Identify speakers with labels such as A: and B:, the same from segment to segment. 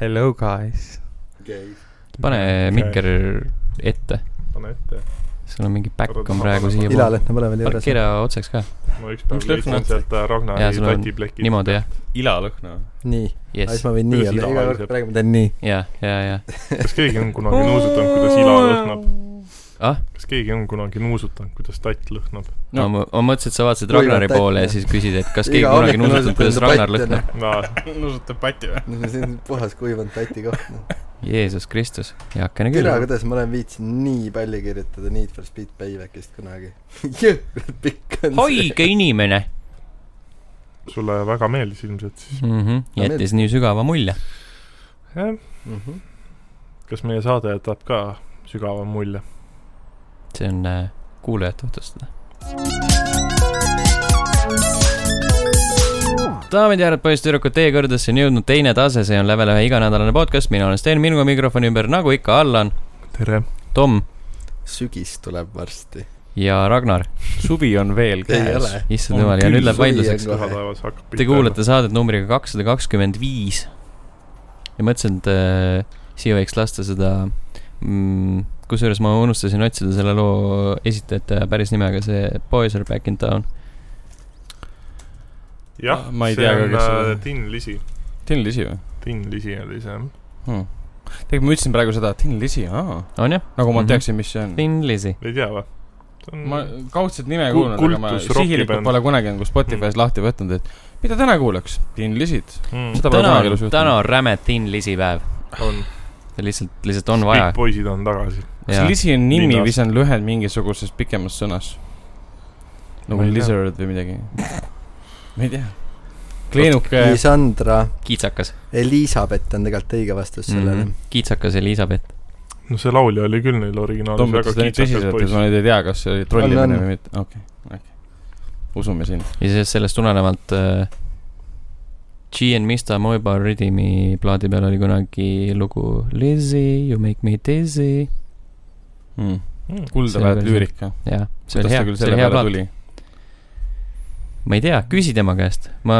A: Hello guys .
B: Gays .
C: pane mikker ette ,
D: pane ette .
C: sul on mingi back on praegu siiapoole .
E: Ilale , me oleme veel juures .
C: parkeera otsaks ka ,
D: ma ükspäev
A: Miks lõhna?
D: leidsin sealt äh,
C: Jaa,
D: Ragnari
C: sul on
D: tatiplekid .
C: niimoodi jah ,
A: ilalõhna .
E: nii , siis
C: jess ,
E: ma võin nii
D: Kuidas
E: öelda , iga kord
D: ilaliselt?
E: praegu ma teen nii .
C: ja , ja , ja ,
D: kas keegi on kunagi nuusutanud , kuidas ila lõhnab ?
C: ah ,
D: kas keegi on kunagi nuusutanud , kuidas tatt lõhnab ?
C: no ma, ma mõtlesin , et sa vaatasid
E: Kuivad
C: Ragnari
E: tatt,
C: poole ja
E: jah.
C: siis küsid , et kas keegi
E: Iga
C: kunagi
E: hommikul
C: nuusutab , kuidas
E: nuusutan
C: Ragnar
E: tatt,
C: lõhnab .
A: nuusutab patti või ?
E: no see on puhas kuivanud tati koht noh .
C: Jeesus Kristus , heakene küll
E: türa ,. kuidas ma olen viitsinud nii palju kirjutada Need for Speed Paybackist kunagi . jõhkralt pikk on see .
C: haige inimene
D: sulle väga meeldis ilmselt siis ?
C: mm . -hmm. jättis nii sügava mulje .
D: jah ,
E: Mhm.
D: kas meie saade jätab ka sügava mulje ?
C: see on äh, kuulajate noh. otsustada . daamid ja härrad , poisssüdrukud , teie kõrgedesse on jõudnud teine tase , see on level ühe iganädalane podcast , mina olen Sten , minuga mikrofoni ümber , nagu ikka , Allan ,
D: tere .
C: Tom
E: sügis tuleb varsti .
C: ja Ragnar .
A: suvi on veel
E: ei
A: käes .
E: ole .
C: issand
A: On
C: jumal , ja
A: küll,
C: nüüd läheb
E: suvi on
C: vaidluseks .
E: Kohe.
D: püha taevas hakkab
C: Te kuulate saadet numbriga kakssada kakskümmend viis . ja mõtlesin , et äh, siia võiks lasta seda mm, , kusjuures ma unustasin otsida selle loo esitajate päris nime , aga see Boys are back in town .
D: jah ,
A: Ma ei
D: see
A: tea ka,
D: on
A: kes see-
D: äh, Tin Lisi ,
A: Tin Lisi või
D: Tin Lisi oli see jah .
A: hmm. ? tegelikult ma ütlesin praegu seda , Tin Lisi , aa .
C: on jah ?
A: nagu ma
C: Mhm.
A: teaksin , mis see on .
C: Thin Lizzy .
D: ei tea või ? see on
A: ma kaudselt nime
D: Ku-
A: kuulnud , aga ma
D: kultus Mhm.
A: sihilikult
D: rockibänd.
A: pole kunagi nagu Spotify's lahti võtnud , et mida täna kuulaks , Tin Lisit .
D: mm,
A: seda pole
C: täna
A: kunagi
C: on
A: elus ,
C: täna
A: juhtunud .
C: on räme Thin Lizzy päev .
D: on ,
C: lihtsalt , lihtsalt on vaja
D: kõik . poisid on tagasi .
A: kas Lisi on nimi
D: Linnas.
A: või see on lühend mingisuguses pikemas sõnas ?
D: Ma
A: nagu
D: ei tea.
A: lizard või midagi . ma ei tea . kleenuke ,
E: Lisandra ,
C: kiitsakas .
E: Elizabeth on tegelikult õige vastus
C: Mhm.
E: sellele .
C: kiitsakas Elizabeth .
D: no see laulja oli küll neil
A: Tom
D: originaalis
A: mõtles
D: väga
A: seda nüüd
D: kitsakas
A: tõsiselt , et
D: poiss
A: ma . nüüd ei tea , kas see oli
E: On,
A: trollimine
E: on.
A: või mitte , okei , okei . usume sind .
C: ja siis sellest tulenevalt äh, G and Mista Moiba Rhythmi plaadi peal oli kunagi lugu Lizzy , you make me dizzy .
D: Hmm,
C: See oli
A: kuldaväärt
C: päris
A: lüürika .
C: jah , Hmm. see
A: kuidas
C: oli hea
A: ta , küll
C: see oli
A: selle peale
C: hea plaat .
A: tuli ?
C: ma ei tea , küsi tema käest , ma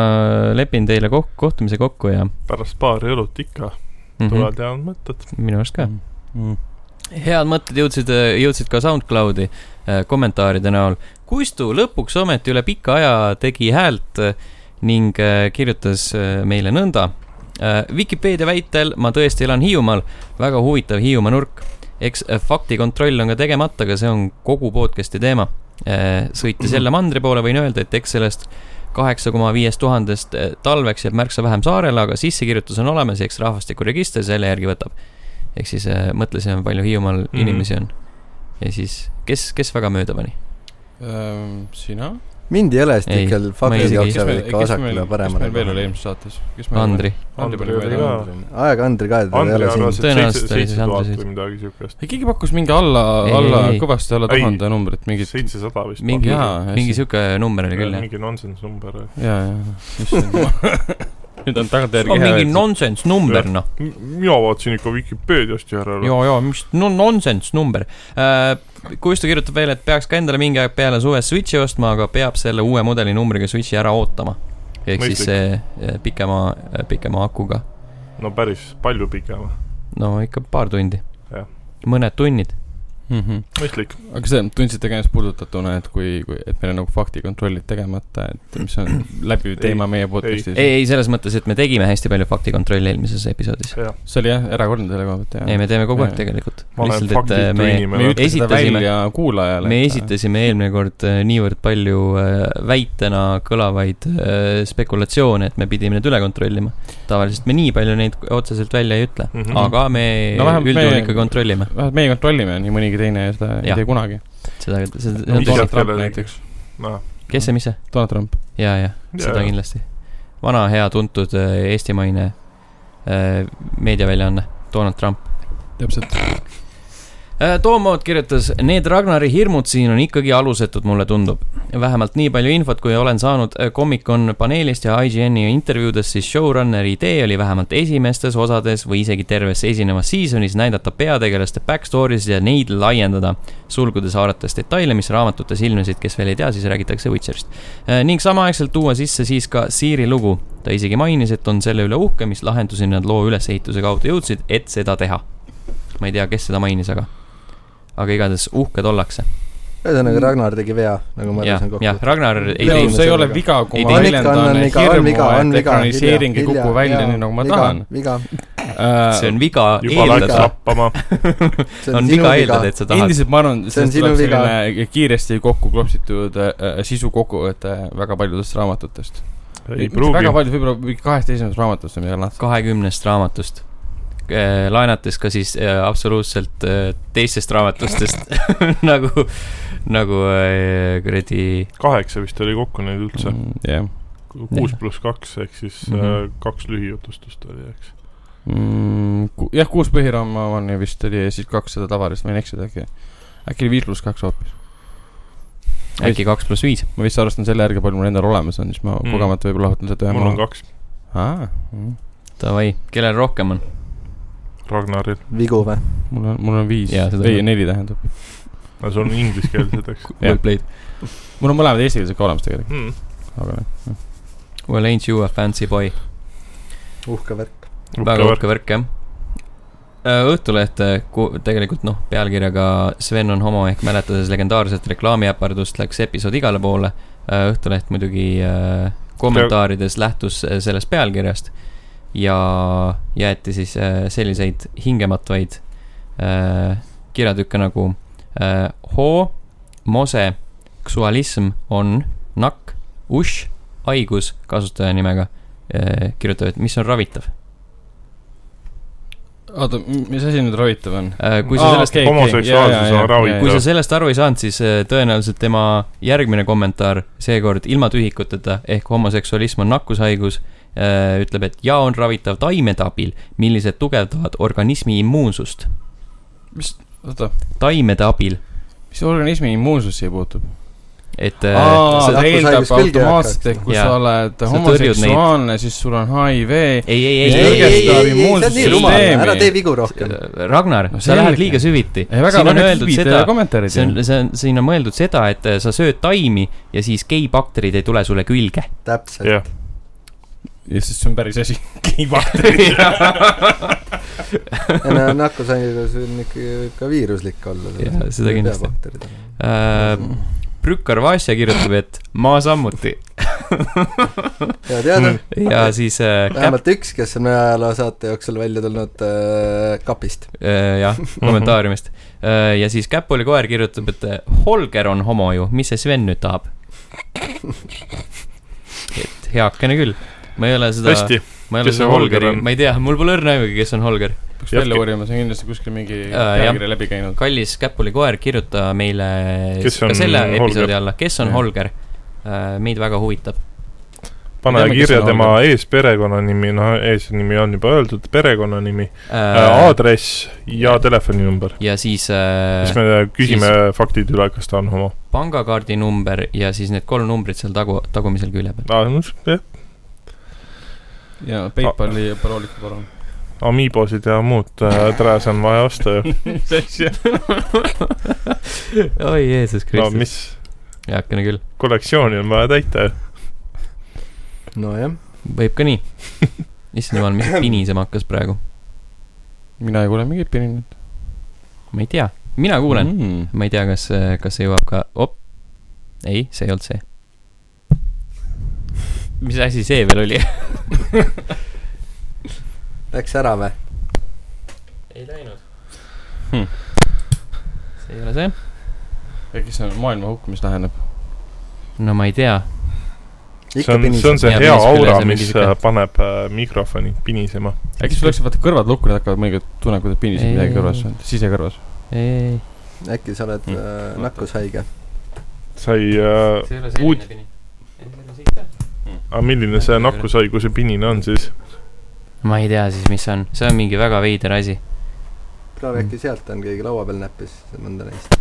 C: lepin teile kok- , kohtumise kokku ja mm
D: pärast paari õlut ikka
C: -hmm,
D: tulevad head mõtted .
C: Mhm, minu arust ka . Hmm. head mõtted jõudsid , jõudsid ka SoundCloudi äh, kommentaaride näol . Kustu lõpuks ometi üle pika aja tegi häält äh, ning äh, kirjutas äh, meile nõnda . Vikipeedia väitel ma tõesti elan Hiiumaal , väga huvitav Hiiumaa nurk . eks äh, faktikontroll on ka tegemata , aga see on kogu podcast'i teema . sõites jälle mandri poole , võin öelda , et eks sellest kaheksa koma viiest tuhandest äh, talveks jääb märksa vähem saarele , aga sissekirjutus on olemas ja eks rahvastikuregister selle järgi võtab . ehk siis äh, mõtlesime , palju Hiiumaal mm
D: Mhm.
C: -hmm. inimesi on . ja siis , kes , kes väga mööda pani ?
A: Ehm, sina ?
E: mind ei ole , sest
C: Ei,
E: ikka
C: ma ei
E: faktid
C: isegi-
E: jooksevad ikka vasakule
A: kes meil veel oli
E: paremale .
A: eelmises saates ?
C: Andri ,
A: Andri
D: Andri
A: pani
D: oli
A: meile
D: ka.
A: Andri .
E: aeg Andri ka , et ta ei
D: Andri
E: ole
D: arvas ,
E: siin .
D: et seitse ,
C: Tõenäoliselt oli siis
D: seitse tuhat
C: Andri
D: või midagi siukest .
A: ei , keegi pakkus mingi alla
C: Ei, ,
A: alla
C: ei, ei. ,
A: kõvasti alla
D: Ei.
A: tuhande numbrit , mingit .
D: seitsesada vist .
C: mingi
A: Jaa, , hästi.
C: mingi sihuke number oli küll jah .
D: mingi nonsense number .
A: ja , ja , nüüd on tagantjärgi
C: on
A: hea
C: mingi
A: öelda .
C: nonsense number noh .
D: mina vaatasin ikka Vikipeediast järele ära .
C: ja , ja mis no, nonsense number . Kuistu kirjutab veel , et peaks ka endale mingi aeg peale suve Switchi ostma , aga peab selle uue mudeli numbriga Switchi ära ootama . ehk siis
D: Mõistlik.
C: see eh, pikema , pikema akuga .
D: no päris palju pikema .
C: no ikka paar tundi
D: Jah. .
C: mõned tunnid . Mhm.
D: mõistlik .
A: aga see , tundsite ka ennast puudutatuna , et kui , kui , et meil on nagu faktikontrollid tegemata , et mis on läbiv teema meie podcast'is ?
C: ei , ei selles mõttes , et me tegime hästi palju faktikontrolli eelmises episoodis .
A: see oli jah , erakordne selle koha pealt ,
C: ei ,
A: jah .
C: me teeme kogu aeg
A: Jah.
C: tegelikult .
D: ma olen
C: lihtsalt , et eh,
D: faktitu
C: me ,
A: me ei
D: inimene .
A: ütle seda
C: esitasime-
A: välja kuulajale .
C: me . esitasime eelmine kord eh, niivõrd palju eh, väitena kõlavaid eh, spekulatsioone , et me pidime need üle kontrollima . tavaliselt me nii palju neid otseselt välja ei ütle mm ,
D: Mhm.
C: -hmm. aga me
A: No
C: no,
A: vähemalt
C: üldjuhul
A: me-
C: me... ikka kontrollime
A: vähemalt meie kontrollime , nii mõnigi teine seda ei
C: Jah.
A: tee kunagi .
C: seda , seda ,
D: No,
C: seda
D: mis-
C: no, ,
A: Donald
D: teab,
A: Trump
D: kellele-
A: näiteks .
D: Noh,
C: kes see , mis see ?
A: Donald Trump .
C: ja , ja seda kindlasti . vana hea tuntud eh, eestimaine äh, eh, meediaväljaanne Donald Trump .
A: täpselt .
C: Toomood Äh, kirjutas , need Ragnari hirmud siin on ikkagi alusetud , mulle tundub . vähemalt nii palju infot , kui olen saanud äh, Comic-Con paneelist ja IGN-i intervjuudest , siis showrunneri idee oli vähemalt esimestes osades või isegi terves esinevas seasonis näidata peategelaste backstory'sid ja neid laiendada . sulgudes haarates detaile , mis raamatutes ilmnesid , kes veel ei tea , siis räägitakse Witcherist . ning samaaegselt tuua sisse siis ka Siiri lugu . ta isegi mainis , et on selle üle uhke , mis lahenduseni nad loo ülesehituse kaudu jõudsid , et seda teha . ma ei tea , kes seda mainis , aga aga igatahes uhked ollakse .
E: ühesõnaga , Ragnar tegi vea , nagu ma aru
C: jah
E: saan ,
C: jah ,
E: kokku .
C: Ragnar ei
E: Jaa,
A: ei ,
C: teinud
E: see
A: see ei ole
E: viga.
A: viga , kui
C: Ei
A: ma
C: teinud.
E: On
A: väljendan
E: viga, on viga, on
A: hirmu , et
E: viga,
A: ekraniseering ei
E: hilja,
A: kuku välja
E: jaa,
A: nii , nagu ma tahan . Äh,
E: viga ,
C: see on viga
D: juba läks
C: eeldada ,
D: lappama .
E: see
C: on
E: on
C: viga
E: sinu viga .
C: eeldada , et sa tahad .
A: endiselt ma arvan ,
E: See on
A: sellest tuleb
E: sinu viga.
A: selline kiiresti kokku klopsitud äh, äh, sisu kokkuvõte väga paljudest raamatutest .
D: ei
A: väga
D: pruugi .
A: palju , võib-olla mingi kahest esimesest raamatust on midagi lahti .
C: kahekümnest raamatust . laenates ka siis äh, absoluutselt äh, teistest raamatustest nagu , nagu äh, kuradi ,
D: kaheksa vist oli kokku neid
C: Mhm.
D: üldse .
A: Mm, jah .
D: kuus pluss kaks ehk siis mm -hmm.
A: Mhm.
D: kaks lühijutustust oli , eks .
A: Mm, jah , kuus põhiraamani vist oli ja siis kakssada tavalist , ma võin eksida äkki . äkki oli viis pluss kaks hoopis .
C: äkki kaks pluss viis .
A: ma vist arvestan selle järgi , palju mul endal olemas on , siis ma
D: Mm.
A: kogemata võib-olla lahutan seda ühe
D: mul on
A: maha .
D: kaks
A: aa , mm.
C: Davai , kellel rohkem on ?
D: Ragnaril .
E: vigu või ?
A: mul on , mul on viis ,
C: Jaa, seda
A: ei
C: ka.
A: neli tähendab .
D: no see on ingliskeelsed , eks
A: Jah.
C: Well played .
A: mul on mõlemad eestikeelsed ka olemas tegelikult ,
D: mm. .
A: aga noh .
C: Well ain't you a fancy boy .
E: uhke värk .
C: väga uhke . värk , jah . Õhtuleht , tegelikult noh , pealkirjaga Sven on homo ehk mäletades legendaarset reklaamiäpardust läks episood igale poole . Õhtuleht muidugi äh, kommentaarides lähtus äh, sellest pealkirjast ja jäeti siis äh, selliseid hingematvaid äh, kirjatükke nagu äh, Ho , Mose , Ksualism on nakk , uš , haigus kasutajanimega äh, kirjutab , et mis on ravitav .
A: oota , mis asi nüüd ravitav on ?
C: Äh, kui sa
A: Aa,
C: sellest ,
A: okei, okei. Jaa,
D: homoseksuaalsus
A: jaa,
D: on
A: jaa,
D: ravitav
A: jaa.
C: kui sa sellest aru ei saanud , siis äh, tõenäoliselt tema järgmine kommentaar seekord ilma tühikuteta ehk homoseksualism on nakkushaigus äh, ütleb , et ja on ravitav taimede abil , millised tugevdavad organismi immuunsust .
A: oota ,
C: taimede abil ,
A: mis organismi immuunsus siia puutub ?
C: et äh,
A: aa ,
E: see
A: see eeldab
E: nakkushaigus külge
A: automaatselt , et kui
C: Jaa.
A: sa oled
C: tõrjud
A: homoseksuaalne , siis sul on HIV . Eh,
C: ei , ei ,
A: Ei,
C: ei , ei ,
A: tõrgestab
C: ei ,
E: see on nii rumal ,
A: immuunsussüsteemi.
E: ära tee vigu rohkem .
C: Ragnar
A: No ,
C: sa
A: selge.
C: lähed liiga süviti .
A: ei , väga
C: siin on öeldud seda ,
A: kommentaarid
C: see on , see on , siin on mõeldud seda , et äh, sa sööd taimi ja siis geibakterid ei tule sulle külge .
E: täpselt .
D: jah ,
A: ja siis see on päris asi .
E: ja no nakkushaigus on ikkagi , võib ka viiruslik olla .
C: Jaa, seda kindlasti. . Brükar Vasja Äh, kirjutab , et ma samuti
E: hea teada .
C: ja siis äh, käpp ,
E: vähemalt üks , kes on ajaloo saate jooksul välja tulnud äh, kapist .
C: äh, jah , kommentaariumist äh, . ja siis Käpulikoer kirjutab , et äh, Holger on homo ju , mis see Sven nüüd tahab ? et heakene küll , ma ei ole seda ,
D: hästi ,
C: ma ei ole
D: kes see
C: seda
D: Holger
C: Holgeri ,
D: on?
C: ma ei tea , mul pole õrna aimugi , kes on Holger .
A: peaks välja uurima , see on kindlasti kuskil mingi
C: Jaa, Äh, jah.
A: pealkiri läbi käinud .
C: kallis Käpulikoer , kirjuta meile
D: Kes
C: ka
D: on
C: selle
D: Holger?
C: episoodi alla , kes on
A: Jah.
C: Holger äh, . meid väga huvitab .
D: pane
A: Teame, kes
D: kirja
A: on
D: tema eesperekonnanimi , noh , eesnimi on juba öeldud , perekonnanimi äh, ,
C: Äh,
D: aadress ja telefoninumber .
C: ja siis äh,
D: siis me küsime siis... faktid üle , kas ta on homo .
C: pangakaardi number ja siis need kolm numbrit seal tagu , tagumisel külje peal .
D: aa , Ah, no s- jah ,
A: ja PayPali ja paroolika palun .
D: Amiibosid ja muud äh, träs on vaja osta ju .
A: mis asja ?
C: oi Jeesus
D: no
C: Kristus no, ,
D: mis
C: heakene küll ,
D: kollektsiooni on vaja täita ju .
E: nojah ,
C: võib ka nii . issand jumal , mis pinisema hakkas praegu ,
A: mina ei kuule mingit pirinat .
C: ma ei tea , mina kuulen mm , -hmm. ma ei tea , kas , kas see jõuab ka , op , ei , see ei olnud see . mis asi see veel oli ?
E: läks ära või ?
C: ei läinud Hm.
A: Hmm. .
C: see ei ole see ?
A: äkki see on maailma hukk , mis läheneb ?
C: no ma ei tea ,
D: see on , see on see
C: Jaa,
D: hea
C: pinis küll ja
D: aura
C: see , on mingi
D: mis
C: sihuke-
D: äh, paneb äh, mikrofoni pinisema .
A: äkki sul läksid vaata kõrvad lukku , need hakkavad mõnikord tunnema , kuidas piniseb
C: Ei.
A: midagi kõrvas , sisekõrvas .
C: ei , ei ,
E: äkki sa oled
A: Mm.
E: äh, nakkushaige ?
D: sai äh, ,
C: see ei ole
D: selline Uud-
C: pini .
D: aga milline see nakkushaiguse pinine on siis ?
C: ma ei tea siis , mis see on , see on mingi väga veider asi .
E: proovi äkki sealt on keegi laua peal näppis mõnda neist .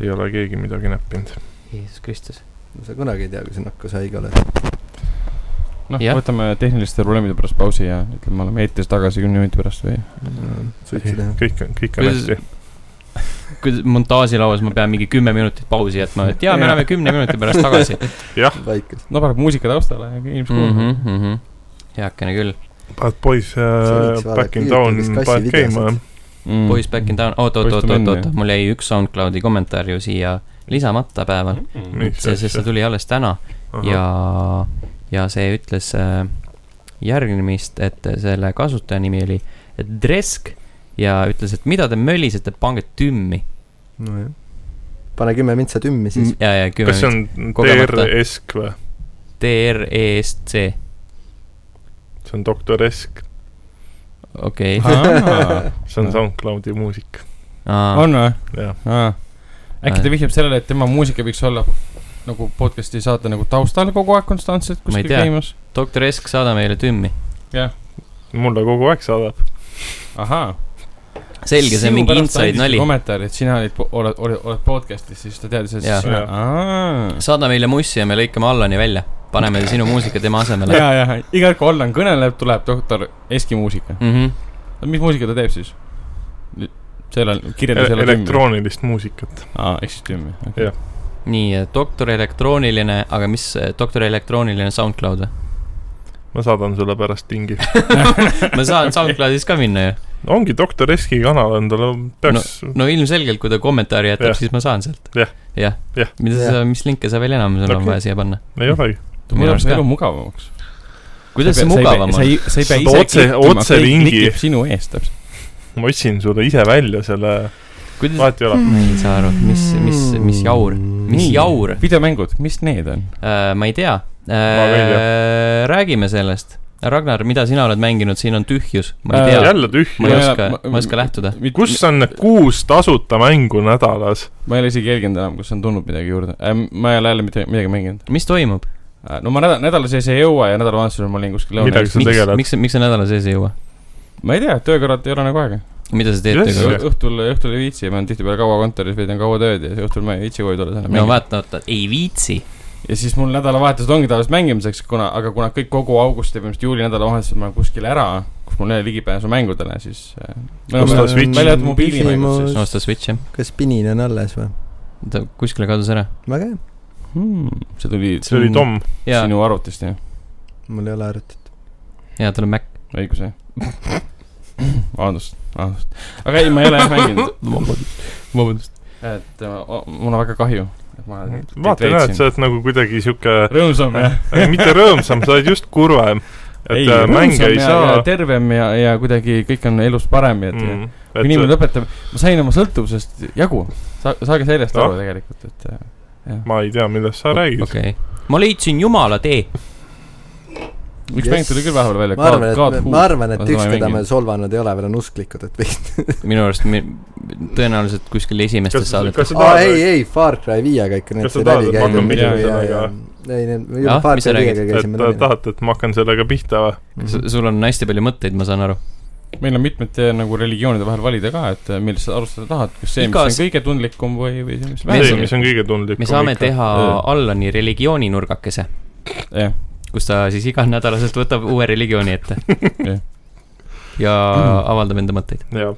D: ei ole keegi midagi näppinud .
C: Jeesus Kristus .
E: no sa kunagi ei tea , kui sa nakkushaige oled .
A: noh ,
C: Jah.
A: võtame tehniliste probleemide pärast pausi ja ütleme , oleme eetris tagasi kümne minuti pärast või ?
E: suitsu teha .
D: kõik on , kõik on
C: Kuidas-
D: hästi .
C: kui montaažilauas ma pean mingi kümme minutit pausi jätma , et jaa , me oleme kümne minuti pärast tagasi .
E: vaikus .
A: no paneb muusika taustale ja
D: Mhm,
A: inimesed
C: Mhm.
A: kuulavad .
C: heakene küll .
D: Bad boys
E: võiks
D: uh,
E: vaadata
D: back in
E: YouTube-is
D: town , äh.
E: kassi
D: paned
E: videosid.
D: käima . Mm.
C: Boys back in town , oot ,
A: Mm.
C: oot ,
A: Poiss
C: oot ,
A: tuli
C: oot ,
A: enne,
C: oot ,
A: jah.
C: mul jäi üks SoundCloudi kommentaar ju siia lisamata päeval .
D: Mis
C: see , sest see
D: asja?
C: tuli alles täna ja , ja see ütles äh, järgmist , et selle kasutaja nimi oli Dresk ja ütles , et mida te mölisete , pange tümmi .
E: nojah . pane kümme mintsa tümmi siis .
C: ja , ja kümme
D: Mm. kas see
C: minutit .
D: on
C: kogemata.
D: Dr Esk või ?
C: D-R-E-S-C ,
D: see on doktor Esk ,
C: okei .
D: see on
A: Ah.
D: SoundCloudi muusika .
A: on või ?
D: jah ,
A: äkki ta vihjab sellele , et tema muusika võiks olla nagu podcast'i saate nagu taustal kogu aeg konstantselt
C: Ma ei
A: kuskil
C: tea.
A: käimas ?
C: doktor Esk , saada meile tümmi .
D: mulle kogu aeg saadab .
A: ahaa .
C: selge , see on mingi inside nali .
A: kommentaar , et sina olid , oled , oled , oled podcast'is , siis ta teadis , et
C: Jah.
A: siis sina
D: Jah. .
C: saada meile mussi ja me lõikame Allani välja . paneme sinu muusika tema asemele .
A: ja , ja iga kord , kui Allan kõneleb , tuleb doktor Eski muusika .
C: Mm -hmm.
A: mis muusika ta teeb siis ? seal on , kirjelda selle tümmi .
D: e- elektroonilist muusikat .
A: aa , ehk siis tümmi .
D: Jah.
C: nii , doktor elektrooniline , aga mis eh, doktor elektrooniline SoundCloud või ?
D: ma saadan sulle pärast tingi .
C: ma saan SoundCloudis ka minna ju .
D: ongi doktor Eski kanal on , tal on , peaks no,
C: no ilmselgelt , kui ta kommentaari jätab ,
D: Jah.
C: siis ma saan sealt .
D: Jah.
C: jah
D: Jah. ,
C: mida sa , mis linke sa veel enam sul on
D: Okei.
C: vaja siia panna ?
D: no, , ei olegi .
A: ta
C: Minu
A: muudab
C: arust
A: su
C: ka.
A: elu mugavamaks .
C: kuidas see mugavam on ?
A: sa ei pea ise
D: Saad otse-
A: klikkima ,
D: otse
A: keegi
D: lingi.
A: klikib sinu eest täpselt .
D: ma otsin sulle ise välja selle ,
C: kuidas ,
D: vahet ei ole .
C: ma ei saa aru , Mm. mis , mis , mis jaur ,
A: Mm.
C: mis
A: Nii.
C: jaur ?
A: videomängud , mis need on ?
C: ma ei tea .
D: veel
C: räägime sellest . Ragnar , mida sina oled mänginud , siin on tühjus , ma ei
A: Äh,
C: tea .
D: jälle
C: ma
D: tühja
A: Ma-
C: ei
A: jaa,
C: oska , ma ei oska lähtuda .
D: kus on need kuus tasuta mängu nädalas ?
A: ma ei ole isegi jälginud enam , kas on tulnud midagi juurde ähm, . ma ei ole jälle mitte midagi mänginud .
C: mis toimub ?
A: no ma nädala , nädala sees ei jõua ja nädalavahetusel ma olin kuskil
D: Midagi
A: lõunas .
D: sa
C: miks
D: tegeled? ,
C: miks , miks sa nädala sees ei jõua ?
A: ma ei tea , töö kõrvalt ei ole nagu aega .
C: mida sa teed
D: Yes.
C: tööga ?
A: õhtul , õhtul ei viitsi , ma olen tihtipeale kaua kontoris , veedan kaua tööd ja siis õhtul ma ei viitsi koju tulla .
C: no . vaata , oota , ei viitsi .
A: ja siis mul nädalavahetused ongi tavaliselt mängimiseks , kuna , aga kuna kõik kogu augusti ja põhimõtteliselt juuli nädalavahetusel ma olen kuskil ära , kus mul ei ole ligipääsu mängudele , siis äh, no,
D: Osta
A: ma-
D: Switch.
A: välja arvatud mobiilimängud siis
E: Küsimus.
C: osta Switch jah ,
E: kas pinin on alles või ?
C: ta kuskile kadus ära .
E: väga hea ,
A: hmm, . see tuli
D: see oli Tom .
C: ja ,
A: sinu arvutist jah ,
E: mul ei ole arvutit .
C: ja tal on Mac .
A: õigus jah . vabandust , vabandust . aga ei , ma ei ole jah mänginud .
C: vabandust .
A: et äh, o- mul on väga kahju , et ma
D: vaata , näed , sa . oled nagu kuidagi sihuke ,
A: rõõmsam jah .
D: mitte rõõmsam , sa oled just kurvem . et ei, mänge ei saa .
A: tervem ja , ja kuidagi kõik on elus parem ja et mm, kui inimene
D: et äh,
A: lõpetab , ma sain oma sõltuvusest jagu . sa , saage sellest
D: Ah.
A: aru tegelikult , et äh,
D: ma ei tea , millest sa räägid okay. .
C: okei okay. , ma leidsin jumala tee .
A: üks
E: Yes.
A: mäng tuli küll vahepeal välja .
E: ma arvan , et , ma arvan ,
A: Ma
E: et
A: seda
E: üks ,
A: ei
E: keda me
A: mänginud.
E: solvanud ei ole veel , on usklikud , et või .
C: minu arust mi- tõenäoliselt kuskil esimestes
D: kas ,
C: saadetes .
D: kas sa
E: aa , ei
D: tahad ,,
E: ei , Far Cry viiega ikka nüüd
D: Kas sa
E: sai
D: tahad,
E: läbi
D: et ma
E: käidud
A: hakkan
E: muidu
A: pidama
E: ja , ja
D: sellega? ,
E: ei , me
C: Ah,
E: juba Far
C: mis sa
E: Cry viiega
C: räägid?
D: et
E: käisime
D: ta-
E: läbi .
D: tahad , et ma hakkan sellega pihta või ?
C: sul on hästi palju mõtteid , ma saan aru .
A: meil on mitmete nagu religioonide vahel valida ka , et äh, millest sa alustada tahad , kas see , mis
C: Igas-
A: on kõige tundlikum või , või see , mis
D: see ,
C: Me
A: vähem
C: saame- .
D: mis on kõige tundlikum .
C: me saame teha
A: Jaa.
C: Allani religiooni-nurgakese ,
A: jah ,
C: kus ta siis iganädalaselt võtab uue religiooni ette
A: Jah. .
C: ja avaldab enda mõtteid .
D: jaa ,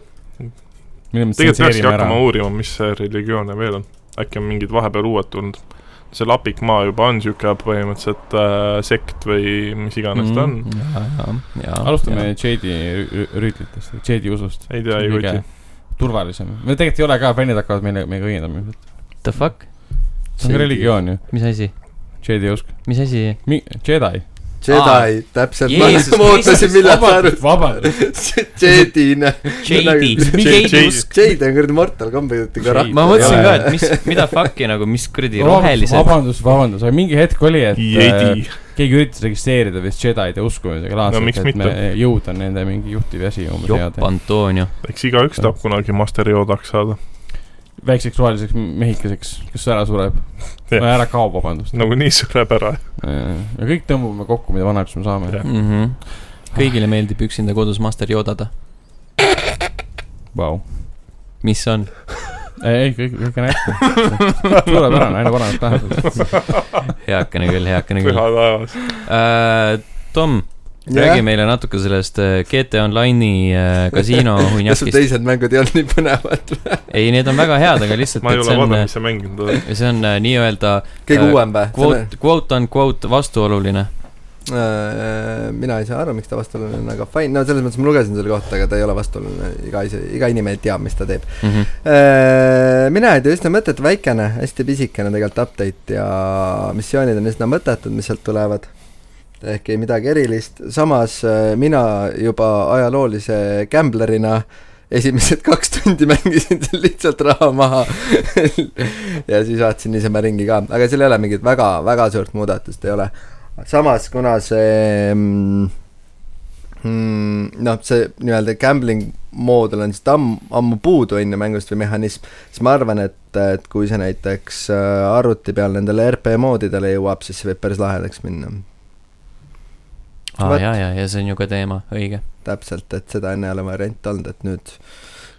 A: mille me
D: tegelikult peakski
A: tsenseerime ära
D: hakkama . uurima , mis religioone veel on . äkki on mingid vahepeal uued tulnud . see Lapikmaa juba on sihuke põhimõtteliselt äh, sekt või mis iganes mm. ta
C: Mhm.
D: on .
A: alustame . Jedi rü- rü- rüütlitest , Jedi usust .
D: ei tea , ei
A: Kõige-
D: kujuta .
A: turvalisem , me tegelikult ei ole ka , fännid hakkavad meile , meiega õiendama ilmselt .
C: The fuck ,
A: see on ka religioon ju ,
C: mis asi ,
A: Jedi usk ,
C: mis asi ?
A: Jedi .
E: Jedi , täpselt , ma
C: Jeesus
E: ma ootasin ,
C: Kristus,
E: millal sa arvad .
A: vabandust ,
E: Jedina .
C: Jedi , mis
D: Jade-
C: Jade
D: Jade-
C: usk ?
E: Jade on kuradi Mortal Combati karakter .
C: ma mõtlesin ka , et mis , mida fuck'i nagu , mis kuradi
A: vabandust ,
C: rohelised .
A: vabandust, vabandust , aga mingi hetk oli , et äh,
D: Jedi .
A: keegi üritas registreerida vist Jedide uskumisega
D: No
A: laadselt ,
D: miks
A: et
D: mitte?
A: me jõud on nende mingi juhtiv asi umbes
C: jopp
A: head .
C: Antonio ,
D: eks igaüks tahab kunagi Master Yodaks saada .
A: väikseks roheliseks mehikeseks , kes ära sureb ,
D: Jah.
A: ära kaob , vabandust .
D: nagunii sureb ära .
A: ja kõik
C: Mhm.
A: tõmbame kokku , mida vanaks me saame .
D: Jah.
C: mm . -hmm. kõigile meeldib üksinda kodus master joodada .
A: Vau .
C: mis on ?
A: ei , kõik , kõik on hästi . suurepärane , aina paremat läheb .
C: heakene küll , heakene küll
D: püha . taevas .
C: Äh, Tom , räägi . meile natuke sellest äh, GTA Online'i äh, kasiino
E: kas sul
C: hunniakist .
E: teised mängud ei olnud nii põnevad ?
C: ei , need on väga head , aga lihtsalt ,
D: ma ei
C: et
D: ole
C: see on , äh,
D: vaadanud , mis sa mänginud oled .
C: see on äh, nii-öelda
E: kõige
C: Äh,
E: uuem või ?
C: quote , quote on quote vastuoluline .
E: äh, mina ei saa aru , miks ta vastuoluline on , aga fine , no selles mõttes ma lugesin selle kohta , aga ta ei ole vastuoluline , iga ise , iga inimene teab , mis ta teeb .
C: Mhm.
E: Äh, mina ei tea , üsna mõttetu , väikene , hästi pisikene tegelikult update ja missioonid on üsna mõttetud , mis sealt tulevad . ehk ei midagi erilist , samas äh, mina juba ajaloolise gamblerina esimesed kaks tundi mängisin seal lihtsalt raha maha ja siis vaatasin niisama ringi ka , aga seal ei ole mingit väga , väga suurt muudatust ei ole . samas , kuna see mm, mm, noh , see nii-öelda gambling moodul on seda ammu , ammu puudu enne mängust või mehhanism , siis ma arvan , et , et kui see näiteks äh, arvuti peal nendele RP moodidele jõuab , siis see võib päris lahedaks minna .
C: aa ,
E: Vot.
C: ja , ja , ja see on ju ka teema , õige .
E: täpselt , et seda enne ei ole variant olnud , et nüüd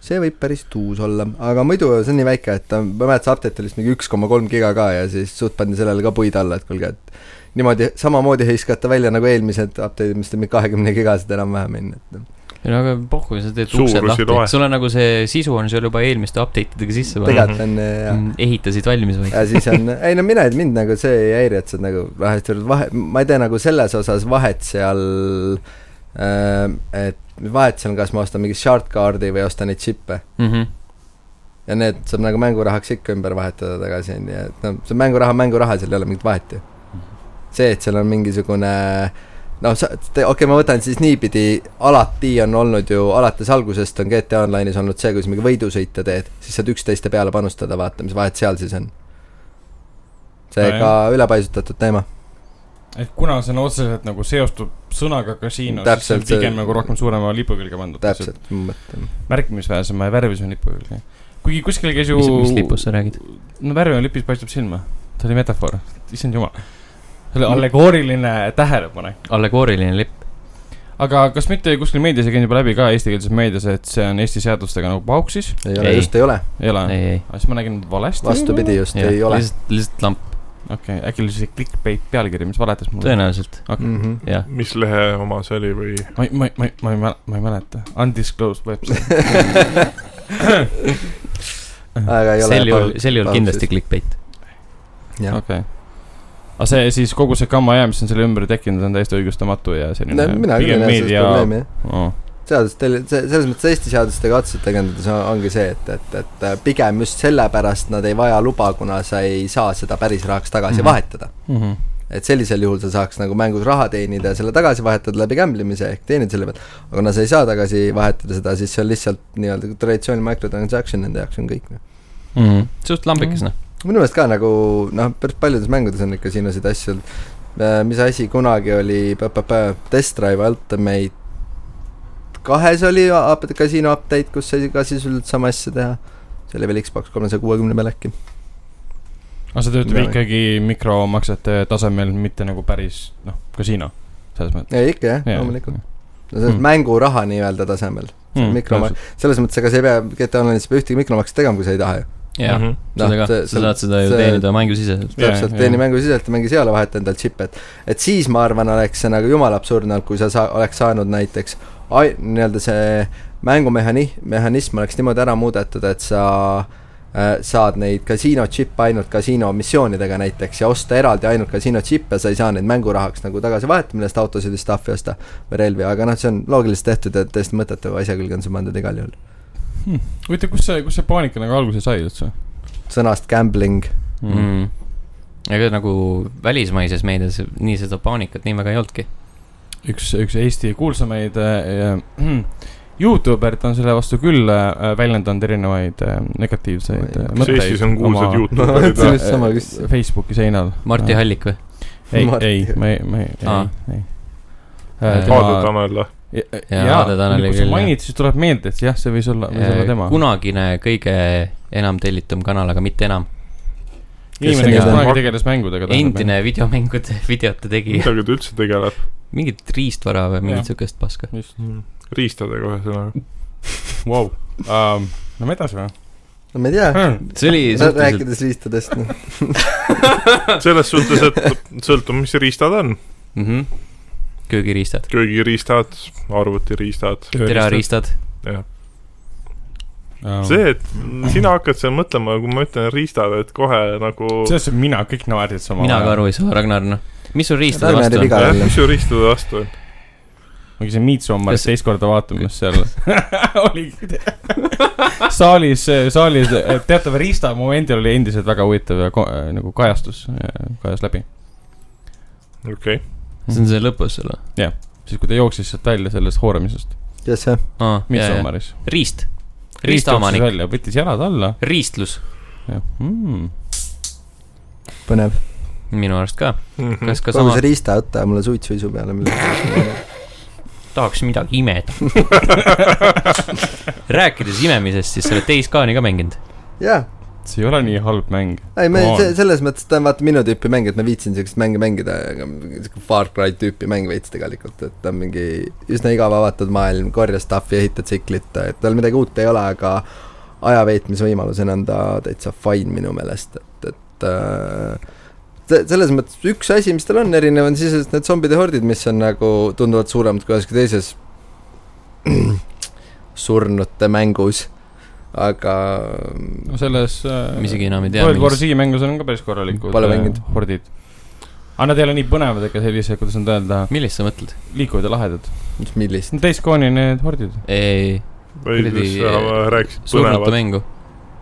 E: see võib päris tuus olla , aga muidu see on nii väike , et ta- ma mäletan , see update oli vist mingi üks koma kolm giga ka ja siis suht pandi sellele ka puid alla , et kuulge , et niimoodi samamoodi hõiskate välja nagu eelmised update'id , mis tegid kahekümne gigased enam-vähem , onju , et noh,
C: ei no aga pohhu , sa teed
D: Suurus
C: uksed
D: ei loe.
C: lahti , sul on nagu see sisu on sul juba eelmiste update idega sisse pandud .
E: tegelikult on jah
C: ehitasid valmis või ?
E: ja siis on , ei no mina , mind nagu see ei häiri , et sa nagu vähest vahe , ma ei tee nagu selles osas vahet seal äh, , et vahet seal , kas ma ostan mingi shard card'i või ostan neid džippe .
C: Mhm.
E: ja need saab nagu mängurahaks ikka ümber vahetada tagasi , onju , et noh , see mänguraha on mänguraha , seal ei ole mingit vahet ju . see , et seal on mingisugune noh , sa , okei okay, , ma võtan siis niipidi , alati on olnud ju , alates algusest on GTA Online'is olnud see , kui sa mingi võidusõite teed , siis saad üksteiste peale panustada , vaata , mis vahet seal siis on . seega ülepaisutatud teema .
A: et kuna see on otseselt nagu seostub sõnaga kasiino , siis see
E: Täpselt,
A: on pigem
E: see-
A: nagu rohkem suurema lipu külge pandud .
E: täpselt , mu mõte .
A: märkimisväärsema ja värvis on lipu külge . kuigi kuskil käis ju
C: mis , mis lipust sa räägid ?
A: no värv on lipis , paistab silma . see oli metafoor , issand jumal . see oli allegooriline tähelepanek .
C: allegooriline lipp .
A: aga kas mitte kuskil meedias ei käinud juba läbi ka eestikeelses meedias , et see on Eesti seadustega nagu pauksis ?
E: ei ole ,
C: Ei.
E: just ei ole ,
A: ei ole ?
C: ei , ei .
A: aga siis ma nägin valesti .
E: vastupidi , just ja, ei ole .
C: lihtsalt , lihtsalt lamp ,
A: okei okay, , äkki oli see clickbait pealkiri , mis valetas mulle ?
C: tõenäoliselt ,
E: Mm -hmm.
C: jah .
D: mis lehe oma see oli või ?
A: ma ei , ma ei , ma ei , ma ei mäle- , ma ei mäleta . Undisclosed website .
E: aga ei ole .
C: sel juhul , sel juhul kindlasti . clickbait .
E: jah ,
A: okei okay. . aga see siis kogu see gamma jää , mis on selle ümber tekkinud , on täiesti õigustamatu ja selline
E: no mina küll ei näe selles probleemi , jah .
A: oh. .
E: seadust , selles mõttes Eesti seadustega otseselt tegeledes ongi see , et , et , et äh, pigem just sellepärast nad ei vaja luba , kuna sa ei saa seda päris rahaks tagasi
A: Mhm.
E: mm -hmm. vahetada .
A: Mm -hmm.
E: et sellisel juhul sa saaks nagu mängus raha teenida ja selle tagasi vahetada läbi gamblemise ehk teenid selle pealt , aga kuna sa ei saa tagasi vahetada seda , siis see on lihtsalt nii-öelda traditsiooniline microtransaction nende jaoks on kõik . noh.
A: Mm -hmm.
C: suht
E: Mhm.
C: lambikas , noh .
E: minu meelest ka nagu noh , päris paljudes mängudes on ikka sinuseid asju olnud . mis asi kunagi oli , Test Drive Ultimate kahes oli up- kasiino update , kus sai ka sisuliselt sama asja teha . see oli veel Xbox kolmesaja kuuekümne peal äkki .
A: aga see töötab
E: Mina-
A: ikkagi mikromaksete tasemel , mitte nagu päris noh , kasiino selles mõttes .
E: ei ikka jah , loomulikult . no see on
A: Mm.
E: mm. mänguraha nii-öelda tasemel ,
A: Mhm.
E: mikromaks- , selles mõttes , ega sa ei pea GTA Online'is pea ühtegi mikromakset tegema , kui sa ei taha ju .
C: jah ,
D: Mhm.
C: seda
E: Noh,
C: ka , sa saad seda ju teenida mängusiseselt .
A: Jaa,
E: täpselt ,
A: jaa.
E: teeni mängu sisselt ja mängi seal ja vaheta endal džippe , et , et siis ma arvan , oleks see nagu jumala absurdne olnud , kui sa saa- , oleks saanud näiteks ai- , nii-öelda see mängumehhani- , mehhanism oleks niimoodi ära muudetud , et sa äh, saad neid kasiino džippe ainult kasiino missioonidega näiteks ja osta eraldi ainult kasiino džippe , sa ei saa neid mängurahaks nagu tagasi vahetada , millest autosid ja stuff'i osta või relvi , aga noh , see on loogiliselt tehtud ja täiesti mõttetu asja külge on see pandud igal juhul .
A: huvitav , kus see , kus see paanika nagu alguse sai üldse
E: sõnast gambling ,
C: Mhm.
A: mm. ?
C: ega nagu välismaises meedias nii seda paanikat nii väga ei olnudki .
A: üks , üks Eesti kuulsamaid äh, äh, Youtubert on selle vastu küll äh, väljendanud erinevaid äh, negatiivseid äh,
D: kas Eestis on kuulsad
E: Ma mõtlesin
D: Youtuberid ?
E: just sama küsimuse.
A: äh, Facebooki seinal .
C: Marti Hallik või ?
A: ei ,
E: Marti-
A: ei , ma ei , ma ei ,
C: Aa.
A: ei , Äh, ei .
C: Aadu
D: Aadu Tanel või ?
C: Jaa,
A: jaa ,
C: Aadu Taneli
A: kui sa
C: küll, jah. Äh,
A: mainid , siis tuleb meelde , et jah , see võis olla , võis olla tema .
C: kunagine kõige enam tellitum kanal , aga mitte enam .
A: inimene ,
E: Kes
A: kes
E: see
A: kunagi
D: nüüd on?
A: tegeles mängudega .
C: endine videomängude , videote tegija ,
D: millega ta üldse tegeleb ?
C: mingit riistvara või mingit
A: Jah.
C: siukest paska .
A: just ,
D: riistadega ühesõnaga . Vau ,
A: um, . Lähme edasi või ? Ähm,
E: no ma ei tea ,
C: see oli suhteliselt ,
E: rääkides riistadest , noh .
D: selles suhtes , et sõltub , mis riistad on .
C: Mhm. köögiriistad ,
D: köögiriistad , arvutiriistad .
C: terariistad .
D: see , et sina hakkad seal mõtlema , kui ma ütlen riistad , et kohe nagu
A: selles suhtes mina , kõik naersid sama .
C: mina ka aru ei saa , Ragnar , noh . mis sul riistade
E: Ragnar
C: vastu on
E: oli ka- ?
D: jah , mis su riistade vastu on ?
A: ma käisin Midsommaris
C: Kas-
A: teist korda vaatamas seal . oli saalis , saalis teatav riista momendil oli endiselt väga huvitav ja ko- äh, nagu kajastus , kajas läbi .
D: okei okay. ,
C: see on see lõpus sul või ?
A: siis , kui ta jooksis sealt välja sellest hooramisest
E: kes see ?
C: aa , jajah .
A: Midsommaris .
C: riist , riistaomanik ,
A: välja , võttis jalad alla
C: riistlus ,
A: ja mm,
E: põnev .
C: minu arust ka .
D: mm . -hmm.
C: kas ka
E: kogu
C: sama
E: see , riistaõte on mulle suitsuisu peale , mille
C: tahaks midagi imeda . rääkides imemisest , siis sa oled teist kaani ka mänginud .
E: jaa ,
A: see ei ole nii halb mäng .
E: ei me
A: Come on.
E: see , selles mõttes , ta on vaata minu tüüpi mäng , et ma viitsin siukest mänge mängida , aga siuke Far Cry tüüpi mäng veits tegelikult , et ta on mingi üsna igav avatud maailm , korja stuff'i , ehita tsiklit , et tal midagi uut ei ole , aga ajaveetmisvõimalusena on ta täitsa fine minu meelest , et , et äh, se- selles mõttes üks asi , mis tal on erinev , on sisuliselt need zombide hordid , mis on nagu tunduvalt suuremad kui üheski teises surnute mängus , aga
A: no selles äh,
C: Ma isegi enam ei tea,
A: World War
C: millest-
A: Z mängus on ka päris korralikud
E: Pole
A: äh,
E: mänginud.
A: hordid . aga nad ei ole nii põnevad ega sellised , kuidas nüüd öelda ,
C: millest sa mõtled ?
A: liikuvad ja lahedad .
E: millist ?
A: teist kooni need hordid .
C: ei ,
D: või
C: kuradi,
D: siis äh, rääkisid
C: surnute
D: põnevat .
C: mängu .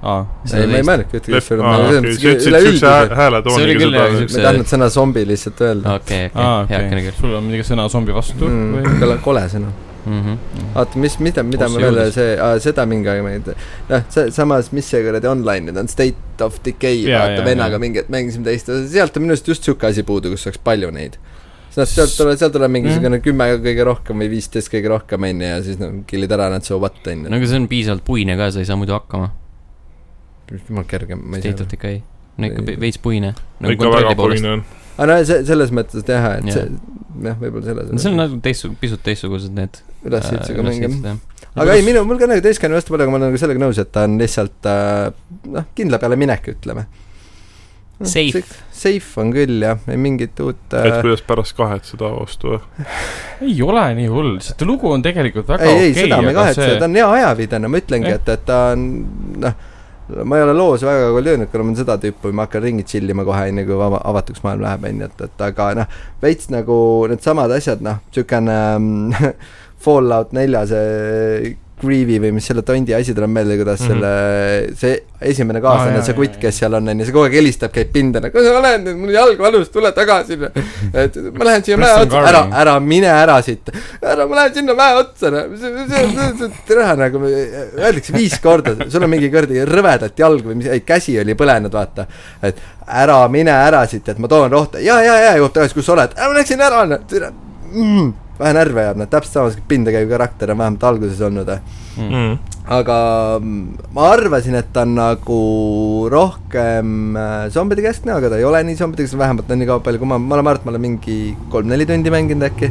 A: aa ,
E: ei , ma ei mäleta ühtegi
D: aa , okei , sa ütlesid siukse hää-
E: üleüldiselt ,
C: See oli
D: hääletooniga
C: küll jah,
D: seda .
E: ma ei tahtnud sõna zombi lihtsalt öelda .
C: okei ,
A: aa ,
C: okei , heakene
A: okei
C: küll .,
A: sul on mingi sõna zombi vastu mm. või ?
E: kõlab kole sõna .
C: Mhm.
E: oota , mis , mida , mida
C: Kus see
E: me veel ,
C: jõudis?
E: see , seda mingi aeg ma ei tea . noh , see , samas , mis see kuradi online nüüd on , State of Decay ,
A: Jaa,
E: vaata
A: jaa,
E: vennaga
A: jaa.
E: mingi hetk mängisime teist , sealt on minu arust just siuke asi puudu , kus oleks palju neid . sealt , sealt tuleb , sealt tuleb mingisugune
C: Mm.
E: kümme kõige rohkem või viisteist kõige rohkem , onju , ja siis noh , kill'id ära nad so what ,
C: no
E: onju .
C: aga see on piisavalt puine ka , sa ei saa muidu hakkama .
E: jumal kergem , ma ei saa
C: State
E: aru
C: of . Decay . no ikka
E: Ei.
C: pe- veits puine . Nagu
D: ikka väga puine on .
E: aga no see , selles mõttes jah , et
C: Jah.
E: see , jah , võib-olla selles .
C: no seal on nagu teistsugune , pisut teistsugused need . äh,
E: ülesehitusega mängime . aga ei , minu , mul ka nagu teistkümne vastu pole , aga ma olen nagu sellega nõus , et ta on lihtsalt äh, noh , kindla peale minek , ütleme .
C: Safe. .
E: Safe on küll jah , ei mingit uut
D: et
E: äh,
D: kuidas pärast kahed seda vastu või ?
A: ei ole nii hull , sest lugu on tegelikult väga
E: ei , ei
A: okei ,
E: seda me ei
A: aga
E: kahetse see... , ta
A: see ,
E: on hea ajaviidena , ma ütlengi ,
A: Jah.
E: et , et ta on noh , ma ei ole loos väga kogu löönud , kuna ma olen seda tüüpi , ma hakkan ringi tšillima kohe , enne kui vaba , avatuks maailm läheb , on ju , et , et aga noh , veits nagu needsamad asjad , noh , niisugune ähm, Fallout nelja see Greavy või mis selle tondi asi tuleb meelde , kuidas
D: Mhm.
E: mm -hmm. selle , see esimene
A: Aa,
E: kaaslane
A: jaa,
E: ah, , see kutt
A: jaa, , jaa.
E: kes seal on , on ju , see kogu aeg helistab , käib pinda , nagu kus sa oled nüüd , mul jalg valus , tule tagasi . et ma lähen siia mäe
A: Preston
E: otsa , ära
A: Garvin. ,
E: ära mine ära siit , ära , ma lähen sinna mäe otsa , noh. tere nagu , öeldakse viis korda , sul on mingi kuradi rõvedat jalg või mis , ei käsi oli põlenud , vaata . et ära mine ära siit , et ma toon rohte , ja , ja , ja jõuab tagasi , kus sa oled , ma läksin ära , tere mm, . vähe närve jääb , noh , täpselt samas pinda käiv karakter on vähemalt alguses olnud eh.
D: Mhm.
E: aga mm, ma arvasin , et ta on nagu rohkem äh, zombide keskne , aga ta ei ole nii zombide keskne , vähemalt on nii kaua palju , kui ma , ma olen , ma arvan , et ma olen mingi kolm-neli tundi mänginud äkki .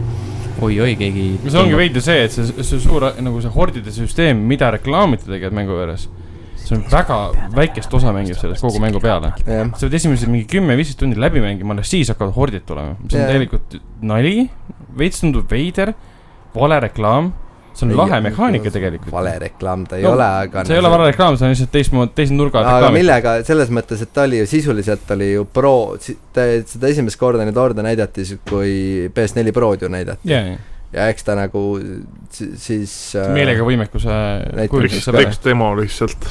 C: oi-oi , keegi .
A: see ongi . veidi see , et see , see suur nagu see hordide süsteem , mida reklaamiti tegelikult mängu juures , see on väga väikest osa mängib sellest kogu mängu peale .
E: jah ,
A: sa pead esimesed mingi kümme-viisteist tundi läbi mängima , alles siis hakkavad hordid tulema , mis on
E: Jaa.
A: tegelikult nali , veits tundub veider , vale reklaam , see on
E: Ei,
A: lahe
E: ei,
A: mehaanika
E: ei,
A: tegelikult .
E: vale reklaam ta ei
A: No,
E: no, ole , aga
A: see ei ole vale reklaam , see on lihtsalt teistmoodi , teise nurga alt
E: aga
A: reklaam .
E: millega , selles mõttes , et ta oli ju sisuliselt oli ju pro , seda esimest korda neid horde näidati , kui PS4 Prod ju näidati
A: jaa , jaa ,
E: ja eks ta nagu si- siis äh,
A: meelega võimekuse
E: Näiteks-
A: kujunduse
D: üks ,
A: sõber .
D: üks demo lihtsalt .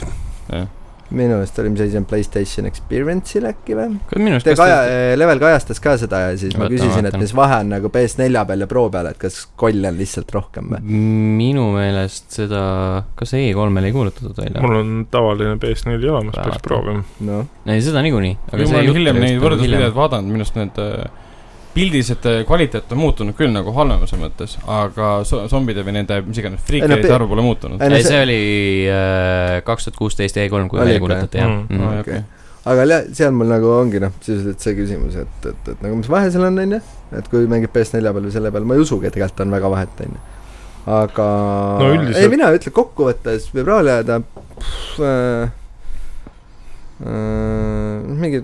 E: minu meelest oli , mis asi see on , PlayStation Experience'il äkki või ?
C: minu arust ,
E: Te
C: kas
E: kaja eh,
C: ta ,,
E: Level kajastas ka seda ja siis ma
C: Vaatan,
E: küsisin , et
C: vaatan.
E: mis vahe on nagu PS4 peal ja Pro peal , et kas koll on lihtsalt rohkem või ?
C: minu meelest seda , kas E3-l ei kuulutatud välja ?
D: mul on tavaline PS4 olemas , peaks
C: Vaata.
D: proovima .
E: noh ,
C: ei , seda niikuinii .
A: aga ma olen hiljem
C: nagu
A: neid võrdlusvideod vaadanud , minu arust need äh, pildised äh, kvaliteet on muutunud küll nagu halvemuse mõttes , aga so- zombide või nende mis iganes
E: Ei,
A: friikerite
E: no,
A: arv pole muutunud .
E: ei no
C: ei ,
E: see ,
C: see oli äh, kaks tuhat kuusteist E3 , kui
E: Oli
C: välja
E: ikka,
C: kuulutati ,
D: jah?
C: jah
D: Mm.
C: Mm.
A: Aa,
E: okei.
A: okei.
E: aga le- seal mul nagu ongi noh , sisuliselt see küsimus , et , et , et nagu mis vahe seal on , on ju , et kui mängib PS4 peal või selle peal , ma ei usugi , et tegelikult on väga vahet , on ju . aga
D: No üldiselt-
E: ei , mina ütlen kokkuvõttes Vibralia ta pff, äh, äh, mingi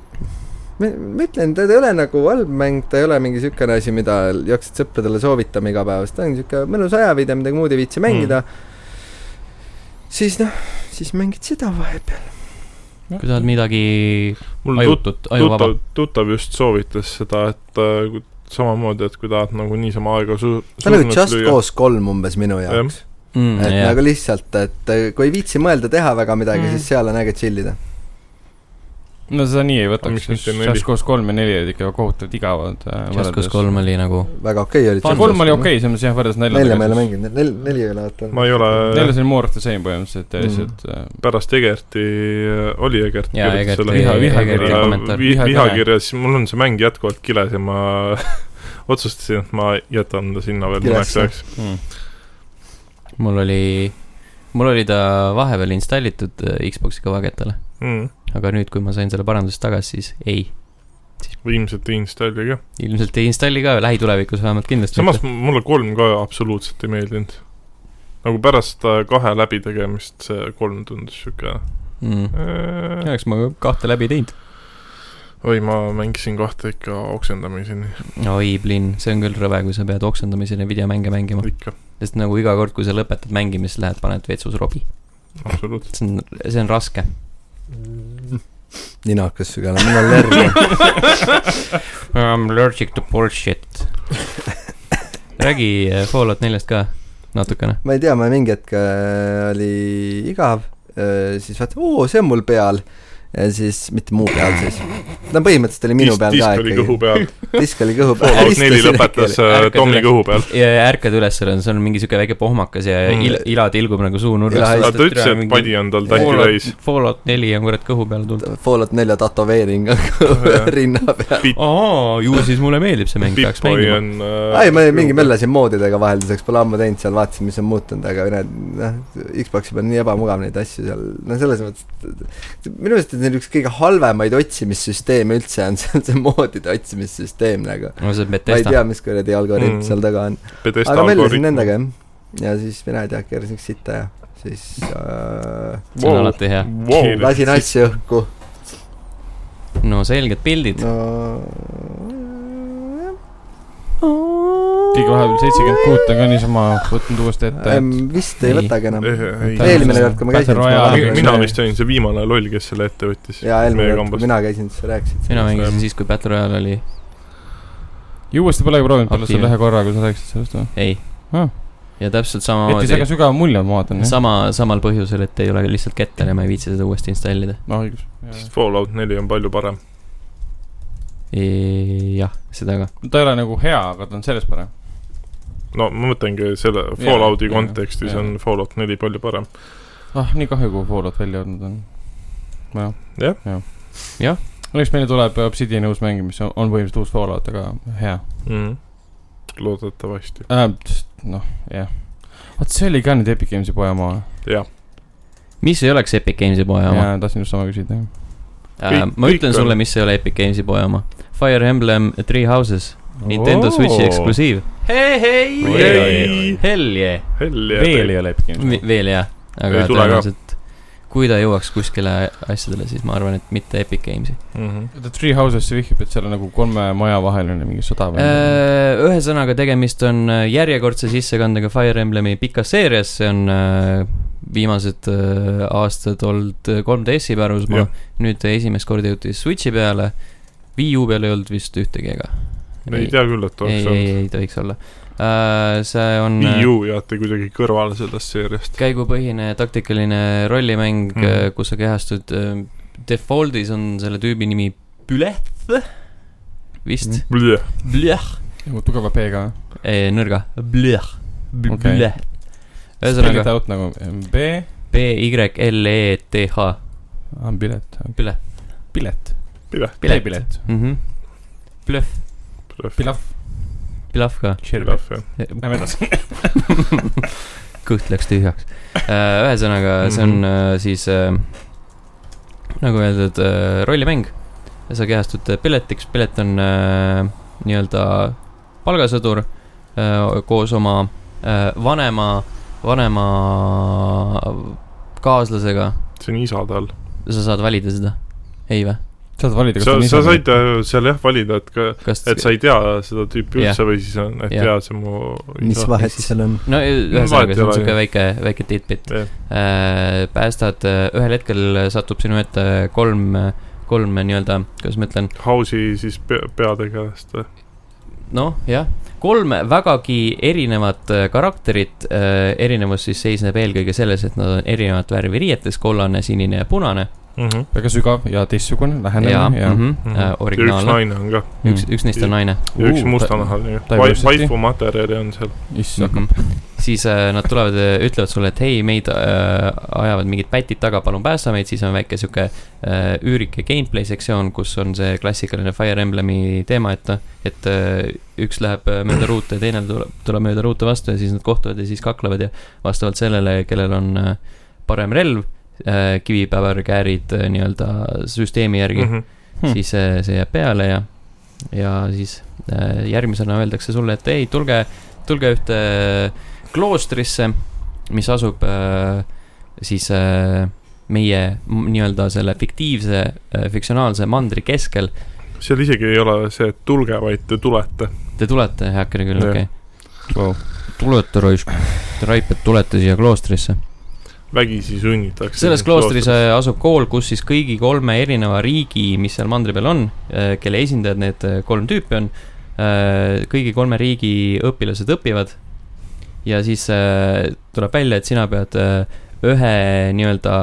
E: ma ma ütlen , ta ei ole nagu halb mäng , ta ei ole mingi siukene asi , mida jaksad sõpradele soovitama igapäevaselt , ta on siuke mõnus ajaviide , midagi muud ei viitsi mängida mm. . siis noh , siis mängid seda vahepeal .
C: kui tahad midagi
D: mul tut- ,
C: ajutut , ajuvaba
D: tuttav ,, tuttav just soovitas seda , et äh, kui- samamoodi , et kui tahad nagu niisama aega su- .
E: ta on nagu Just . Cause kolm umbes minu jaoks . et yeah.
C: jah ,
E: nagu lihtsalt , et äh, kui ei viitsi mõelda teha väga midagi
A: Mm.
E: mm. , siis seal on äge tšillida .
A: no seda nii ei
D: Aga
A: võtaks
D: miks , mitte neli?
A: Just Cause kolm ja neli olid ikka kohutavalt igavad .
C: Just Cause . kolm oli nagu
E: väga okei oli .
A: kolm oli okei , selles mõttes jah , võrreldes neljaga .
E: nelja ma ei ole . mänginud , nel- , neli ei ole vaata .
D: ma ei ole ,
A: neljas oli more of the same põhimõtteliselt ,
E: Mm.
A: lihtsalt äh,
D: pärast Egerti , oli Egert .
C: Jaa, Egerti-
A: Viha- vihakirja
D: äh,
C: kommentaar.
D: vihakirjas , mul on see mäng jätkuvalt kiles ja ma otsustasin , et ma jätan ta sinna veel mõneks
E: Kilesse.
D: ajaks .
A: mm. .
C: mul oli , mul oli ta vahepeal installitud äh, Xbox'i kõvaketale ,
D: mm. .
C: aga nüüd , kui ma sain selle paranduse tagasi , siis ei .
D: ilmselt ei installi ka .
C: ilmselt ei installi ka lähitulevikus vähemalt kindlasti .
D: samas m- mulle kolm ka absoluutselt ei meeldinud . nagu pärast äh, kahe läbitegemist see kolm tundus sihuke
C: mm. .
D: äh, .
C: oleks ma kahte läbi teinud .
D: oi , ma mängisin kahte ikka oksendamiseni
C: oi , Blin , see on küll rõve , kui sa pead oksendamiseni videomänge mängima ,
D: ikka ,
C: sest nagu iga kord , kui sa lõpetad mängimist , lähed paned vetsus robi .
D: absoluutselt .
C: see on , see on raske .
E: ninakas sügane , mul on lärm .
C: I am allergic to bullshit . räägi äh, Fallout neljast ka natukene .
E: ma ei tea , ma mingi hetk äh, oli igav , siis vaatasin , oo , see on mul peal . ja siis , mitte mu peal siis . no põhimõtteliselt oli minu peal ka
D: disk oli kõhu
E: ikkagi .
D: peal ,
E: disk oli kõhu peal .
D: Fallout neli lõpetas äh,
C: Ärkasin
D: Tommy
C: üles.
D: kõhu peal .
C: ja ärkad üles , seal on , seal on mingi siuke väike pohmakas ja
D: Mm.
C: il, ila tilgub nagu suu
E: Ila
C: nurgast
E: hästi-
D: aga . ta ütles , et padi on tal täki täis .
C: Fallout , Fallout neli on kurat kõhu peale tulnud .
E: Fallout nelja tätoveering on
D: Jah.
E: kõhu- rinna peal .
C: aa , ju siis mulle meeldib see mäng , peaks
D: Pip-Boy
C: mängima .
D: on äh,
E: ei , ma mingi . möllasin moodidega vahelduseks , pole ammu teinud seal , vaatasin , mis on muutunud , aga need noh , Xbox'i peal on nii ebamugav neid asju seal , no selles mõttes , et minu meelest on see üks kõige halvemaid otsimissüsteeme üldse on see , see moodide otsimissüsteem nagu .
C: no see on
E: ma ei
C: Betesta .
E: tea , mis kuradi algoritm
D: Mm.
E: mm. seal taga on ,
D: Pedesta
E: aga möllisin
D: algoritm .
E: nendega jah , ja siis mina ei tea , keerasin üks sitta ja siis äh,
C: see on alati hea .
D: Wow.
E: lasin asju õhku ,
C: no selged pildid .
E: no
A: keegi vahepeal seitsekümmend kuut on ka niisama võtnud uuesti ette
E: äh, . vist ei
C: Ei.
E: võtagi enam .
A: Eelmine
E: eelmine kord , kui ma
A: Battle
E: käisin ,
A: Royale.
D: Mi- Eh, mina vist olin see viimane loll , kes selle ette võttis .
E: jaa , eelmine
D: meie
E: kord ,
D: kambast.
E: kui mina käisin , siis sa rääkisid .
C: mina mängisin siis , kui Battle Royale oli ,
A: ja uuesti polegi proovinud peale
C: Aktiivne.
A: selle ühe korra , kui sa rääkisid sellest või ?
C: ei
A: Ah. .
C: ja täpselt
A: jättis väga
C: samamoodi ,
A: sügava mulje , ma vaatan jah .
C: sama , samal põhjusel , et ei ole lihtsalt kettel ja ma ei viitsi seda uuesti installida .
A: noh , õigus .
D: sest Fallout neli on palju parem .
C: E, jah , seda ka .
A: ta ei ole nagu hea , aga ta on sellest parem .
D: no ma mõtlengi selle
A: Jaa,
D: Fallouti
A: jaa,
D: kontekstis
A: jaa.
D: on Fallout neli palju parem .
A: ah , nii kahju , kui Fallout välja olnud on . jah .
D: Jah.
A: jah
C: Jah. .
A: õnneks meile tuleb Obsidiani uus mäng , mis on, on põhimõtteliselt uus Fallout , aga hea
D: Mhm. loodetavasti .
A: äh, . noh , jah . vot see oli ka nüüd Epic Games'i poja oma .
D: jah ,
C: mis ei oleks Epic Games'i poja oma ?
A: jaa , tahtsin just sama küsida .
C: Äh,
D: Kõik-
C: ma
D: kõik
C: ütlen
D: on-
C: sulle , mis ei ole Epic Games'i poja oma . Fire Emblem Three Houses , Nintendo Switchi . eksklusiiv . hei ,
D: Oh. Oi, oi, oi,
C: hei
D: oi. ,
C: hell yeah ,
D: hell
A: veel ei
D: yeah .
A: ole Epic Games'i .
C: veel jah , aga
D: Ei tule ka.
C: tõenäoliselt kui ta jõuaks kuskile asjadele , siis ma arvan , et mitte Epic Games'i .
A: The Three Houses , see vihjab , et seal on nagu kolme maja vaheline mingi sõda või äh, ?
C: ühesõnaga , tegemist on äh, järjekordse sissekandega Fire Emblemi pikas seerias , see on äh, viimased äh, aastad olnud äh, 3DS-i pärusmaa
D: Jah. ,
C: nüüd esimest korda jõuti Switchi peale . Wii U peal ei olnud vist ühtegi ega ?
D: ei tea küll , et
C: ei ,
D: oleks
C: ei ,
D: olnud .
C: ei tohiks olla uh, . see on
D: Wii U jäeti kuidagi kõrvale sellest seeriast .
C: käigupõhine taktikaline rollimäng
A: Mhm.
D: Mm.
C: mm. , kus sa kehastud . Defaultis on selle tüübi nimi Bleth vist mm. ,
A: Mhm.
C: Blech ,
A: nagu tugeva P-ga .
C: nõrga , Blech ,
A: Okei.
C: Blech .
A: Spell it
C: ühesõnaga
A: out nagu mm, B ,
C: B Y L E T H ,
A: on pilet ,
C: Blech
A: pilet ,
D: Pilet ,
A: pilet ,
C: mm -hmm. . Blech ,
D: Pilet ,
A: pilaf ,
C: Blech ka ,
A: tširv .
D: Pilet , jah .
A: Lähme edasi .
C: kõht läks tühjaks . ühesõnaga , see on
D: Mhm.
C: äh, siis äh, nagu öeldud , rollimäng . sa kehastud äh, piletiks , pilet on äh, nii-öelda palgasõdur äh, koos oma äh, vanema , vanema kaaslasega ,
D: see on isa tal .
C: sa saad valida seda ? ei või ?
A: saad valida , kas
D: sa ,
A: on
D: sa
A: isa või
D: said äh, seal jah valida , et ka ,
C: kas
D: et sa ei tea seda tüüpi
C: Jah.
D: üldse või siis on , et
C: Jah.
D: jaa , see on mu
E: mis
D: isa .
E: vahet seal on ?
C: no
D: Mm, vahet ei
C: ühesõnaga , see on
D: ole,
C: siuke
D: jah.
C: väike , väike tidbit Äh,
D: Jah. .
C: päästad , ühel hetkel satub sinu ette kolm , kolm äh, nii-öelda , kuidas ma ütlen ,
D: House'i siis pe- äh. peategelast või ?
C: noh , jah , kolm vägagi erinevat äh, karakterit . erinevus siis seisneb eelkõige selles , et nad on erinevat värvi riietes , kollane , sinine ja punane .
A: väga sügav ja teistsugune
C: ja
A: lähenemine ja, ja.
C: mhm, äh,
D: ja üks
C: originaalne ,
D: naine on ka
C: üks , üks neist on naine .
D: ja üks
A: Uu,
D: mustanahaline
A: ta- . diversity.
D: vaipu materjali on seal .
C: Mhm.
A: issand mm ,
C: siis äh, nad tulevad , ütlevad sulle , et hei , meid äh, ajavad mingid pätid taga , palun päästa meid , siis on väike sihuke äh, üürike gameplay sektsioon , kus on see klassikaline Fire Emblemi teema , et noh , et äh, üks läheb äh, mööda ruute ja teine tuleb , tuleb mööda ruute vastu ja siis nad kohtuvad ja siis kaklevad ja vastavalt sellele , kellel on äh, parem relv äh, , kivipäevar , käärid äh, nii-öelda süsteemi järgi
D: Mhm.
C: mm ,
A: Hmm.
C: -hmm. siis äh, see jääb peale ja , ja siis äh, järgmisena öeldakse sulle , et ei , tulge , tulge ühte kloostrisse , mis asub äh, siis äh, meie m- nii-öelda selle fiktiivse äh, , fiktsionaalse mandri keskel .
D: seal isegi ei ole see , et tulge , vaid te tulete .
C: Te tulete , heakene küll ,
D: Jah.
C: okei .
A: Wow.
C: tulete raisk , raiped , tulete siia kloostrisse .
D: vägisi sunnitakse .
C: selles kloostris äh, asub kool , kus siis kõigi kolme erineva riigi , mis seal mandri peal on , kelle esindajad need äh, kolm tüüpi on , kõigi kolme riigi õpilased õpivad ja siis äh, tuleb välja , et sina pead äh, ühe nii-öelda ,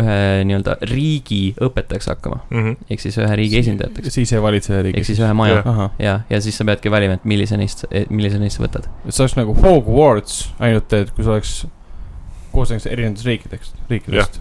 C: ühe nii-öelda riigi õpetajaks hakkama ,
D: Mhm.
C: ehk siis ühe riigi esindajateks ,
A: siis ei valitse
C: ehk
A: riigi .
C: siis ühe maja
D: Jah.
A: ahah ,
C: ja , ja siis sa peadki valima , et millise neist , millise neist sa võtad .
A: et see oleks nagu Hogwarts , ainult et kui see oleks koosneks erinevatest riikidest , riikidest .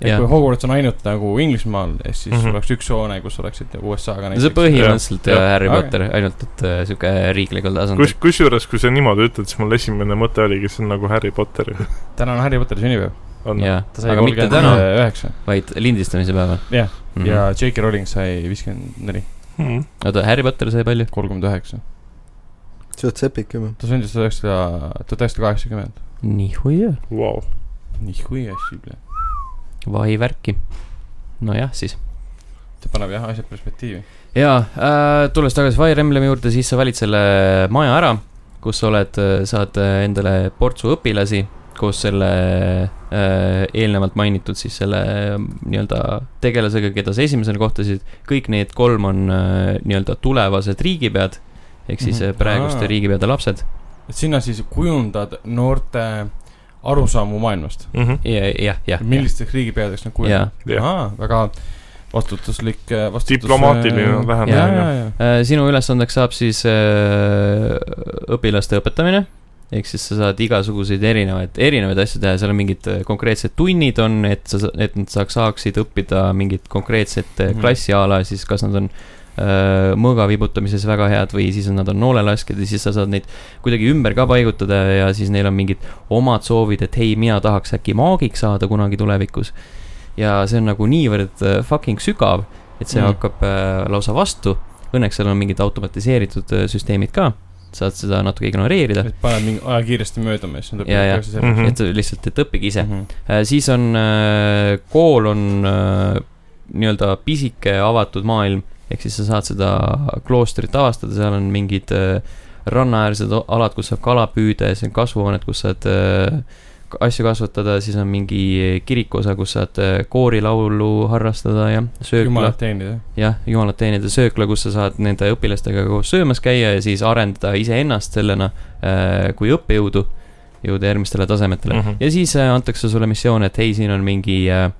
A: et
C: Jah.
A: kui Hogwarts on ainult nagu Inglismaal , siis mm
D: Mhm.
A: -hmm. oleks üks hoone , kus oleksid nagu USA-ga
C: see
A: näiteks .
C: põhimõtteliselt
D: Jah,
C: äh, Harry
A: Okei.
C: Potter , ainult et äh, sihuke riiklikul tasandil
D: kus , kusjuures , kui sa niimoodi ütled , siis mul esimene mõte oligi , see on nagu Harry Potter ju .
A: täna on Harry Potteri sünnipäev .
D: on
C: jaa ,
A: ta sai
C: aga mitte täna ,
A: kolmkümmend üheksa
C: vaid lindistamise päeval
A: Jah.
C: mm.
A: ja . J.K. Rowling sai viiskümmend neli ,
D: Mhm.
C: oota , Harry Potter sai palju ?
A: kolmkümmend üheksa .
E: suht sepik juba .
A: ta sündis tuhat üheksasada , tuhat üheksasada kaheksakümmend .
C: nii hoia .
D: Vau ,
A: nihuia šible .
C: vahi värki . nojah , siis .
A: see paneb jah asjad perspektiivi .
C: ja äh, tulles tagasi Fire Emblemi juurde , siis sa valid selle maja ära , kus sa oled , saad äh, endale portsu õpilasi koos selle äh, eelnevalt mainitud siis selle äh, nii-öelda tegelasega , keda sa esimesena kohtasid . kõik need kolm on äh, nii-öelda tulevased riigipead ehk siis mm
A: Mhm.
C: -hmm. praeguste
A: Aa.
C: riigipeade lapsed
A: et sinna siis kujundad noorte arusaamu maailmast .
C: ja, . jah , jah .
A: millisteks riigipeadeks nad kujundavad .
D: Mhm. jah .
A: Aa, väga vastutuslik , vastutus .
D: Diplomaatiline lähenemine,
A: jah , jah ,
D: jah.
A: jah .
C: Äh, sinu ülesandeks saab siis äh, õpilaste õpetamine . ehk siis sa saad igasuguseid erinevaid , erinevaid asju teha , seal on mingid äh, konkreetsed tunnid on , et sa , et nad saaks , saaksid õppida mingit konkreetset äh,
A: Mhm.
C: klassi a la siis , kas nad on äh, mõõga vibutamises väga head või siis nad on noolelaskjad ja siis sa saad neid kuidagi ümber ka paigutada ja siis neil on mingid omad soovid , et hei , mina tahaks äkki maagiks saada kunagi tulevikus . ja see on nagu niivõrd äh, fucking sügav , et see
A: Mm.
C: mm. hakkab äh, lausa vastu . Õnneks seal on mingid automatiseeritud äh, süsteemid ka , saad seda natuke ignoreerida ,
A: et paned mingi aja kiiresti mööduma ja siis nad
C: Ja, ja.
A: õpivad
D: Mhm.
C: et lihtsalt , et õppige ise .
A: -hmm.
C: siis on , kool on äh, nii-öelda pisike avatud maailm , ehk siis sa saad seda kloostrit avastada , seal on mingid äh, rannaäärsed o- alad , kus saab kala püüda ja siis on kasvuhooned , kus saad äh, k- asju kasvatada , siis on mingi kirikuosa , kus saad äh, koorilaulu harrastada ja söökla
A: jumalat teenida .
C: jah , jumalat teenida söökla , kus sa saad nende õpilastega koos söömas käia ja siis arendada iseennast sellena äh, kui õppejõudu , jõuda järgmistele tasemetele mm .
D: Mhm.
C: -hmm. ja siis äh, antakse sulle missioon , et hei , siin on mingi äh, ,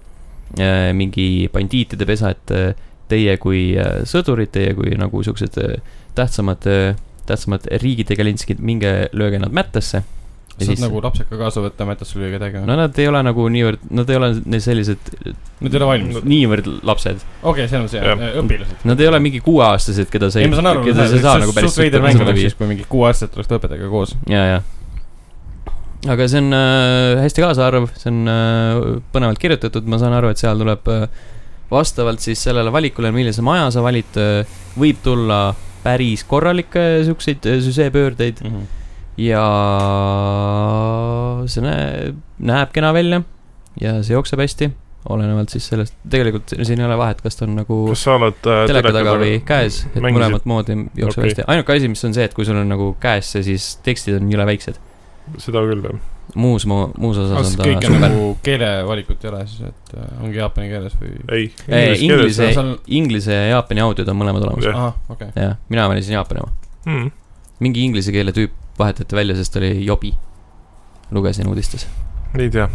C: äh, mingi bandiitide pesa , et äh, teie kui äh, sõdurid , teie kui nagu siuksed äh, tähtsamad äh, , tähtsamad riigitegelinskid , minge lööge nad mättesse .
A: saad siis... nagu lapseka kaasa võtta , mätas lüüa kedagi või
C: no
A: no, ?
C: nad ei ole nagu niivõrd , nad ei ole ne- sellised
A: Nad ei ole valmis .
C: niivõrd lapsed .
A: okei , see on see
D: Jah. ,
A: õpilased .
C: Nad ei ole mingi kuueaastased , keda sa
A: ei , ma saan aru ,
C: keda sa ei saa nagu päris
A: suht veider mäng oleks siis
C: viia. ,
A: kui mingi kuueaastased oleks õpetajaga koos .
C: ja , ja . aga see on äh, hästi kaasaarv , see on äh, põnevalt kirjutatud , ma saan aru , et seal tuleb äh, vastavalt siis sellele valikule , millise maja sa valid äh, , võib tulla päris korralikke siukseid äh, süžeepöördeid
A: Mm -hmm.
C: ja see näeb , näeb kena välja ja see jookseb hästi , olenevalt siis sellest , tegelikult siin ei ole vahet , kas ta on nagu
D: kas sa oled äh,
C: teleka taga või käes , et
D: mängisid?
C: mängisid? mõlemat moodi jookseb
D: Okei.
C: okay. hästi . ainuke asi , mis on see , et kui sul on nagu käes see , siis tekstid on jõle väiksed .
D: seda küll jah .
C: muus , muus osas
A: Ah,
D: Kas
C: on ta
D: kõik
A: ikka
C: super .
A: nagu keelevalikut ei ole siis , et äh, ongi jaapani keeles või ?
D: ei .
C: Inglise
A: keeles, seal- ,
C: Inglise ja Jaapani audiod on mõlemad olemas .
D: jah ,
A: ahah , okei okay. .
C: jah , mina valisin Jaapani oma .
D: mm,
C: mingi inglise keele tüüp vahetati välja , sest ta oli jobi . lugesin uudistes .
D: ei tea ,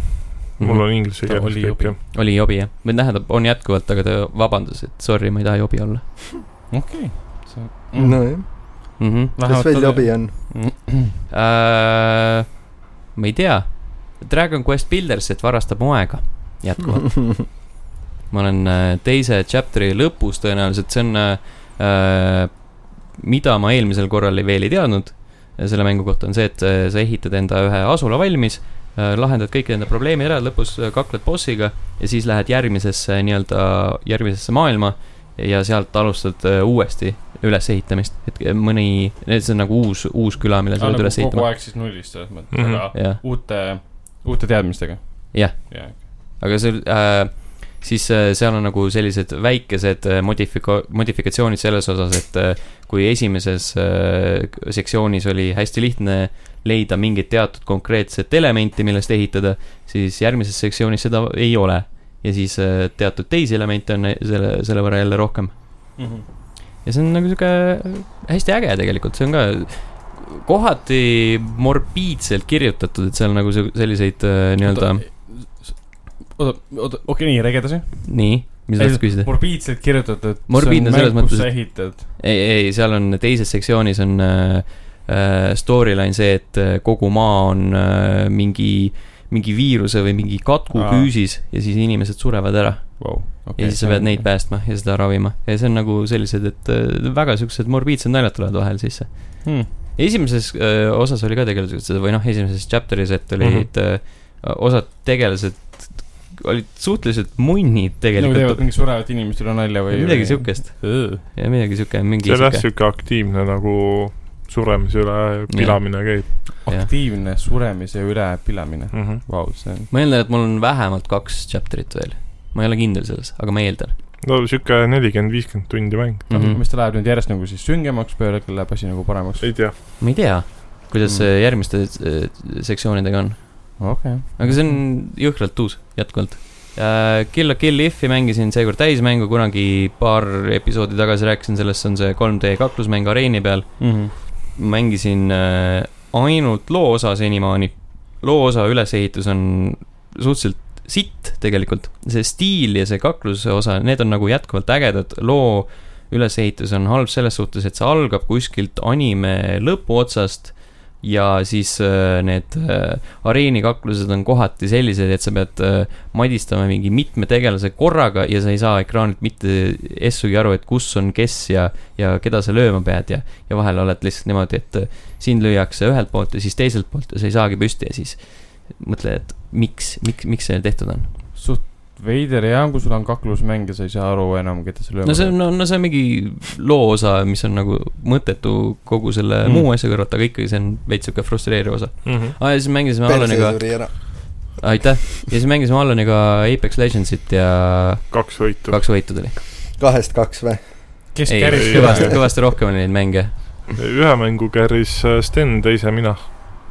C: Mhm.
D: mul on inglise
A: Ta
D: keeles
A: oli
D: kõik
A: jobi.
D: jah .
C: oli jobi jah , või tähendab , on jätkuvalt , aga ta vabandas , et sorry , ma ei taha jobi olla
A: okei okay. , see mm. .
E: nojah ,
C: mm . -hmm.
E: kas veel jobi on ?
C: Äh, ma ei tea , Dragon Quest Buildersit varastab mu aega jätkuvalt . ma olen äh, teise chapter'i lõpus tõenäoliselt , see on äh, , mida ma eelmisel korral ei- veel ei teadnud äh, selle mängu kohta , on see , et äh, sa ehitad enda ühe asula valmis , lahendad kõik enda probleemid ära , lõpus äh, kakled bossiga ja siis lähed järgmisesse äh, nii-öelda , järgmisesse maailma ja sealt alustad äh, uuesti ülesehitamist , et äh, mõni , see on nagu uus , uus küla , mille sa
A: sa
C: pead
A: oled
C: üles
A: nagu kogu
C: ehitama .
A: aeg siis nullist selles mõttes mm ,
D: Mhm.
A: -hmm. aga
C: jah ,
A: uute , uute teadmistega .
C: Jah.
A: jah .
C: aga seal äh, , siis äh, seal on nagu sellised väikesed äh, modifika- , modifikatsioonid selles osas , et äh, kui esimeses äh, sektsioonis oli hästi lihtne leida mingit teatud konkreetset elementi , millest ehitada , siis järgmises sektsioonis seda ei ole . ja siis äh, teatud teisi elemente on selle , selle võrra jälle rohkem .
A: Mhm.
C: ja see on nagu sihuke hästi äge tegelikult , see on ka kohati morbiidselt kirjutatud , et seal nagu se- selliseid äh, nii-öelda ,
A: oota , oota , okei , nii , räägi edasi .
C: nii , mis sa tahtsid küsida ?
A: morbiidselt kirjutatud .
C: Morbiidne selles mõttes,
A: sa
C: et-
A: ehitad .
C: ei , ei , seal on teises sektsioonis on äh, äh, storyline see , et äh, kogu maa on äh, mingi , mingi viiruse või mingi katku
A: Aa.
C: küüsis ja siis inimesed surevad ära
A: Wow,
C: ja siis sa pead neid päästma ja seda ravima ja see on nagu sellised , et äh, väga siuksed morbiidsed naljad tulevad vahel sisse .
A: hmm. .
C: esimeses äh, osas oli ka tegelikult seda või noh , esimeses chapter'is , et olid
A: Mhm.
C: mm -hmm. osad tegelased olid suhteliselt munnid
A: nagu teevad
C: tegelikult ,
A: mingi surevat inimest üle nalja või ?
C: midagi . siukest ja midagi siuke , mingi
D: see on jah
C: siuke ,
D: sihuke aktiivne nagu suremise üle äh, pilamine käib
C: Jah.
A: aktiivne suremise üle pilamine .
D: mm . -hmm.
A: Vau , see on .
C: ma eeldan , et mul on vähemalt kaks chapter'it veel , ma ei ole kindel selles , aga ma eeldan
D: no sihuke nelikümmend , viiskümmend tundi mäng .
C: mm . -hmm.
A: mis ta läheb nüüd järjest nagu siis süngemaks , peale kell läheb asi nagu paremaks .
D: ei tea ,
C: ma ei tea , kuidas
A: Mhm.
C: mm. järgmiste äh, sektsioonidega on ,
A: okei .
C: aga see on jõhkralt uus jätkuvalt . Kill a Kill If'i mängisin seekord täismängu , kunagi paar episoodi tagasi rääkisin sellest , see on see 3D kaklusmäng areeni peal . mängisin äh, ainult loo osa senimaani . loo osa ülesehitus on suhteliselt sitt tegelikult , see stiil ja see kakluse osa , need on nagu jätkuvalt ägedad , loo ülesehitus on halb selles suhtes , et see algab kuskilt anime lõpuotsast ja siis äh, need äh, areenikaklused on kohati sellised , et sa pead äh, madistama mingi mitme tegelase korraga ja sa ei saa ekraanilt mitte essugi aru , et kus on kes ja , ja keda sa lööma pead ja , ja vahel oled lihtsalt niimoodi , et äh, sind lüüakse ühelt poolt ja siis teiselt poolt ja sa ei saagi püsti ja siis mõtled , et miks , miks , miks see tehtud on .
A: suht veider ja kui sul on kaklusmäng ja sa ei saa aru enam , keda sa lööma
C: no see on , no, no see on mingi loo osa , mis on nagu mõttetu kogu selle
A: Mm.
C: mm. muu asja kõrvalt , aga ikkagi see on veits sihuke frustreeriv osa . aa , ja siis mängisime Alaniga ,
E: suri ära .
C: aitäh , ja siis mängisime Alaniga Apex Legendsit ja
D: kaks võitu .
C: kaks võitu tuli .
E: kahest kaks või ?
A: kes
C: ei ,
A: käris
D: ei,
A: kõvasti
C: kõvasti , kõvasti rohkem oli neid mänge .
D: ühe mängu kärris äh, Sten , teise mina .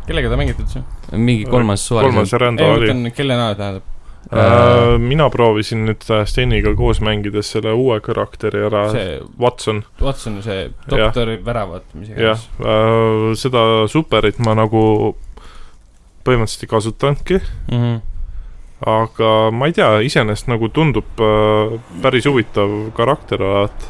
A: kellega te mängite üldse ?
C: mingi kolmas
D: kolmas
C: suvaline .
A: ei ,
D: rända
A: ma
D: oli .
A: mõtlen , kelle näo tähendab .
D: Äh, mina proovisin nüüd äh, Steniga koos mängides selle uue karakteri ära ,
A: see
D: Watson ,
A: Watson , see doktor väravat , mis
D: jah Äh,
A: iganes .,
D: seda superit ma nagu põhimõtteliselt ei kasutanudki ,
C: Mhm.
D: aga ma ei tea , iseenesest nagu tundub äh, päris huvitav karakter olevat .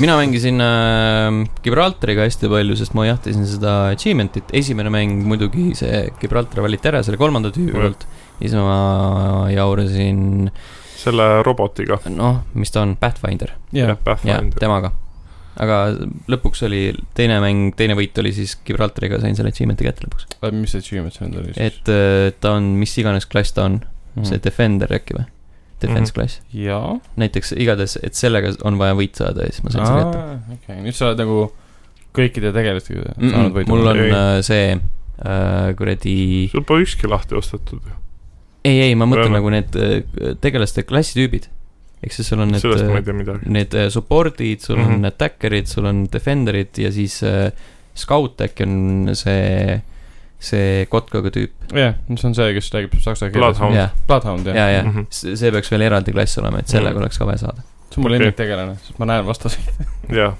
C: mina mängisin äh, Gibraltariga hästi palju , sest ma jahtisin seda achievement'it , esimene mäng muidugi see Gibraltar valiti ära selle kolmanda tüübi
D: Jah.
C: poolt . siis ma jaurasin ,
D: selle robotiga ,
C: noh , mis ta on , Pathfinder .
A: jah
D: jah ,,
C: jah ,
D: Pathfinder .
C: temaga . aga lõpuks oli teine mäng , teine võit oli siis Gibraltariga , sain selle achievement'i kätte lõpuks .
A: mis see achievement see nüüd oli siis ?
C: et äh, ta on , mis iganes klass ta on mm , -hmm. see Defender äkki või ? Defense
D: Mhm.
C: klass ,
A: jaa .
C: näiteks igatahes , et sellega on vaja võit saada ja siis ma sain selle kätte .
A: okei , nüüd sa oled nagu kõikide tegelastega
C: Mm
A: saanud
C: -mm, mul on
A: võidu ?
C: äh, see äh, kuradi ,
D: sul pole ükski lahti ostetud ju .
C: ei , ei , ma mõtlen
D: Rõõmu.
C: nagu need äh, tegelaste klassitüübid . ehk siis sul on need
D: sellest ma ei
C: äh, ,
D: tea midagi .
C: need äh, support'id , sul mm -hmm.
D: Mhm.
C: on attacker'id , sul on defender'id ja siis äh, scout äkki on see , see kotkaga tüüp .
A: jah , see on see , kes räägib saksa keeles .
D: Bloodhound.
C: jah ,
A: Bloodhound ,
C: ja ,
A: jah .
C: ja
D: Mhm.
C: see peaks veel eraldi klass olema , et sellega
D: Mhm.
C: oleks ka vaja saada .
A: see on mu
D: Okei.
A: lemmiktegelane , sest ma näen vastaseid .
D: jah .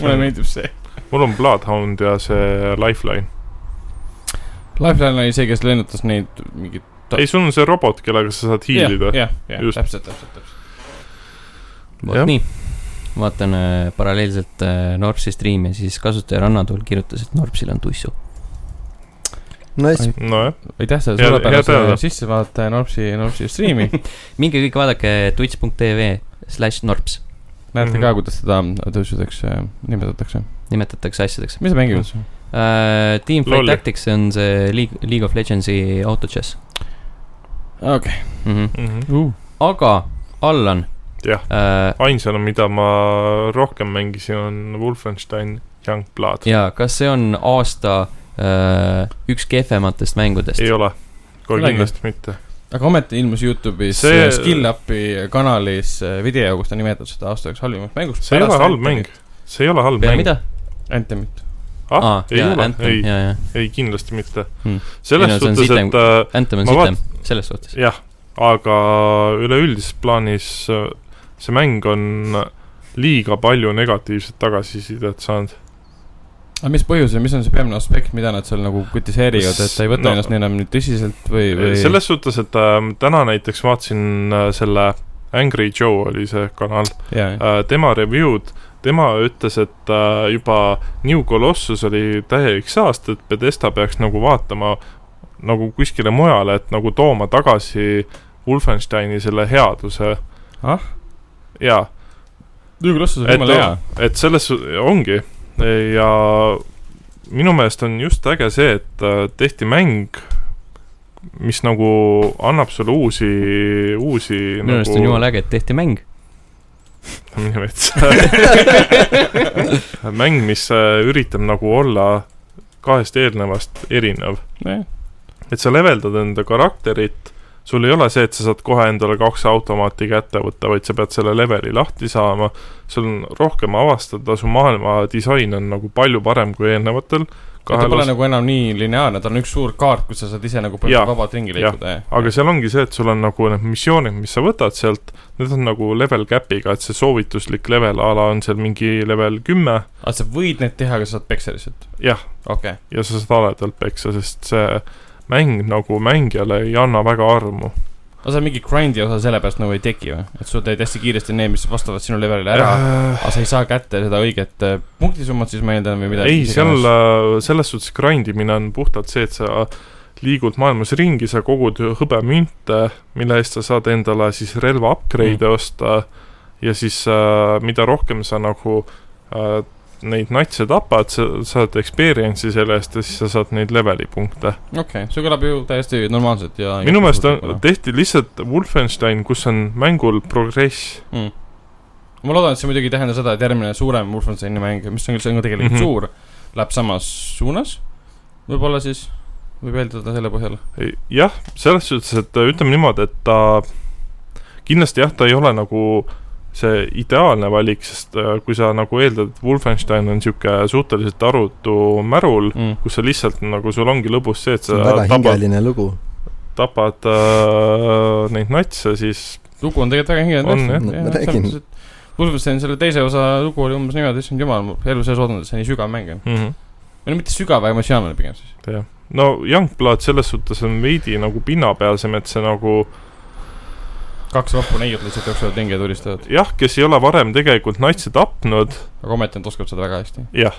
A: mulle meeldib see .
D: mul on Bloodhound ja see Lifeline .
A: Lifeline oli see , kes lennutas neid mingeid . Ta-
D: ei , sul on see robot , kellega sa saad hiilida .
A: jah , jah ,
D: Just.
A: täpselt , täpselt , täpselt .
C: vot
D: Jah.
C: nii , vaatan äh, paralleelselt äh, Norpsi striimi , siis kasutaja Rannatuul kirjutas , et Norpsil on tussu .
E: Nice ,
D: nojah ,
A: aitäh selle
D: Hea- hea teada.
A: suurepärase sissevaate Norpsi , Norpsi striimi .
C: minge kõik vaadake twitch.tv slaš Norps ,
A: näete
D: Mhm.
A: ka , kuidas seda tõusudeks äh, nimetatakse .
C: nimetatakse asjadeks
A: mis sa mängid üldse ?
C: uh, . Team Fight
D: Lolli.
C: Tactics on see League , League of Legendsi autochess
A: okei .
C: mm . -hmm.
A: Uh.
C: aga Allan
D: Mhm. Jah.
C: uh, ,
D: ainsana , mida ma rohkem mängisin , on Wolfenstein Youngblood .
C: jaa , kas see on aasta uh, üks kehvematest mängudest
D: ei ? ole , kohe
A: Polegi.
D: kindlasti mitte .
A: aga ometi ilmus Youtube'is
D: See-
A: see... SkillUpi kanalis äh, video , kus ta nimetab seda aasta üheks halvimaks mänguks .
D: see ei ole halb mäng , see ei ole halb
C: peale
D: mäng .
C: mida ?
A: Anthemit .
D: ah , ei
C: jaa ,
D: ole ,
C: Anthem ,
D: ei ,
C: jaa , jaa .
D: ei kindlasti mitte
C: Hmm. . Ei
D: selles
C: no see on nagu-
D: suhtes ,
C: sitem-
D: et äh,
C: Anthem on
D: Ma
C: sitem , selles suhtes .
D: jah , aga üleüldises plaanis äh, see mäng on äh, liiga palju negatiivset tagasisidet saanud .
A: aga mis põhjusel , mis on see peamine aspekt , mida nad seal nagu kritiseerivad , et ta ei võta
D: No-
A: no. ennast nii enam nii tõsiselt või , või ?
D: selles suhtes , et äh, täna näiteks vaatasin äh, selle Angry Joe oli see kanal ,
A: jaa , jaa .
D: Äh, tema review'd , tema ütles , et äh, juba New Colossus oli täielik saast , et Pedesta peaks nagu vaatama nagu kuskile mujale , et nagu tooma tagasi Wolfensteini selle headuse .
A: Ah? ?
D: jaa ,
A: New Colossus on
D: Et
A: jumala
D: on-
A: hea .
D: et selles su- ongi ja minu meelest on just äge see , et äh, tehti mäng , mis nagu annab sulle uusi , uusi
C: minu arust on
D: nagu...
C: jumala äge , et tehti mäng .
D: mine metsa . mäng , mis äh, üritab nagu olla kahest eelnevast erinev .
A: nojah ,
D: et sa leveldad enda karakterit , sul ei ole see , et sa saad kohe endale kaks automaati kätte võtta , vaid sa pead selle leveli lahti saama , sul on rohkem avastada , su maailma disain on nagu palju parem kui eelnevatel
A: ta
D: kahel
A: pole
D: os-
A: nagu enam nii lineaarne , tal on üks suur kaart , kus sa saad ise nagu
D: Jaa.
A: põhimõtteliselt vabalt ringi
D: Jah.
A: liikuda , jah .
D: aga seal ongi see , et sul on nagu need missioonid , mis sa võtad sealt , need on nagu level cap'iga , et see soovituslik level a la on seal mingi level kümme
A: aga sa võid need teha , aga sa saad peksa lihtsalt .
D: Jah. .
A: okei ,
D: ja sa saad aladalt peksa , sest see mäng nagu mängijale ei anna väga armu .
A: aga seal mingi grind'i osa sellepärast nagu ei teki või ? et sa teed hästi kiiresti need , mis vastavad sinu levelile ära ,
D: Äh,
A: aga sa ei saa kätte seda õiget äh, punktisummat siis ma eeldan või midagi .
D: ei , seal äh, selles suhtes grind imine on puhtalt see , et sa liigud maailmas ringi , sa kogud hõbemünte , mille eest sa saad endale siis relva upgrade'e mm. osta ja siis äh, mida rohkem sa nagu äh, neid natse tapad , sa saad experience'i selle eest ja siis sa saad neid leveli punkte .
A: okei okay, , see kõlab ju täiesti normaalselt ja
D: minu meelest on , tehti lihtsalt Wolfenstein , kus on mängul progress
A: mm. . ma loodan , et see muidugi ei tähenda seda , et järgmine suurem Wolfensteini mäng , mis on küll , see on ka tegelikult mm -hmm.
D: Mhm.
A: suur , läheb samas suunas . võib-olla siis , võib eeldada selle põhjal .
D: Ei- jah , selles suhtes , et äh, ütleme niimoodi , et ta kindlasti jah , ta ei ole nagu see ideaalne valik , sest äh, kui sa nagu eeldad , et Wolfenstein on niisugune suhteliselt arutu märul ,
A: Mm.
D: kus sa lihtsalt nagu , sul ongi lõbus see , et
E: see
D: sa
E: on väga
D: tapad ,
E: hingeline lugu .
D: tapad äh, neid natse , siis
A: lugu on tegelikult väga
D: On,
A: hingeline .
D: jah.
E: No, ma räägin. .
A: Wolfenstein selle teise osa lugu oli umbes niimoodi , issand jumal , ma elu sees oodan , et see nii sügav mäng on .
D: mm -hmm.
A: või no mitte sügav , aga emotsionaalne pigem siis .
D: no Youngblood selles suhtes on veidi nagu pinnapealsem , et see nagu
A: kaks vappu neiut lihtsalt jooksevad ringi ja tulistavad ,
D: jah , kes ei ole varem tegelikult natse tapnud
A: aga ometi nad oskavad seda väga hästi .
D: ja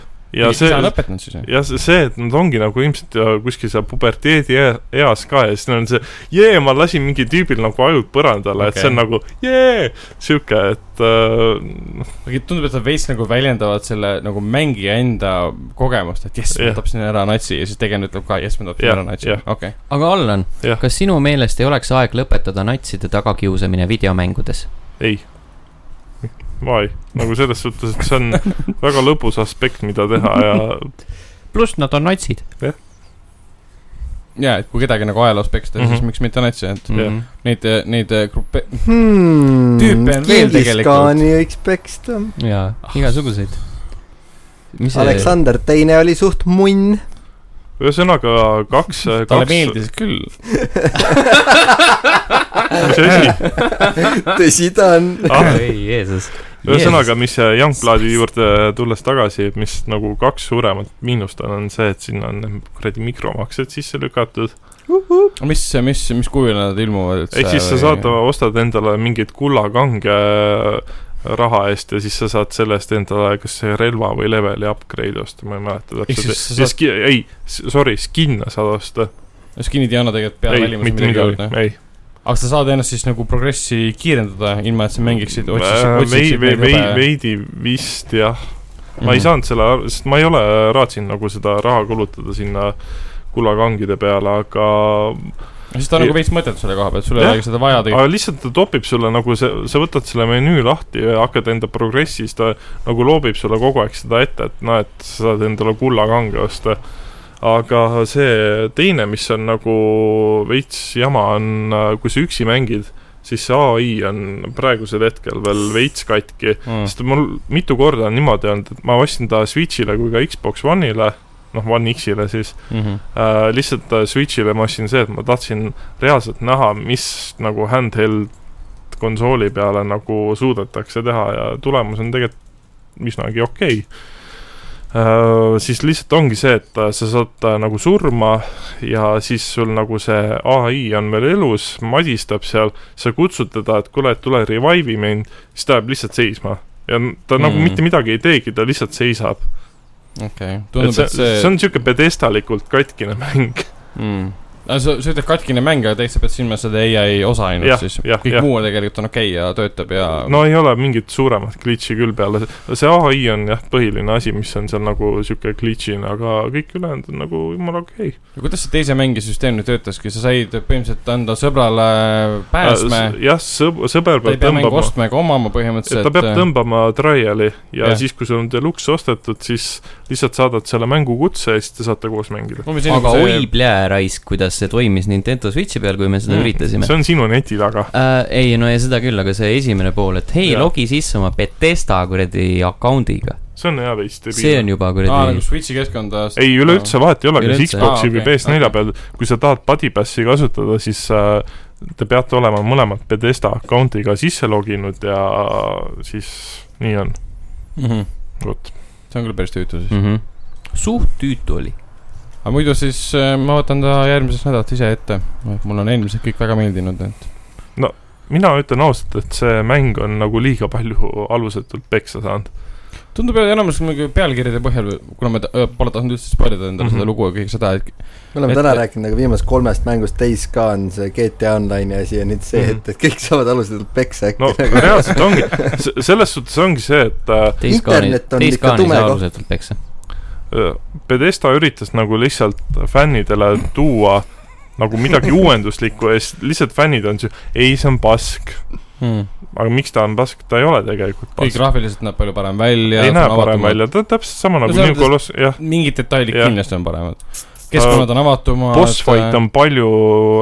A: see
D: see
A: on lõpetanud siis või ?
D: ja see, see , et nad ongi nagu ilmselt äh, kuskil seal puberteedi ea- eas ka ja siis neil on see jee , ma lasin mingi tüübil nagu ajud põrandale okay. , et
A: Okei.
D: see on nagu jee , sihuke , et äh,
A: aga tundub , et nad veits nagu väljendavad selle nagu mängija enda kogemust , et jess , ma
D: Jah.
A: tapsin ära natsi ja siis tegelane ütleb ka jess , ma tapsin
D: Jah,
A: ära natsi ,
D: jah.
A: okei .
C: aga Allan ,
D: Jah.
C: kas sinu meelest ei oleks aeg lõpetada natside tagakiusamine videomängudes ?
D: ei . vai , nagu selles suhtes , et see on väga lõbus aspekt , mida teha ja
B: pluss nad on natsid .
A: ja , et kui kedagi nagu ajaloos peksta mm , -hmm. siis
D: Mhm.
A: miks mitte natsi , et
C: Mm.
A: neid , neid eh, gruppe ,
E: hmm, .
A: Tüüpe on veel tegelikult.
E: Kingiskaani võiks peksta .
C: jaa , igasuguseid . mis see ,
E: Aleksander Teine oli suht munn .
D: ühesõnaga kaks ,
A: talle
D: kaks ,
A: meeldis küll .
D: mis asi ,
E: tõsi ta on .
D: Ah.
C: oi Jeesus .
D: ühesõnaga , mis see Youngbloodi juurde tulles tagasi , mis nagu kaks suuremat miinust on , on see , et sinna on need kuradi mikromaksed sisse lükatud .
A: mis , mis , mis kujul nad ilmuvad üldse ?
D: ehk siis sa saad , ostad endale mingeid kullakange äh, raha eest ja siis sa saad selle eest endale kas relva või leveli upgrade osta , ma ei mäleta
A: Ehk
D: täpselt .
A: siis sa
D: Saad... ei , sorry , skin'e saad osta .
A: skin'i Diana tegelikult peab
D: ei ,
A: välimusi
D: mitte
A: midagi
D: midagi
A: juurde ,.
D: ei .
A: aga sa saad ennast siis nagu progressi kiirendada , ilma et sa mängiksid , otsiksid ,
D: Äh, vei- ,
A: otsiksid
D: vei- ,
A: neid
D: vei- ,
A: jube- Mhm.
D: veidi vist jah , ma ei saanud selle , sest ma ei ole raatsinud nagu seda raha kulutada sinna kullakangide peale , aga ,
A: siis ta on nagu veits mõttetu selle koha pealt , sul ei
D: Jah.
A: olegi seda vaja tegelikult .
D: aga lihtsalt ta topib sulle nagu see , sa võtad selle menüü lahti ja hakkad enda progressis , ta nagu loobib sulle kogu aeg seda ette , et näed , sa saad endale kullakange osta . aga see teine , mis on nagu veits jama , on , kui sa üksi mängid , siis see ai on praegusel hetkel veel veits katki
A: Ah.
D: sest mul mitu korda on niimoodi olnud , et ma ostsin ta Switch'ile kui ka Xbox One'ile , noh , One X-ile siis
A: Mm. Mhm,
D: äh, , lihtsalt äh, Switch'ile ma ostsin see , et ma tahtsin reaalselt näha , mis nagu handheld konsooli peale nagu suudetakse teha ja tulemus on tegelikult üsnagi okei okay. . siis lihtsalt ongi see , et äh, sa saad äh, nagu surma ja siis sul nagu see ai on veel elus , madistab seal , sa kutsud teda , et kuule , tule revive'i mind , siis ta jääb lihtsalt seisma ja n- ta mm. nagu
A: Mm.
D: mitte midagi ei teegi , ta lihtsalt seisab .
A: okei ,
D: et
A: tundub ,
D: see,
A: et
D: see... see
A: see
D: on niisugune pedestalikult katkine mäng .
A: Mm. aga sa , sa ütled katkine mäng , aga tegelikult sa pead silmas seda ai osa ainult
D: Jah,
A: siis .
D: jah,
A: kõik
D: jah.
A: muu on tegelikult on okei okay ja töötab ja
D: no ei ole mingit suuremat glitch'i küll peale , see ai on jah , põhiline asi , mis on seal nagu sihuke glitch'ina , aga kõik ülejäänud on nagu jumala okei
A: ja kuidas see teise mängi süsteem nüüd töötaski , sa said põhimõtteliselt anda sõbrale pääsme ,
D: okay. . Äh, jah , sõber , sõber
A: ta ei
D: peab
A: pea mängu
D: tõmbama ,
A: ostma ega omama põhimõtteliselt .
D: ta peab tõmbama trial'i ja
A: Jah.
D: yeah. siis , kui sul on deluks ostetud , siis lihtsalt saadad selle mängukutse ja siis te saate koos mängida .
A: umbes nii
C: aga
A: nagu
C: oi
A: see ,
C: plää raisk , kuidas see toimis Nintendo Switchi peal , kui me seda
A: Mm.
C: üritasime .
D: see on sinu neti taga .
C: Äh, ei , no ja seda küll , aga see esimene pool , et hei ,
D: Jaa.
C: logi sisse oma Betesta kuradi account'iga .
D: see on hea veits
C: see
D: debiil .
C: on juba
A: aa nagu
C: kuradi .
A: Switch'i keskkonda .
D: ei , üleüldse vahet ei ole , kas
C: Üleüldse,
D: Xbox'i
A: aa,
D: või
A: okei,
D: PS4
A: okei.
D: peal , kui sa tahad Buddypassi kasutada , siis äh, te peate olema mõlemad Pedesta account'iga sisse loginud ja siis nii on ,
E: Mhm.
A: see
D: vot .
A: on küll päris tüütu siis .
C: Mhm. suht tüütu oli .
A: aga muidu siis äh, ma võtan ta järgmisest nädalat ise ette , et mul on eelmised kõik väga meeldinud , et
D: mina ütlen ausalt , et see mäng on nagu liiga palju alusetult peksa saanud .
A: tundub , et enamus nagu pealkirjade põhjal , kuna ma ta- äh, pole tahtnud üldse spoilida endale
D: Mhm.
A: seda lugu ja kõike seda , et
E: me oleme
A: Et-
E: täna rääkinud nagu viimasest kolmest mängust , Days Gone , see GTA Online'i asi ja nüüd see ,
A: Mhm.
E: et , et kõik saavad aluselt peksa äkki
D: no
E: nagu- no. .
D: reaalselt ongi , selles suhtes ongi see , et äh,
E: Internet on ikka tume koht.
C: alusetult peksa .
D: Pedesta äh, üritas nagu lihtsalt fännidele tuua nagu midagi uuenduslikku ja siis lihtsalt fännid on siu- , ei , see on pask . aga miks ta on pask , ta ei ole tegelikult
A: kõik
D: pask .
A: graafiliselt näeb palju parem välja .
D: ei näe parem . välja , ta on täpselt sama nagu
A: selles
D: New Coloss , jah .
A: mingid detailid
D: Jah. Äh,
A: kindlasti on paremad . keskkonnad on avatumad . äh,
D: Boss fight . on palju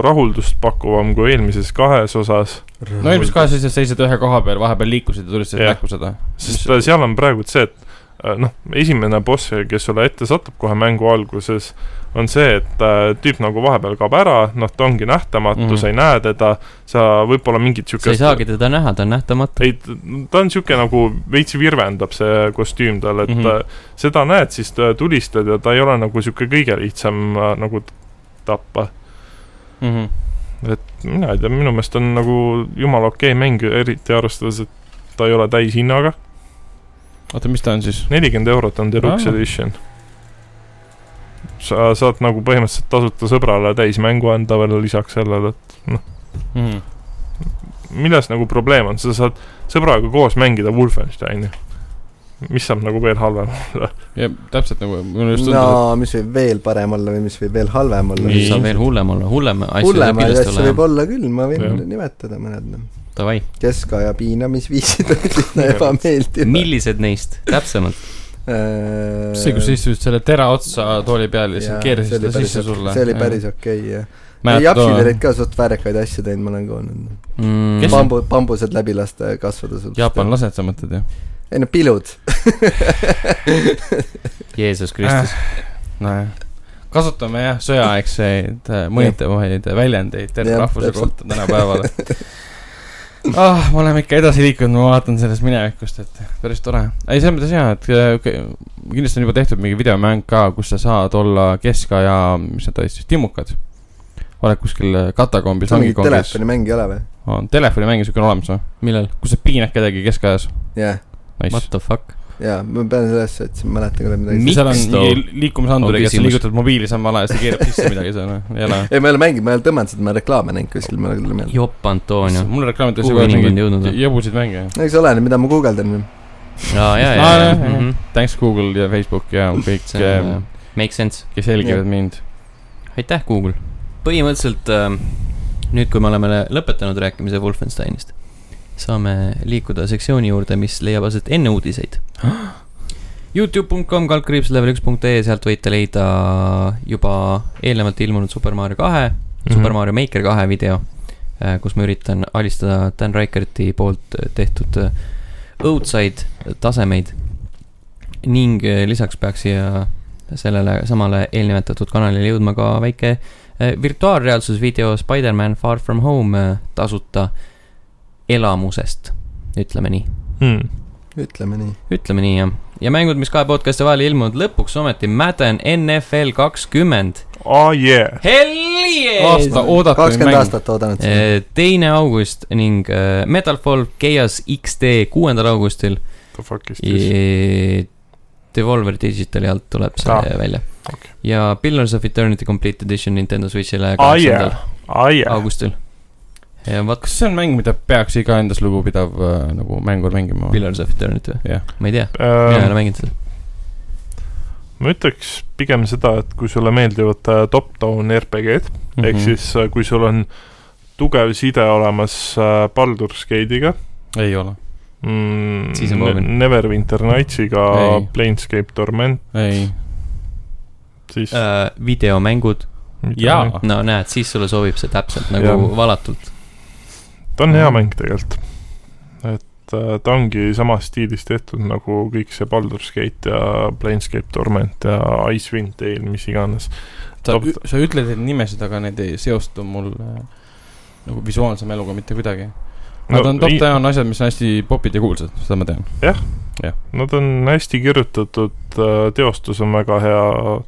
D: rahuldust pakkuvam kui eelmises kahes osas ,
A: no eelmises kahes lihtsalt seisid ühe koha peal , vahepeal liikusid ja tulistasid
D: Jah.
A: näkku seda .
D: sest ta- seal on praegu see , et äh, noh , esimene boss , kes sulle ette satub kohe mängu alguses , on see , et äh, tüüp nagu vahepeal kaob ära , noh , ta ongi nähtamatu
A: Mhm.
D: mm. , sa ei näe teda , sa võib-olla mingit
C: sa ei
D: siukest
C: saagi teda näha , ta on nähtamatu .
D: ei , ta on niisugune nagu veits virvendab see kostüüm tal , et mm
A: Mhm.
D: -hmm. seda näed , siis ta tulistad ja ta ei ole nagu niisugune kõige lihtsam äh, nagu t- tappa . Mhm. mina ei tea , minu meelest on nagu jumala okei okay mäng , eriti arvestades , et ta ei ole täishinnaga .
A: oota , mis ta on siis ?
D: nelikümmend eurot on Deluxe
A: Aa.
D: ah. Edition . sa saad nagu põhimõtteliselt tasuta sõbrale täismängu anda veel lisaks sellele , et Mhm. milles nagu probleem on , sa saad sõbraga koos mängida Wolfensteini . mis saab nagu veel halvem .
A: ja täpselt nagu mulle just
E: no
A: tundub ,
E: mis võib veel parem olla või mis võib veel halvem olla
A: Nii.
C: mis . saab veel hullem olla , hullem asju saab
E: hullemaid
C: kindlasti
E: asju võib
C: olema .
E: olla küll , ma võin
D: Jah.
E: nimetada mõned . noh.
C: Davai ,
E: keskaja piinamisviisid olid üsna ebameeldivad .
C: millised neist täpsemalt ?
A: see ,
E: Äh,
A: kus sa istusid selle tera otsa tooli peal ja siis keerasid seda sisse sulle .
E: see oli päris okei okay, , jah . Japsil olid ka suht väärikaid asju teinud , ma olen kuulnud .
C: Mm.
A: Kes-
E: bambu , bambused läbi lasta ja kasvada sul .
A: jaapanlased , sa mõtled jah ?
E: ei no pilud .
C: Jeesus Kristus .
D: Äh.
E: Äh.
A: nojah , kasutame jah sõjaaegseid äh, mõnitavaid väljendeid terve
E: Jah,
A: rahvuse
E: täpselt.
A: kohta tänapäeval . ah , me oleme ikka edasi liikunud , ma vaatan sellest minevikust , et päris tore . ei , selles mõttes jaa , et äh, kõ- kindlasti on juba tehtud mingi videomäng ka , kus sa saad olla keskaja , mis need olid siis , timmukad . oled kuskil äh, katakombis ,
E: sul mingit
A: vangikombis ,
E: telefonimäng ei ole või ?
A: on telefonimäng siuke on olemas või ,
C: millal ?
A: kus sa piinad kedagi keskajas ,
E: jah ,
A: nice
C: What the fuck ?
E: jaa , ma pean selle üles otsima , mäletan küll , et midagi
C: Mi-
A: seal on
C: Miks
A: mingi liikumisanduriga , sa
C: On küsimus.
A: liigutad mobiili samal ajal , siis ta keerab sisse midagi , see on , ei ole
E: ei , ma ei ole mänginud , ma ei ole tõmmanud seda , ma olen reklaame näinud kuskil , ma ei ole meelde .
C: jopp , Antonio .
A: mul reklaamitakse
C: kuhu
A: kogu aeg
C: inimene
A: mingeid
C: on jõudnud ?
A: jõbusid mänge .
E: eks oleneb , mida ma guugeldan .
C: aa , jaa ,
A: Aa,
C: jaa ,
A: jah,
C: jaa
A: Ah,
C: Mhm,
A: jah. . Thanks Google ja Facebook ja kõik ,
C: see on , make sense .
A: kes jälgivad mind .
C: aitäh , Google . põhimõtteliselt ähm, nüüd , kui me oleme lõpetanud rääkimise Wolfensteinist , saame liikuda sektsiooni juurde , mis leiab aset enne uudiseid . Youtube.com kaldkriips level üks punkt ee , sealt võite leida juba eelnevalt ilmunud Super Mario kahe -hmm. Super Mario Maker kahe video , kus ma üritan alistada Dan Reicherti poolt tehtud äh, õudsaid tasemeid . ning äh, lisaks peaks siia sellele samale eelnimetatud kanalile jõudma ka väike äh, virtuaalreaalsus video Spider-man Far From Home äh, tasuta elamusest , ütleme nii
D: mm. .
E: ütleme nii .
C: ütleme nii , jah . ja mängud , mis kahe podcast'i vahel ilmunud , lõpuks ometi Madden NFL kakskümmend .
D: Oh yeah ,
C: Hell yes !
A: aasta oodatud
E: kakskümmend
A: mäng .
E: aastat oodanud seda .
C: Eh, teine august ning eh, Metal Fall Chaos XD kuuendal augustil .
D: the fuck is this ?
C: Devolver Digitali alt tuleb see
D: Ah,
C: välja
D: okei.
C: ja Pillars of Eternity Complete Edition Nintendo Switch'ile
D: Ah,
C: kaheksandal
D: Ah yeah ,
C: augustil . ja vot ,
A: kas see on mäng , mida peaks iga endast lugupidav äh, nagu mängur mängima ?
C: Pillars of Eternity või
A: Jah. ?
C: ma ei tea , mina ei
D: ma
C: ole mänginud seda .
D: ütleks pigem seda , et kui sulle meeldivad äh, top-down RPG-d mm -hmm.
A: Mhm.
D: ehk siis äh, kui sul on tugev side olemas äh, Baldur's Gate'iga
A: ei ole ,
D: mm,
C: Siis on
D: Ne-
C: proovin.
D: Neverwinter Nightsiga
A: Ei. ,
D: Planescape Torment ,
A: ei .
D: siis
C: Äh, videomängud ,
A: jaa ,
C: no näed , siis sulle sobib see täpselt nagu
D: Ah. Jah.
C: valatult .
D: ta on hea
A: Mhm.
D: mäng tegelikult . et äh, ta ongi samas stiilis tehtud nagu kõik see Baldur's Gate ja Planescape Torment ja Icewind Dale , mis iganes .
A: sa
D: Top- ,
A: sa ütled neid nimesid , aga need ei seostu mul äh, nagu visuaalse mäluga mitte kuidagi . Nad on top-down asjad , mis on hästi popid ja kuulsad , seda ma tean .
D: Nad on hästi kirjutatud , teostus on väga hea .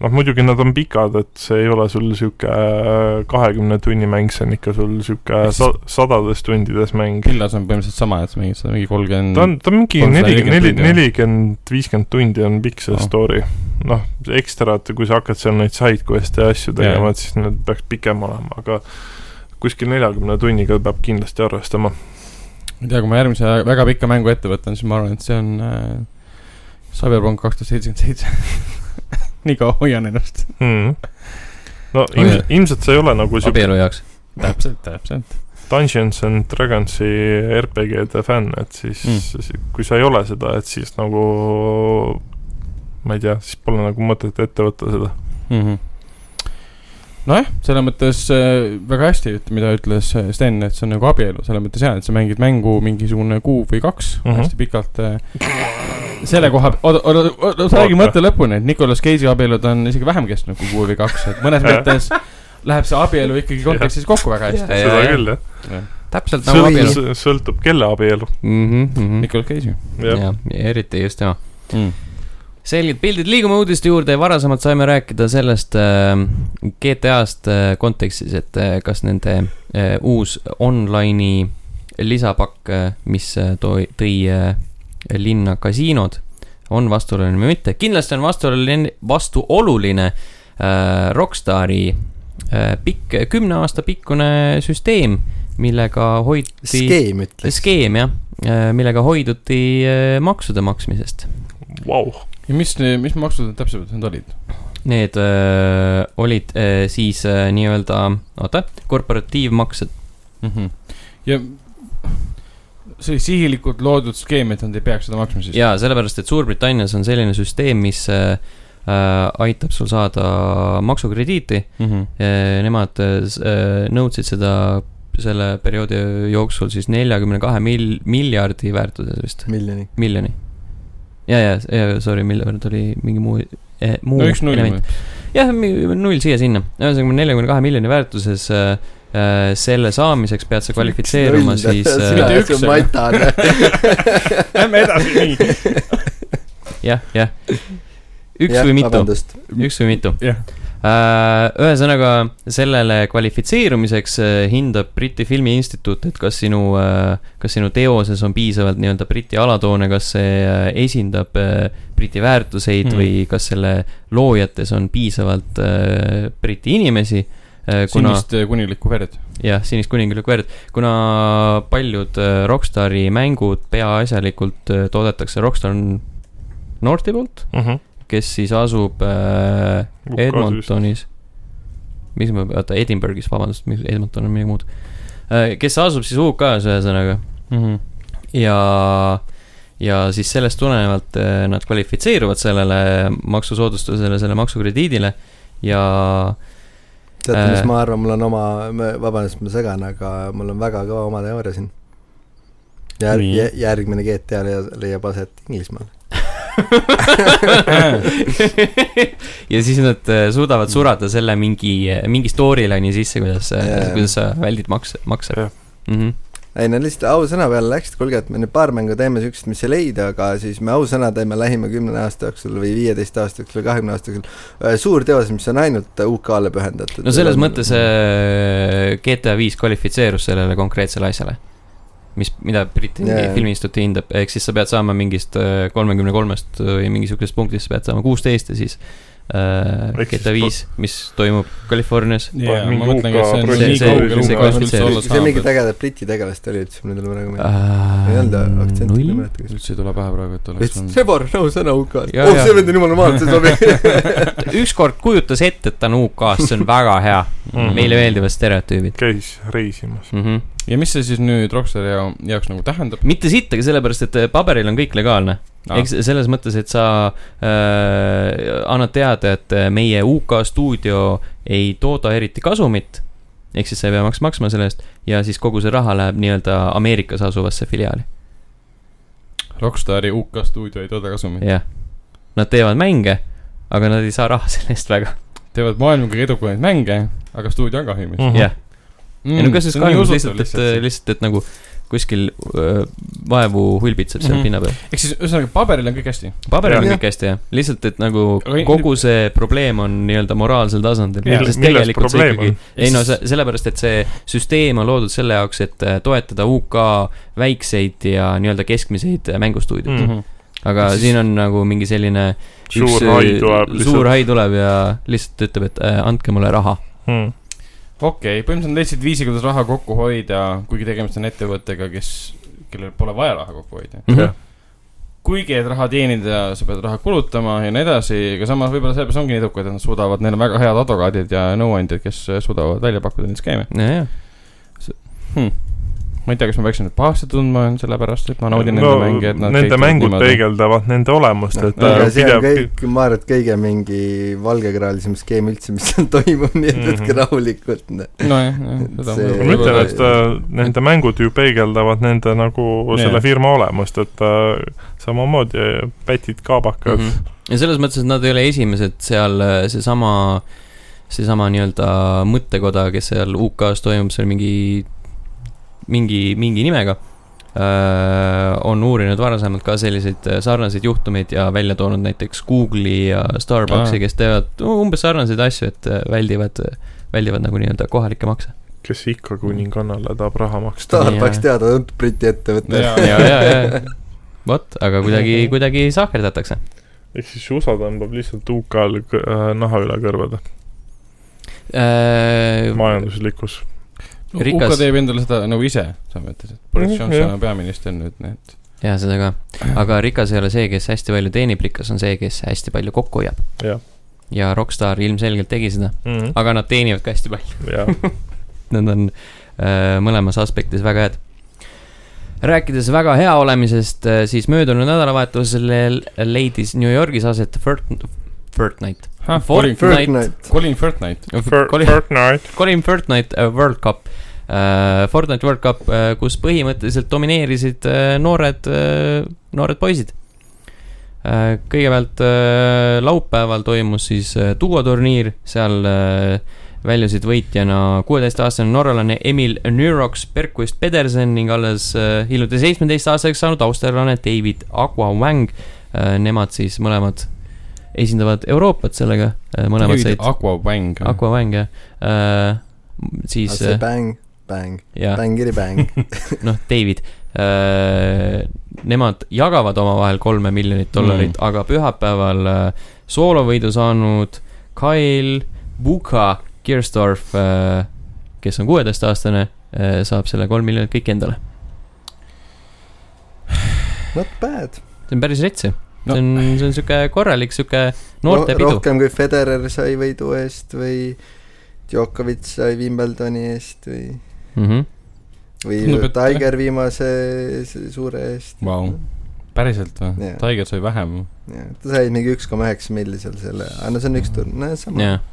D: noh , muidugi nad on pikad , et see ei ole sul sihuke kahekümne tunni mäng , see on ikka sul sihuke
A: Ehk siis-
D: sa- sadades tundides mäng .
A: Pillas on põhimõtteliselt sama , et sa mängid seda mingi kolmkümmend
D: ta on , ta on mingi
A: On see
D: neli , neli ,
A: 40 tundi, jah?
D: nelikümmend , viiskümmend tundi on pikk see
A: Ah.
D: story . noh , ekstrat , kui sa hakkad seal neid side quest'e ja asju tegema , et siis need peaks pikem olema , aga kuskil neljakümne tunniga peab kindlasti arvestama .
A: ma ei tea , kui ma järgmise väga pika mängu ette võtan , siis ma arvan , et see on äh, Cyberpunk kaks tuhat seitsekümmend seitse . nii kaua hoian ennast .
D: Mm. no
A: Oi.
D: ilmselt , ilmselt see ei ole nagu siuke
C: abielu jaoks .
A: täpselt , täpselt .
D: Dungeons and Dragonsi RPG-de fänn , et siis mm. , kui sa ei ole seda , et siis nagu ma ei tea , siis pole nagu mõtet ette võtta seda .
A: Mhm. nojah , selles mõttes äh, väga hästi , et mida ütles äh, Sten , et see on nagu abielu , selles mõttes jaa , et sa mängid mängu mingisugune kuu või kaks mm
D: Mhm.
A: -hmm. hästi pikalt äh, . selle koha , oota , oota , oota , sa räägi
D: Oota.
A: mõtte lõpuni , et Nicolas Cage'i abielud on isegi vähem kestnud kui kuu või kaks , et mõnes mõttes läheb see abielu ikkagi kontekstis kokku väga hästi .
C: Jah.
D: seda küll , jah .
C: täpselt nagu abielu .
D: sõltub , sõltub kelle abielu .
A: Nicolas Cage'i .
D: jah ,
C: jah , eriti just tema .
A: Mm.
C: selged pildid , liigume uudiste juurde , varasemalt saime rääkida sellest äh, GTA-st äh, kontekstis , et äh, kas nende äh, uus online'i lisapakk äh, , mis äh, toi- , tõi äh, linna kasiinod , on vastuoluline või mitte . kindlasti on vastuoluline , vastuoluline äh, Rockstari äh, pikk , kümne aasta pikkune süsteem , millega hoiti
E: skeem ütleks .
C: skeem jah , millega hoiduti äh, maksude maksmisest .
D: vau .
A: ja mis , mis maksud need täpsemalt need olid ?
C: Need äh, öö, olid öö, siis öö, nii-öelda , oota , äh, korporatiivmaksed .
A: mm . -hmm. ja see oli sihilikult loodud skeem , et nad ei peaks seda maksma siis .
C: jaa , sellepärast , et Suurbritannias on selline süsteem , mis äh, äh, aitab sul saada maksukrediiti . Nemad äh, s- äh, nõudsid seda selle perioodi jooksul siis neljakümne kahe mil- , miljardi väärtuses vist ,
E: miljoni .
C: miljoni . ja , ja , ja sorry , miljard oli mingi muu eh, , muu
A: no üks null
C: element. jah , null siia-sinna , ühesõnaga neljakümne kahe miljoni väärtuses äh, äh, selle saamiseks pead sa kvalifitseeruma siis
E: sina
A: Mitte üks,
C: äh,
E: oled see
A: aga-
E: matane .
A: Lähme edasi , nii .
C: jah , jah , üks või mitu , üks või mitu .
A: jah ,
C: Äh, ühesõnaga , sellele kvalifitseerumiseks äh, hindab Briti Filmiinstituut , et kas sinu , kas sinu teoses on piisavalt nii-öelda Briti alatoone , kas see äh, esindab äh, Briti väärtuseid
A: Hmm.
C: mm. või kas selle loojates on piisavalt äh, Briti inimesi . kuna ,
A: sinist äh, kunilikku verd .
C: jah , sinist kuninglikku verd , kuna paljud äh, rokkstaari mängud peaasjalikult äh, toodetakse rokkstaar noorte poolt ,
D: Mhm.
C: kes siis asub äh, Edmontonis . mis ma , oota , Edinburgh'is , vabandust , mis Edmonton on midagi muud . kes asub siis UK-s ühesõnaga Mhm. ja , ja siis sellest tulenevalt äh, nad kvalifitseeruvad sellele maksusoodustusele , selle maksukrediidile ja
E: teate , mis
C: Äh.
E: ma arvan , mul on oma , vabandust , ma segan , aga mul on väga kõva oma teooria siin . Jär,
A: Nii.
E: jä- järgmine GTA leiab, leiab aset Inglismaal .
C: ja siis nad äh,
E: Mm.
C: suudavad surada selle mingi , mingi storyline'i sisse , kuidas
E: Jaa.
C: yeah. , kuidas sa väldid makse , makse
D: Jah.
C: yeah. . Mm -hmm.
E: ei no lihtsalt ausõna peale läks , et kuulge , et me nüüd paar mängu teeme siukest , mis ei leida , aga siis me ausõna teeme lähima kümne aasta jooksul või viieteist aasta jooksul või kahekümne aasta jooksul ühe suurteose , mis on ainult UK-le pühendatud .
C: no selles mõttes äh, GTA viis kvalifitseerus sellele konkreetsele asjale , mis , mida Briti
E: Jaa,
C: yeah.
E: jaa.
C: filmiinstituut hindab , ehk siis sa pead saama mingist äh, kolmekümne kolmest äh, või mingisugusest punktist sa pead saama kuusteist ja siis äh,
D: Ehk siis
C: GTA viis , mis toimub Californias .
A: jaa ,
D: mingi
A: ma mõtlen , kas see on
D: UK
A: nii
C: see- see-
A: kaugel
C: see-
A: UK-s üldse
C: see- Ah,
A: olla
E: see mingi
A: saab .
E: tegelikult Briti tegelast oli üldse , mul ei tule praegu meelde . ei olnud äh, aktsenti , ma
C: Äh,
E: ei
C: null ,
E: mäleta , kes .
A: üldse ei tule pähe praegu , et oleks
E: ütles ,
A: olnud .
E: Sebor , ausõna UK-le .
C: Jaa,
E: oh ,
C: jaa.
E: see vend on jumala maalt , see sobib .
C: ükskord kujutas ette , et ta on UK-s , see on väga hea , Mm. meile meeldivad stereotüübid
D: käis reisimas .
C: mm . -hmm.
A: ja mis see siis nüüd Rockstari ja- jaoks nagu tähendab ? Ah,
C: mitte sittagi , sellepärast et äh, paberil on kõik legaalne . eks selles mõttes , et sa äh, annad teada , et äh, meie UK stuudio ei tooda eriti kasumit . ehk siis sa ei pea maks- , maksma selle eest ja siis kogu see raha läheb nii-öelda Ameerikas asuvasse filiaali ,
A: Rockstari UK stuudio ei tooda kasumit .
C: jah . Nad teevad mänge , aga nad ei saa raha selle eest väga ,
A: teevad maailma kõige edukamaid mänge , aga stuudio on Mm, kahjumis .
D: Mhm.
C: jah . Mm. ei no kas siis kahjuks lihtsalt , et äh, lihtsalt , et nagu kuskil öö, vaevu hulbitseb
A: Mhm.
C: seal mm -hmm. pinna peal .
A: ehk siis ühesõnaga paberil on kõik hästi .
C: paberil on
E: Jah.
C: kõik hästi jah , lihtsalt , et nagu
A: Aga-
C: kogu see probleem on nii-öelda moraalsel tasandil .
A: Mille-
C: sest
D: milles
C: tegelikult see
D: probleem
C: ikkagi
D: on? ,
C: ei no see , sellepärast , et see süsteem on loodud selle jaoks , et äh, toetada UK väikseid ja nii-öelda keskmiseid äh, mängustuudioid mm. .
D: Mhm.
C: aga
A: Ehk siis-
C: siin on nagu mingi selline äh,
D: suur hai tuleb
C: suur
D: lihtsalt .
C: hai tuleb ja lihtsalt ütleb , et äh, andke mulle raha .
D: Mhm.
A: okei , põhimõtteliselt nad leidsid viisi , kuidas raha kokku hoida , kuigi tegemist on ettevõttega , kes , kellel pole vaja raha kokku hoida .
C: Mhm.
D: Jah.
A: kuigi , et raha teenida , sa pead raha kulutama ja nii edasi , aga samas võib-olla sellepärast ongi nii edukad , et nad suudavad , neil on väga head advokaadid ja nõuandjad , kes suudavad välja pakkuda neid skeeme .
C: jajah ,
A: ma ei tea , kas ma peaksin nüüd pahasti tundma , sellepärast et ma naudin
D: No,
A: nende mänge , et nad
D: Nende
A: käituvad
D: mängud
A: niimoodi.
D: peegeldavad nende olemust , et
E: aga
D: äh,
E: see on
D: pidev ,
E: kõik , ma arvan , et kõige mingi valgekraelisem skeem üldse , mis seal toimub , nii et
D: Mhm.
E: võtke rahulikult . noh.
A: nojah , jah , seda
E: See-
D: ma ütlen ,
A: võib-olla-
D: et äh, nende mängud ju peegeldavad nende nagu
A: Jah.
D: selle firma olemust , et äh, samamoodi äh, pätid kaabakad .
C: Mhm. ja selles mõttes , et nad ei ole esimesed seal äh, seesama , seesama nii-öelda mõttekoda , kes seal UK-s toimub , seal mingi , mingi , mingi nimega äh, . on uurinud varasemalt ka selliseid äh, sarnaseid juhtumeid ja välja toonud näiteks Google'i ja
A: Aa.
C: Starbucksi ah. , kes teevad umbes sarnaseid asju , et äh, väldivad , väldivad nagu nii-öelda kohalikke makse .
D: kes ikka kuningannale tahab raha maksta .
E: Starbucks teada , Briti ettevõte .
A: Jaa.
C: ja , ja , ja , vot , aga kuidagi , kuidagi sahkerdatakse .
D: ehk siis USA tõmbab lihtsalt UK-l kõ- äh, naha üle kõrvade
C: Äh,
D: majanduslikus .
A: no,
C: rikas-
A: Uka teeb endale seda nagu ise , sa mõtled , et Boris
D: Mhm,
A: Johnson
D: jah.
A: on peaminister nüüd , nii et
C: jaa , seda ka . aga rikas ei ole see , kes hästi palju teenib , rikas on see , kes hästi palju kokku hoiab .
D: Jah. Mhm.
C: Ah. ja Rockstar ilmselgelt tegi seda , aga nad teenivad ka hästi palju .
D: jaa ,
C: Nad on äh, mõlemas aspektis väga head . rääkides väga hea olemisest , siis möödunud nädalavahetusel leidis New Yorgis aset Fort- , Fortnite .
A: Colin ,
E: Fortnite .
A: Colin Fortnite .
C: Colin ,
D: Fortnite .
C: Colin Fortnite äh, World Cup . Fortnite World Cup , kus põhimõtteliselt domineerisid äh, noored , noored poisid . kõigepealt äh, laupäeval toimus siis äh, duoturniir , seal äh, väljusid võitjana kuueteistaastane norralane Emil Nyrox Berkvist Pedersen ning alles äh, hiljuti seitsmeteistaastaseks saanud austerlane David Aguawang . Nemad siis mõlemad esindavad Euroopat sellega , mõlemad said
A: Aquabang .
C: Aquavang jah uh, , siis äh,
E: see bäng , bäng ,
C: jah ,
E: bängiri bäng .
C: noh , David uh, . Nemad jagavad omavahel kolme miljonit dollarit mm. , aga pühapäeval uh, soolovõidu saanud Kyle Buka Kirstorf uh, , kes on kuueteistaastane uh, , saab selle kolm miljonit kõik endale .
E: Not bad .
C: see on päris rets ju
A: No.
C: no. . see on , see on sihuke korralik sihuke noorte no, pidu .
E: rohkem kui Federer sai võidu eest või Djokovic sai Wimbledoni eest või ,
C: Mm -hmm.
E: või
A: Tundub, et-
E: Tiger viimase s- suure eest .
A: Vau , päriselt või
E: Jah. ?
A: Tiger sai vähem .
E: ta sai mingi üks koma üheksa milli seal selle , aga no see on üks turn , no sama .
C: jah ,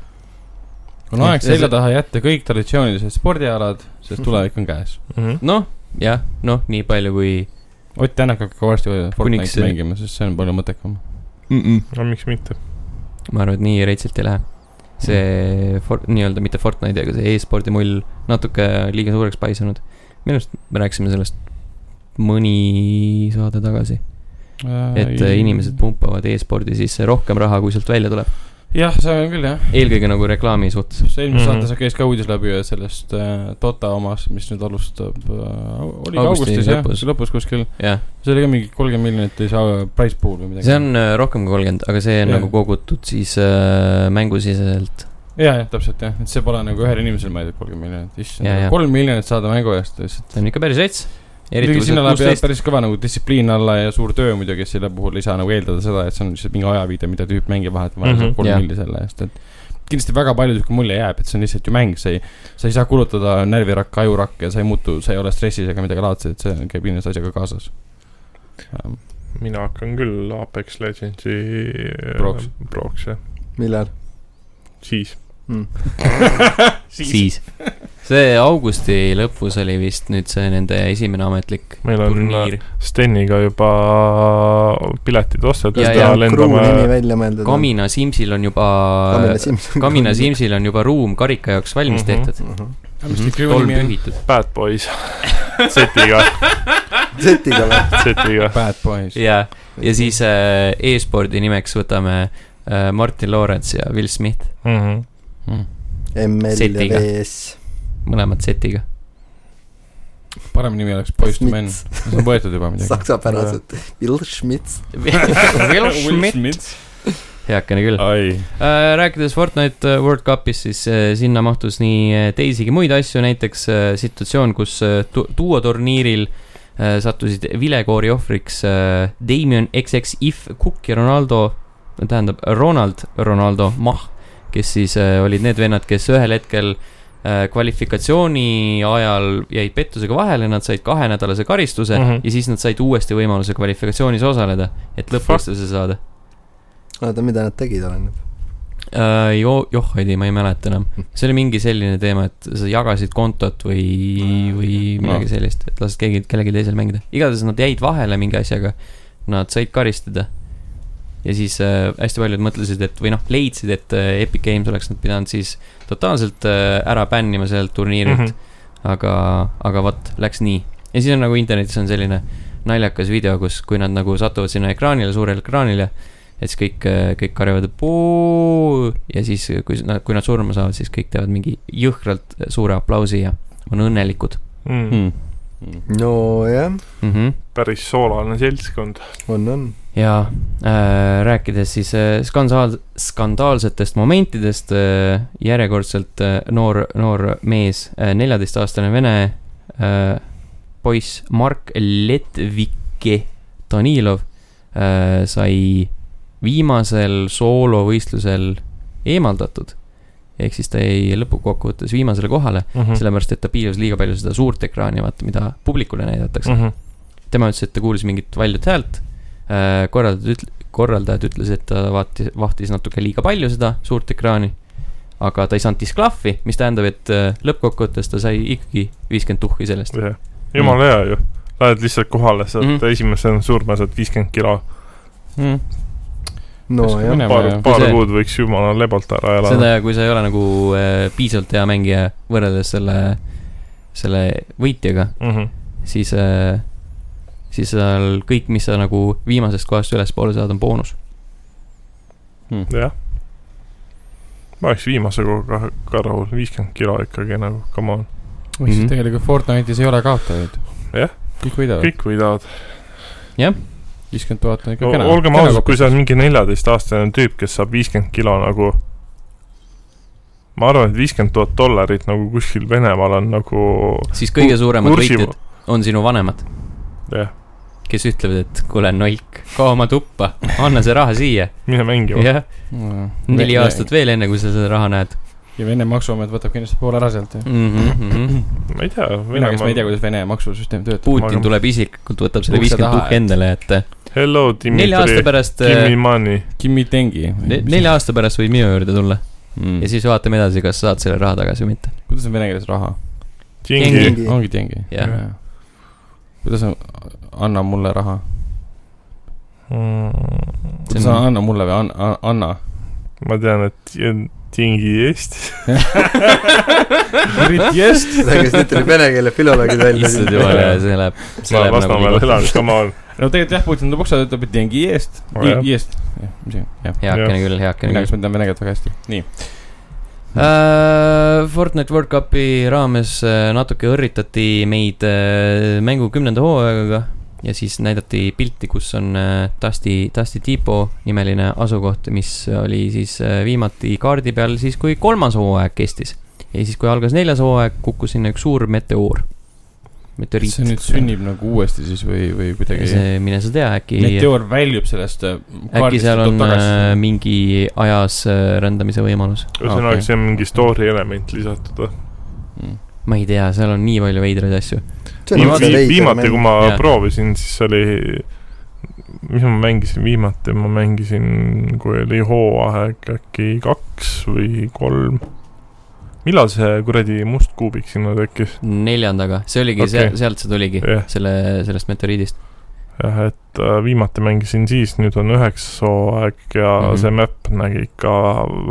A: on aeg
C: Ja see-
A: selja taha jätta kõik traditsioonilised spordialad , sest tulevik on käes .
D: Mhm.
C: noh , jah , noh , nii palju kui
A: Ott Tänak hakkab varsti Fortnite'i
C: Kuniks-
A: mängima , sest see on palju mõttekam .
C: mm . -mm
D: no miks mitte .
C: ma arvan , et nii reitsilt ei lähe .
A: Mhm.
C: see for, nii-öelda mitte Fortnite'i , aga see e-spordi mull natuke liiga suureks paisunud . minu arust me rääkisime sellest mõni saade tagasi , et äh, inimesed . pumpavad e-spordi sisse rohkem raha , kui sealt välja tuleb .
A: jah , see on küll jah .
C: eelkõige nagu reklaami suhtes .
A: see eelmises
D: Mhm.
A: saates käis ka uudis läbi ju sellest äh, Dota omast , mis nüüd alustab , oli
C: Augusti
A: augustis jah ,
C: lõpus.
A: lõpus kuskil .
C: jah ,
A: see oli ka mingi kolmkümmend miljonit ei saa price pool või midagi .
C: see on äh, rohkem kui kolmkümmend , aga see on
A: Jah.
C: yeah. nagu kogutud siis äh, mängusiseselt .
A: ja , jah , täpselt jah , et see pole nagu ühel inimesel mõeldud kolmkümmend miljonit ,
C: Ja, ja.
A: issand , kolm miljonit saada mängu eest lihtsalt .
C: see on ikka päris rets . eriti
A: muidugi
C: kui sa
A: sinna
C: oled
A: läheb jah
C: kuusteist .
A: päris kõva nagu distsipliin alla ja suur töö muidugi , selle puhul ei saa nagu eeldada seda , et see on lihtsalt mingi ajaviide , mida tüüp mängib vahetevahel mm
D: Mhm.
A: -hmm. kolm
C: Jah.
A: milli selle eest , et kindlasti väga palju sihuke mulje jääb , et see on lihtsalt ju mäng , sa ei , sa ei saa kulutada närvirakka , ajurakka ja sa ei muutu , sa ei ole stressis ega midagi laadset , see käib kindlasti asjaga kaasas .
D: mina hakkan küll Apex Legendsi äh,
A: Proks. ,
D: proks jah ,
E: millal ? Mm.
D: siis .
C: siis . see augusti lõpus oli vist nüüd see nende esimene ametlik
D: Meil on, äh,
C: turniir .
D: Steniga juba piletid ostetud
C: Ja,
D: ja,
C: ja. äh,
D: ja
E: kruu nimi
D: lendame .
E: välja mõeldud .
C: Kamina äh, Simsil on juba ,
E: Kamina Simson .
C: Kamina . Simsil on juba ruum karika jaoks valmis
D: Mhm.
C: tehtud .
A: Mhm.
C: tolm
A: tolm
C: pühitud .
D: Bad Boys Z-iga ,
E: Z-iga või ?
D: Z-iga .
A: Bad boys .
C: ja , ja siis äh, e-spordi nimeks võtame äh, Martin Lorents ja Will Smith ,
D: Mhm.
A: Hmm.
E: ML ja
C: Z-iga.
E: VS .
C: mõlemad setiga .
A: parem nimi oleks Boys to Men , see on võetud juba midagi .
E: saksapäraselt . Will Schmitz .
C: Will Smith , heakene küll .
A: ai ,
C: Äh, rääkides Fortnite äh, World Cupist , siis äh, sinna mahtus nii äh, teisigi muid asju , näiteks äh, situatsioon , kus äh, tu- duoturniiril äh, sattusid vilekoori ohvriks äh, Damien XX If Cook ja Ronaldo , tähendab Ronald Ronaldo Mah , kes siis äh, olid need vennad , kes ühel hetkel äh, kvalifikatsiooni ajal jäid pettusega vahele , nad said kahenädalase karistuse mm
D: Mhm.
C: -hmm. ja siis nad said uuesti võimaluse kvalifikatsioonis osaleda , et lõppvastuse saada .
E: oota , mida nad tegid , oleneb .
C: Äh, jo- , johhaidi , ma ei mäleta enam . see oli mingi selline teema , et sa jagasid kontot või , või midagi
A: Noh.
C: sellist , et lased keegi , kellelgi teisel mängida . igatahes nad jäid vahele mingi asjaga , nad said karistada . ja siis äh, hästi paljud mõtlesid , et või noh , leidsid , et äh, Epic Games oleks nad pidanud siis totaalselt äh, ära bännima sellelt turniirilt mm .
D: Mhm.
C: -hmm. aga , aga vot , läks nii . ja siis on nagu internetis on selline naljakas video , kus , kui nad nagu satuvad sinna ekraanile , suurele ekraanile , et siis kõik , kõik karjuvad puu ja siis , kui nad , kui nad surma saavad , siis kõik teevad mingi jõhkralt suure aplausi ja on õnnelikud
D: Mhm.
C: Hmm.
A: Hmm.
E: nojah ,
C: mm . -hmm.
D: päris soolane seltskond .
E: on , on .
C: ja äh, rääkides siis äh, skandaal , skandaalsetest momentidest äh, , järjekordselt äh, noor , noor mees , neljateistaastane vene äh, poiss Mark Letvike Danilov äh, sai viimasel soolovõistlusel eemaldatud ehk siis ta jäi lõppkokkuvõttes viimasele kohale mm. sellepärast et ta piiras liiga palju seda suurt ekraani , vaata , mida publikule näidatakse .
D: Mhm.
C: tema ütles , et ta kuulis mingit valjut häält . korraldajad ütle- , korraldajad ütles , et ta vaatis , vahtis natuke liiga palju seda suurt ekraani . aga ta ei saanud disklahvi , mis tähendab , et äh, lõppkokkuvõttes ta sai ikkagi viiskümmend tuhhi sellest .
D: jah , jumala hea ju . Lähed lihtsalt kohale , saad mm
C: Hmm. Mhm.
D: -hmm. esimesena surma , saad viiskümmend kilo .
A: mm. .
E: nojah ,
D: paar , paar
C: See-
D: kuud võiks jumala lebalt ära elada .
C: seda , kui sa ei ole nagu äh, piisavalt hea mängija võrreldes selle , selle võitjaga ,
D: Mhm.
C: siis , siis seal kõik , mis sa nagu viimasest kohast ülespoole saad , on boonus .
D: jah . ma oleks viimase korraga ka rahul , viiskümmend kilo ikkagi nagu , come on .
A: või siis
C: Mhm.
A: tegelikult Fortnite'is ei ole kaotajaid .
D: Jah.
A: kõik võidavad ,
D: kõik võidavad .
A: viiskümmend tuhat on ikka kena .
D: olgem ausad , kui sa oled mingi neljateistaastane tüüp , kes saab viiskümmend kilo nagu . ma arvan , et viiskümmend tuhat dollarit nagu kuskil Venemaal on nagu
C: siis kõige suuremad
D: kursi-
C: võitjad on sinu vanemad ,
D: jah ,
C: kes ütlevad , et kuule , nolk , kao oma tuppa , anna see raha siia .
D: mine mängima .
C: jah , neli aastat . veel , enne kui sa seda raha näed
A: ja Vene maksuamet võtab kindlasti poole ära sealt ju .
C: mm . -hmm.
D: ma ei tea ,
A: mina , kes ma ei tea ,
D: Venemaal .
A: kuidas Vene maksusüsteem töötab .
C: Putin tuleb isiklikult , võtab selle
A: Ukse
C: viiskümmend
A: taha,
C: tuhka
A: et-
C: endale , et
D: Hello ,
C: nelja aasta
D: Dmitri .
C: pärast , äh,
D: Give me money .
A: Kimi Tengi .
C: nelja aasta pärast võid minu juurde tulla ja
A: mm. .
C: siis vaatame edasi , kas saad selle raha tagasi või mitte .
A: kuidas on vene keeles raha ?
D: Kingi .
E: Kingi.
A: ongi Tengi .
C: Jah. .
A: kuidas on , anna mulle raha ?
C: See
A: kuidas
C: on-
A: on anna mulle või an- , anna ?
D: Mm, ma tean , et ti- Tingi Eestis .
A: Yes.
E: seda , kes nüüd tuleb vene keele filoloogid välja .
C: issand jumal , see läheb , see
D: ma
C: läheb nagu
D: Lasnamäel
C: nii
D: elan , come on .
A: no tegelikult jah , Putin tuleb ukse taha , ütleb , et Tengi eest
D: Oh, jah. .
A: eest , jah , mis see , jah .
C: heakene küll , heakene
A: mina , kes
C: küll .
A: ma tean vene keelt väga hästi . nii .
C: Äh, Fortnite World Cupi raames äh, natuke õrritati meid äh, mängu kümnenda hooajaga ja siis näidati pilti , kus on äh, Dusty , Dusty Depot nimeline asukoht , mis oli siis äh, viimati kaardi peal siis , kui kolmas hooaeg kestis . ja siis , kui algas neljas hooaeg , kukkus sinna üks suur meteoor , meteoriit .
A: see nüüd sünnib nagu uuesti siis või , või kuidagi ?
C: see , mine sa tea , äkki .
A: meteoor väljub sellest . äh,
C: äkki seal on äh, mingi ajas äh, rändamise võimalus ,
D: ühesõnaga okay. ,
A: Okei.
D: see on mingi story element lisatud .
A: Mm.
C: ma ei tea , seal on nii palju veidraid asju .
E: nagu
D: viimati , kui ma
C: Jah.
D: yeah. proovisin , siis oli , mis ma mängisin viimati , ma mängisin , kui oli hooaeg äkki kaks või kolm . millal see kuradi must kuubik sinna tekkis ?
C: neljandaga , see oligi
D: Okei.
C: okay. , sealt see tuligi
D: Jah.
C: yeah. , selle , sellest meteoriidist .
D: jah , et äh, viimati mängisin siis , nüüd on üheksas hooaeg ja mm
C: Mhm.
D: -hmm. see map nägi ikka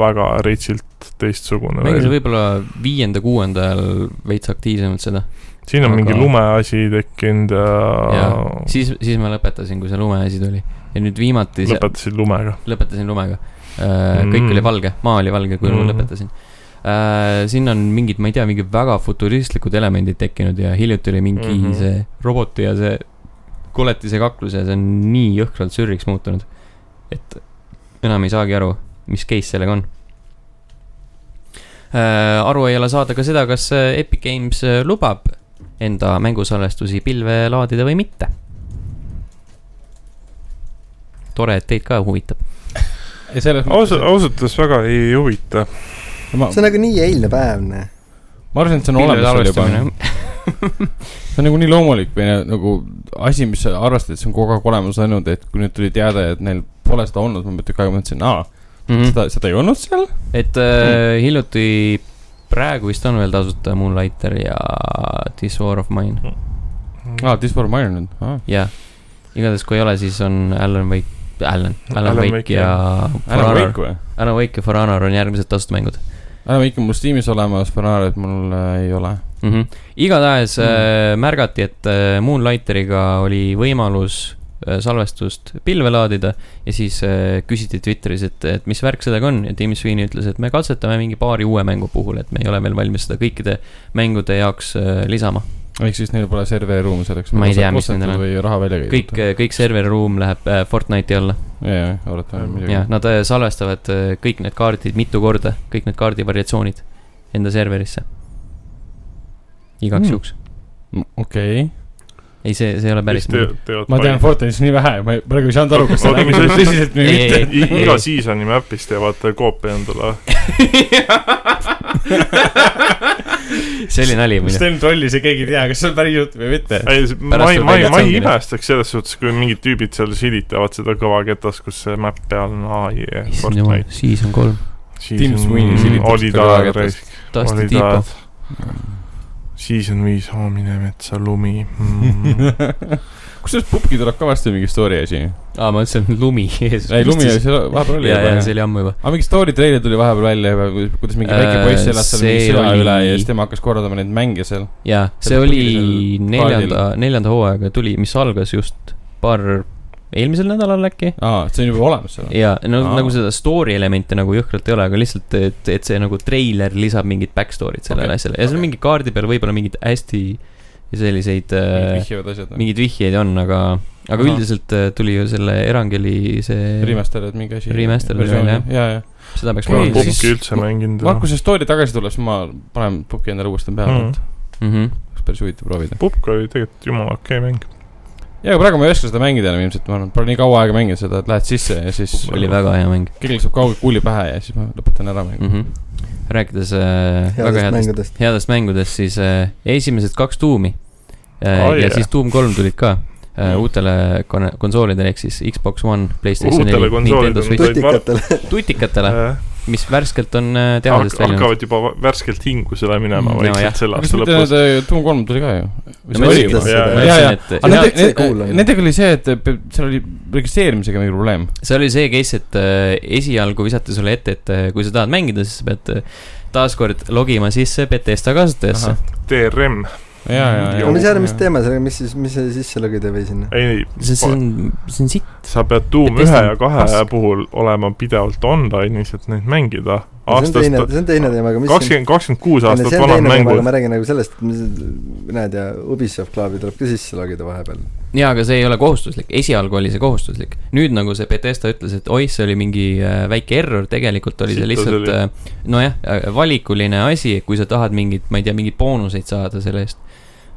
D: väga reitsilt teistsugune
C: mängisin
D: välja .
C: võib-olla viienda-kuuenda ajal veits aktiivsemalt seda ,
D: siin on aga... mingi
C: aga-
D: lumeasi tekkinud ja
C: Jah. siis , siis ma lõpetasin , kui see lumeasi tuli ja nüüd viimati see,
D: lõpetasid lumega .
C: lõpetasin lumega . kõik
D: Mm.
C: oli valge , maa oli valge , kui
D: Mhm.
C: ma lõpetasin . siin on mingid , ma ei tea , mingid väga futuristlikud elemendid tekkinud ja hiljuti oli mingi mm
D: Mhm.
C: -hmm. see roboti ja see koletise kaklus ja see on nii jõhkralt sürriks muutunud , et enam ei saagi aru , mis case sellega on . aru ei ole saada ka seda , kas äh, Epic Games äh, lubab enda mängusalvestusi pilve laadida või mitte . tore , et teid ka huvitab .
A: ja selles
D: ausalt , ausalt öeldes väga ei huvita .
A: ma,
E: see on nagu nii eilne päev , noh .
A: ma arvan , et see on olemas seal juba . see on nagu nii loomulik või na- nagu asi , mis sa arvastad , et see on kogu aeg olemas olnud , et kui nüüd tuli teada , et neil pole seda olnud , ma mõtlen , ma mõtlesin , aa ,
C: Mm.
D: Mhm.
A: seda , seda ei olnud seal .
C: et äh, hiljuti , praegu vist on veel tasuta Moonlighter ja This War of Mine ,
D: Mhm.
A: aa , This War of Mine nüüd , aa .
C: jah . igatahes , kui ei ole , siis on Alan Wake , Alan , Alan
D: Alan
C: Wake
D: Wake,
C: ja For
A: ära
C: Honor ,
A: kõik või ?
C: Alan Wake ja For Honor on järgmised tasuta mängud
A: ära kõik on mul Steamis olemas , Ferrari'd mul äh, ei ole .
C: mm . -hmm. igatahes mm. äh, märgati , et äh, Moonlighteriga oli võimalus äh, salvestust pilve laadida ja siis äh, küsiti Twitteris , et , et mis värk sellega on ja Tim Sweeney ütles , et me katsetame mingi paari uue mängu puhul , et me ei ole veel valmis seda kõikide mängude jaaks äh, lisama .
A: ehk siis neil pole serveriruumi selleks .
C: Ma ei tea, mis nendel on.
A: või raha välja
C: kõik , kõik serveriruum läheb äh, Fortnite'i alla
A: ja , ja , arvatavasti
C: ja
A: muidugi .
C: nad äh, salvestavad äh, kõik need kaardid mitu korda , kõik need kaardivariatsioonid enda serverisse . igaks
A: Mm.
C: mm. juhuks .
A: okei .
C: ei , see , see ei ole päris nii .
D: teevad
A: ma tean . Fortnite'ist nii vähe , ma ei- praegu ei saanud aru , kas sa
D: Oota,
A: räägid
D: mis asi?
A: tõsiselt või
C: Ei,
A: mitte .
C: ei, ei.
D: iga season'i map'is teevad koopia endale .
C: see oli nali muidu .
A: Sten trollis ja keegi ei tea , kas see on päris jutt või mitte .
D: ei , ma
C: Pärast
D: ei ,
C: tuleb
D: ma ei ,
C: välja,
D: ma
C: et see
D: ei
C: ongi nii.
D: imestaks selles suhtes , kui mingid tüübid seal silitavad seda kõva ketas , kus see map peal on ai ja
C: issand jumal
D: Fortnite .,
C: season kolm .
A: Tim Sweeney silitab
D: oli
A: seda kõva
D: ta
A: ketast. ,
C: Dusty
D: oli
C: Deepo
D: ta .. Season viis , oo mine metsa , lumi mm. .
A: kusjuures Pupki tuleb ka varsti mingi story asi .
C: aa , ma ütlesin , et lumi ees .
A: ei , lumi oli seal vahepeal oli
C: ja , ja see
A: juba .
C: oli ammu juba .
A: aga mingi story treiler tuli vahepeal välja juba , kuidas mingi väike
C: Äh,
A: poiss elas seal mingi
C: see
A: sõja
C: oli-
A: üle ja siis tema hakkas korraldama neid mänge seal .
C: jaa , see
A: Selle
C: oli
A: põhilisel
C: neljanda , neljanda hooaega tuli , mis algas just paar , eelmisel nädalal äkki .
A: aa , see on juba olemas seal .
C: jaa , no
A: Aa.
C: nagu seda story elemente nagu jõhkralt ei ole , aga lihtsalt , et , et see nagu treiler lisab mingit backstory't sellele
A: Okei,
C: okay. asjale ja
A: okei.
C: seal okay. mingi kaardi peal võib-olla mingeid hästi selliseid äh,
A: vihjavad asjad .
C: mingeid vihjeid on , aga , aga
A: Ahah.
C: üldiselt äh, tuli ju selle Erangeli see ,
A: Remastered mingi asi .
C: Remastered oli
A: ja
C: jah. ,
A: ja , ja .
C: seda peaks
A: Okei,
D: ma olen
C: proovima
A: siis-
D: pubki üldse mänginud .
A: Markuse Noh, story tagasi tuleb , siis ma panen Pupki endale uuesti peale
D: Mhm.
A: mm. ,
C: mm . -hmm.
A: et oleks päris huvitav proovida .
D: pubk oli tegelikult jumala okei mäng .
A: ja , aga praegu ma ei oska seda mängida enam ilmselt , ma arvan , pole nii kaua aega mänginud seda , et lähed sisse ja siis
D: Pupk
C: oli väga hea mäng
A: kellelgi saab kauge kuuli pähe ja siis ma lõpetan ära mängu
C: mm . -hmm. rääkides äh, väga
E: headest
C: headest
E: mängudest .
C: headest mängudest , siis äh, esimesed kaks tuumi
D: Oh,
C: äh, oh, ja
D: yeah.
C: yeah. siis tuum kolm tulid ka äh,
D: Mm.
C: uutele kon- konsoolidele ehk siis Xbox One , Playstation
D: Uutele
C: neli , Nintendo
D: konsoolidele.
C: Switch ,
E: tutikatel .
C: tutikatele ,
D: Äh,
C: mis värskelt on äh, tehasest väljunud .
D: hakkavad juba värskelt hingusele minema
C: Mm, No jah.
D: vaikselt selle
A: aga
D: aasta
A: kas mitte
D: lõpus .
A: nüüd Doom kolm tuli ka ju ?
C: ma
E: oli
C: ütlesin
E: juba.
C: seda,
D: Jaa,
C: ma
A: jaa,
C: ütlesin,
A: jaa.
C: et-
A: aga
E: Jaa,
A: nende-
E: see ei kuulu.
A: nende- nendega oli see , et äh, pe- seal oli registreerimisega mingi probleem .
C: see oli see case , et äh, esialgu visati sulle ette , et äh, kui sa tahad mängida , siis sa pead äh, taaskord logima sisse Betesta kasutajasse .
D: DRM ,
A: ja , ja , ja .
E: no mis järgmist ? teeme sellega , mis siis , mis see sisse logida või sinna ?
D: ei ,
C: see , see on , see on sitt .
D: sa pead Doom
C: Ja
D: ühe
C: pistan
D: ja kahe
C: pask.
D: puhul olema pidevalt online'is , et neid mängida .
E: see on
D: aastast
E: teine , see on teine teema , aga mis siin-
D: kakskümmend , kakskümmend kuus
E: ei, no
D: aastat
E: see on
D: vanad
E: teine teema , aga
D: mängud .
E: ma räägin nagu sellest , näed ja Ubisoft klaabi tuleb ka sisse logida vahepeal .
C: jaa , aga see ei ole kohustuslik , esialgu oli see kohustuslik . nüüd nagu see Betesta ütles , et oih , see oli mingi äh, väike error , tegelikult oli see
D: Situs
C: lihtsalt
D: oli.
C: äh, nojah , valikuline asi , kui sa tahad mingit , ma ei tea , mingeid boonuseid saada selle eest .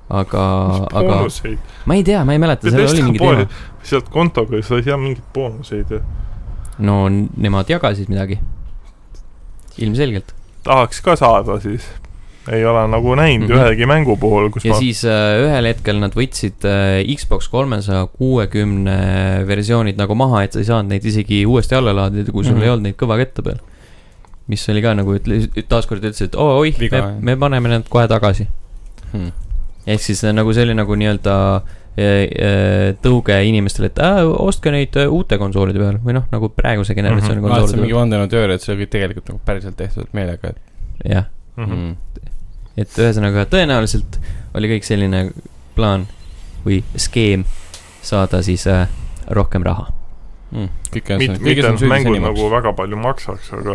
C: aga , aga
D: boonuseid ,
C: ma ei tea , ma ei mäleta , seal oli
D: Bethesda
C: mingi
D: poe
C: teema .,
D: sealt kontoga sa ei saa mingeid boonuseid ju .
C: no n- nemad jagasid midagi . ilmselgelt .
D: tahaks ka saada siis , ei ole nagu näinud
C: Mhm.
D: ühegi mängu puhul , kus
C: ja
D: ma
C: siis äh, ühel hetkel nad võtsid äh, Xbox kolmesaja kuuekümne versioonid nagu maha , et sa ei saanud neid isegi uuesti alla laadida , kui sul mm
A: Mhm.
C: -hmm. ei olnud neid kõvakette peal . mis oli ka nagu ütle , taaskord ütles , et oo, oih ,
A: Viga,
C: me
A: jah. ,
C: me paneme need kohe tagasi
A: Hmm.
C: hmm. . ehk siis äh, nagu see oli nagu nii-öelda äh, äh, tõuge inimestele , et äh, ostke neid äh, uute konsoolide peal või noh , nagu praeguse generatsiooni mm
D: Mhm.
A: ma vaatasin
C: -hmm.
A: mingi
C: konsoolide
A: vandenõuteooria , et see oli tegelikult nagu päriselt tehtud meelega , et
C: peal , jah .
D: Mhm.
A: mm. .
C: et ühesõnaga tõenäoliselt oli kõik selline plaan või skeem saada siis äh, rohkem raha .
A: Mm. kõik on ,
D: Mit-
A: kõiges
D: mitte
A: on
D: ainult
A: süüdi
D: mängud
A: seni
D: nagu
A: nagu... .
D: väga palju maksaks , aga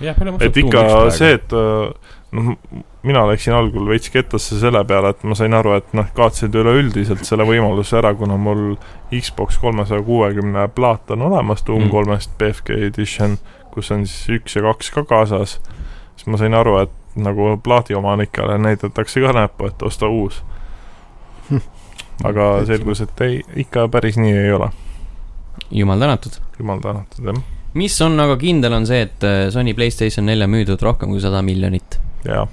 A: jah , palju maksab
D: et ikka see , et äh, noh , mina läksin algul veits kettasse selle peale , et ma sain aru , et noh , kaotasid üleüldiselt selle võimaluse ära , kuna mul Xbox kolmesaja kuuekümne plaat on olemas , Doom
A: Mm.
D: kolmest BFG edition , kus on siis üks ja kaks ka kaasas , siis ma sain aru , et nagu plaadiomanikele näidatakse ka näppu , et osta uus . aga selgus , et ei , ikka päris nii ei ole ,
C: jumal tänatud .
D: jumal tänatud jah ,
C: mis on aga kindel , on see , et äh, Sony Playstation nelja müüdud rohkem kui sada miljonit .
D: jaa .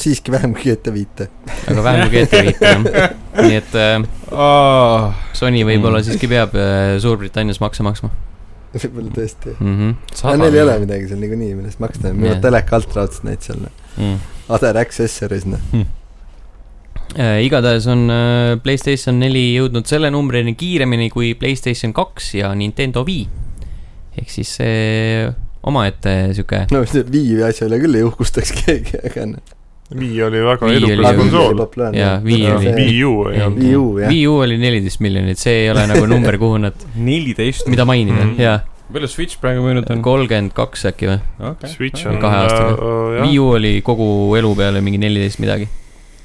E: siiski vähem kui GTA viite .
C: aga vähem kui GTA viite , jah . nii et äh,
A: oh, .
C: Sony võib-olla
A: Mm.
C: siiski peab äh, Suurbritannias makse maksma
E: võib-olla tõesti .
C: mm . -hmm.
E: aga neil ei ole midagi seal niikuinii , millest maksta , müüvad
C: Jah.
E: teleka alt raudselt neid seal ,
A: mm. .
E: Other Accessories , noh .
C: Äh, igatahes on äh, Playstation neli jõudnud selle numbrini kiiremini kui Playstation kaks ja Nintendo Wii . ehk siis see äh, omaette sihuke
E: no see Wii asja üle küll ei uhkustaks keegi , aga noh .
D: Wii oli väga
C: Wii oli
D: edukas
C: ju-
D: konsool .
C: Jaa, Wii
D: Jaa,
C: oli-
D: Wii U ei
C: Ei,
D: olnud .
E: Wii U, jah.
C: Wii U oli neliteist miljonit , see ei ole nagu number , kuhu nad ,
A: neliteist .
C: mida mainida mm
D: Mhm.
C: -hmm. ja
A: palju Switch praegu müünud on ?
C: kolmkümmend kaks äkki või
A: Okay.
D: Switch on
C: Kahe aastaga.
D: äh,
C: yeah. .
D: jah.
C: Wii U oli kogu elu peale mingi neliteist midagi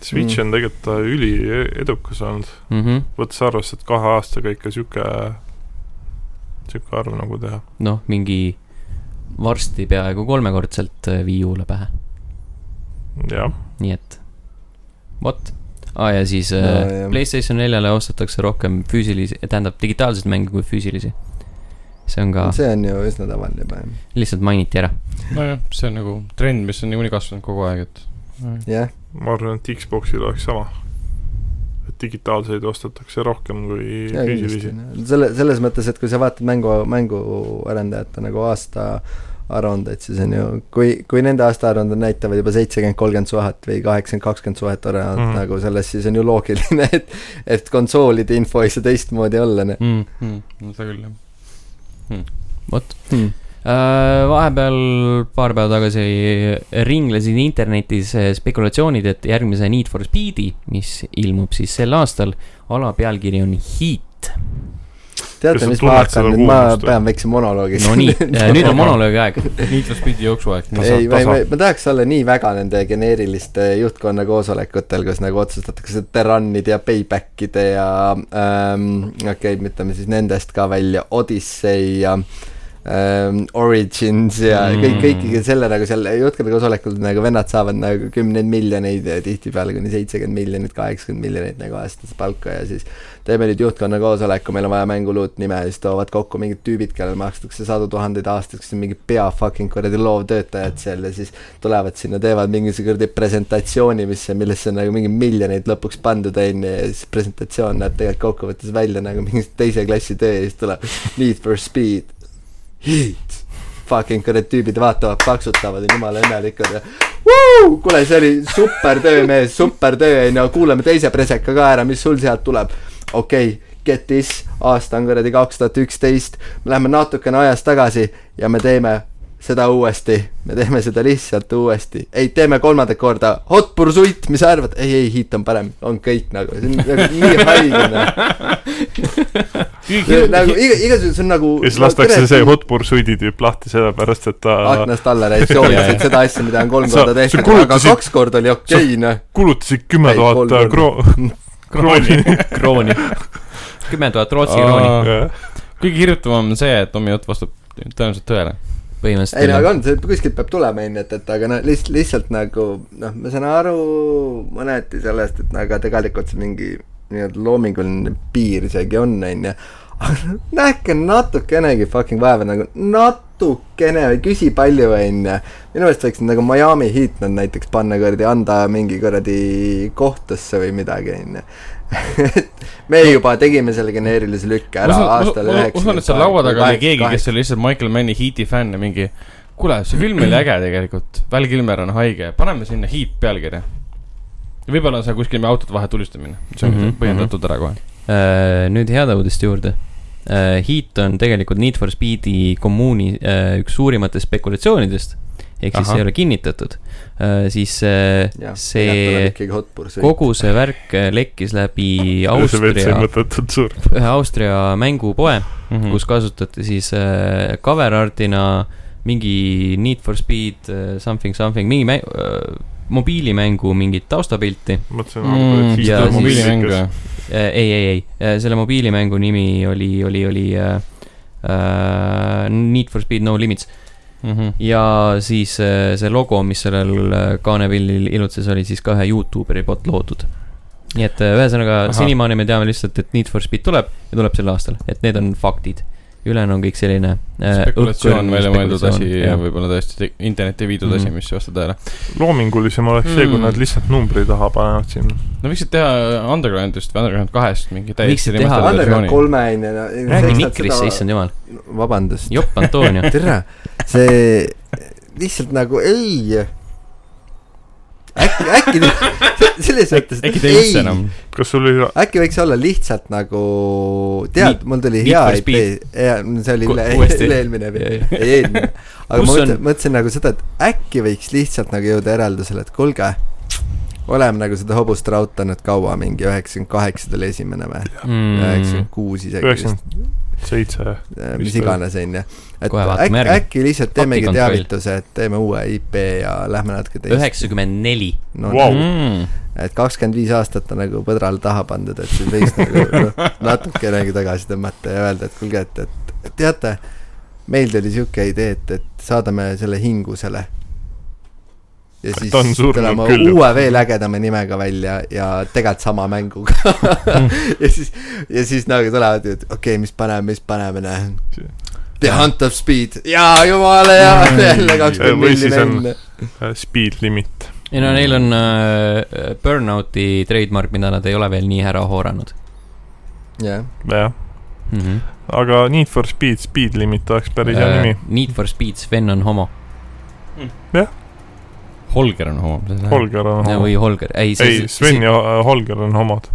D: Switch
E: Mm.
D: on tegelikult äh, üliedukas olnud ,
C: mm . -hmm.
D: võttes arvesse , et kahe aastaga ikka sihuke , sihuke arv nagu teha .
C: noh , mingi varsti peaaegu kolmekordselt äh, Wii U-le pähe ,
D: jah ,
C: nii et vot . aa , ja siis äh, no,
E: No, jah.
C: Playstation neljale ostetakse rohkem füüsilisi , tähendab digitaalseid mänge kui füüsilisi . see on ka ,
E: see on ju üsna tavaline juba jah.
C: lihtsalt mainiti ära .
A: nojah , see on nagu trend , mis on niikuinii kasvanud kogu aeg , et .
E: jah ,
D: ma arvan , et Xboxil oleks sama . et digitaalseid ostetakse rohkem kui füüsilisi .
E: selle , selles mõttes , et kui sa vaatad mängu , mänguarendajate nagu aasta aruandeid , siis on ju , kui , kui nende aastaaruanded näitavad juba seitsekümmend , kolmkümmend suhet või kaheksakümmend , kakskümmend suhet arenenud mm
D: Mhm.
E: -hmm. nagu selles , siis on ju loogiline , et , et konsoolide info ei saa teistmoodi olla , noh .
C: Mm.
A: Mm. no seda küll , jah .
C: vot , Äh, vahepeal paar päeva tagasi ringlesid internetis äh, spekulatsioonid , et järgmise Need for Speed'i , mis ilmub siis sel aastal , alapealkiri on Heat .
D: Kas
E: teate ,
D: sa
E: mis ma
D: tunned
E: hakkan
D: seda
E: nüüd , ma
D: kuumust või?
E: pean väikse monoloogi
C: no nii , nüüd on monoloogi aeg .
A: Need for Speedi jooksuaeg .
E: ei , ma ei , ma ei , ma tahaks olla nii väga nende geneeriliste juhtkonna koosolekutel , kus nagu otsustatakse Terranide ja Paybackide ja ähm, okei okay, , ütleme siis nendest ka välja , Odyssey ja ähm, Origins ja mm. kõik , kõikide selle nagu seal juhtkonna koosolekul nagu vennad saavad nagu kümneid miljoneid ja tihtipeale kuni seitsekümmend miljonit , kaheksakümmend miljonit nagu aastas palka ja siis teeme nüüd juhtkonna koosoleku , meil on vaja mängule uut nime ja siis toovad kokku mingid tüübid , kellele makstakse sadu tuhandeid aastas , kes on mingi pea fucking kuradi loovtöötajad seal ja siis tulevad sinna , teevad mingisuguse kuradi presentatsiooni , mis , millesse on nagu mingi miljoneid lõpuks pandud , onju , ja siis presentatsioon näeb tegelikult kokkuvõttes välja nagu mingi teise klassi töö ja siis tuleb Need for Speed , Heat , fucking kuradi tüübid vaatavad , plaksutavad , on jumala õnnelikud ja Vuu! kuule , see oli super töö , mees , super töö , onju , kuulame teise preseka ka ära , mis sul sealt tuleb . okei okay, , get this , aasta on kuradi kaks tuhat üksteist , me läheme natukene ajas tagasi ja me teeme seda uuesti , me teeme seda lihtsalt uuesti , ei , teeme kolmandat korda , hot pursuit , mis sa arvad , ei , ei , hit on parem , on kõik nagu , see on nagu nii haige noh. See on nagu iga , igasugune , see on nagu
D: ja siis lastakse see hot pursuit'i tüüp lahti sellepärast , et ta
E: aknast alla ja siis joonisid seda asja , mida on kolm
D: Sa-
E: korda
D: sa
E: tehtud , aga
D: kulutasid-
E: kaks korda oli okei okay, , noh .
D: kulutasid kümme
E: Ei, kolm
D: tuhat
E: korda.
D: krooni . krooni .
C: krooni . kümme tuhat Rootsi krooni
A: kõige hirmutavam on see , et Tommy Ott vastab tõenäoliselt tõele .
E: ei no
C: põhimõtteliselt
E: aga . on , see kuskilt peab tulema , onju , et , et aga noh , lihtsalt , lihtsalt nagu noh , ma saan aru mõneti sellest , et no aga tegelikult see mingi nii-öelda loominguline piir isegi on , onju . aga nähke natukenegi fucking vaeva nagu natukene , ei küsi palju , onju . minu meelest võiks nagu Miami Heat nad näiteks panna kuradi , anda mingi kuradi kohtusse või midagi , onju et me juba tegime selle geneerilise lükke ära aastal üheksakümmend .
A: usun , et seal laua taga oli keegi , kes oli lihtsalt Michael Manni Heat'i fänn ja mingi kuule , see film oli äge tegelikult , Val Kilmer on haige , paneme sinna Heat pealkirja . võib-olla on seal kuskil meie autode vahe tulistamine , see on mm
C: Mhm,
A: -hmm. põhjendatud ära kohe .
C: Äh, nüüd heade uudiste juurde . Heat on tegelikult Need for Speedi kommuuni äh, üks suurimatest spekulatsioonidest . ehk
A: Ahah.
C: siis see ei ole kinnitatud . siis äh,
E: Jah,
C: see
E: kogu
C: kogu see värk äh, lekkis läbi
D: see WC
C: Austria ,
D: mõttetult suur .
C: ühe Austria mängupoe ,
E: Mhm.
A: Hmm.
C: kus kasutati siis äh, cover art'ina mingi Need for Speed äh, something something , mingi mäng, äh, mobiilimängu mingit taustapilti .
D: mõtlesin ,
A: mm,
D: et siis
C: ja
A: ja
D: tuleb
C: siis-
A: mobiilimäng või
D: mobiilikas ..
C: ei , ei , ei , selle mobiilimängu nimi oli , oli , oli äh, äh, Need for Speed No Limits
E: Mhm.
A: Mhm.
C: ja siis äh, see logo , mis sellel äh, kaanepillil ilutses , oli siis ka ühe Youtuberi poolt loodud . nii et äh, ühesõnaga
A: Ahah.
C: senimaani me teame lihtsalt , et Need for Speed tuleb ja tuleb sel aastal , et need on faktid . ülejäänu on kõik selline äh,
A: spekulatsioon ,
C: õhkõrn
A: välja mõeldud asi
C: spekulatsioon,
A: ja
C: jah.
A: võib-olla tõesti te- internetti viidud asi ,
C: Mhm.
A: mis ei vasta tõele .
D: loomingulisem oleks see , kui
A: Mm.
D: nad lihtsalt numbri taha panevad sinna .
A: no võiksid teha Undergroundist või Underground kahest mingi
C: Võiksid
A: täiesti
C: teha
A: remastered
E: Underground
A: versiooni .
E: kolme on ju .
C: räägi Nikrisse , issand jumal ,
E: jumal . vabandust ,
C: jopp Antonio .
E: tere , see lihtsalt nagu ei . äkki , äkki selles mõttes ,
A: äkki
E: et
A: te ei üldse
E: ei ,
A: enam ?
D: kas sul oli
E: äkki võiks olla lihtsalt nagu , tead , mul tuli
C: Need
E: hea
C: for
E: idee , see oli
C: Ku-
E: üle ,
C: uuesti.
E: üle-eelmine
C: Jaa,
E: või
C: jaa. ,
E: ei eelmine . aga
C: Kus
E: ma
C: on-
E: mõtlesin , mõtlesin nagu seda , et äkki võiks lihtsalt nagu jõuda järeldusele , et kuulge , oleme nagu seda hobust raudtanud kaua , mingi üheksakümmend kaheksa tuli esimene või ,
C: Mm.
E: üheksakümmend kuus isegi vist ,
D: üheksakümmend seitse ?
E: mis
D: vist või?
E: iganes , on ju . et
C: Kohe vaatame
E: äkki ,
C: järgi.
E: äkki lihtsalt teemegi
C: Faktikontroll.
E: teavituse , et teeme uue IP ja lähme natuke teist ,
C: üheksakümmend neli .
E: no
D: Vau.
A: Mm.
E: et kakskümmend viis aastat on nagu põdral taha pandud , et siis võiks nagu noh, natukenegi tagasi tõmmata ja öelda , et kuulge , et , et , et teate , meil tuli sihuke idee , et , et saadame selle hingusele . ja siis
D: Ta on surnud
E: tuleme
D: küll juba.
E: uue veel ägedama nimega välja ja tegelikult sama mänguga . ja siis , ja siis nagu tulevad , et okei okay, , mis paneme , mis paneme , noh . The Hunt of Speed , jaa , jumala hea , jälle kakskümmend
D: Või siis
E: miljonit
D: on-
E: välja .
D: äh, Speed limit .
C: ei no neil on äh, Burnouti trademark , mida nad ei ole veel nii ära hooranud
E: jah ,
D: jah ,
C: mm . -hmm.
D: aga Need for Speed , Speed limit oleks päris
C: Äh,
D: hea nimi .
C: Need for Speed , Sven on homo
A: Holger on homo .
D: Holger on
C: Ja
D: homo .
C: või Holger , ei ,
D: ei , Sven ja äh, Holger on homod .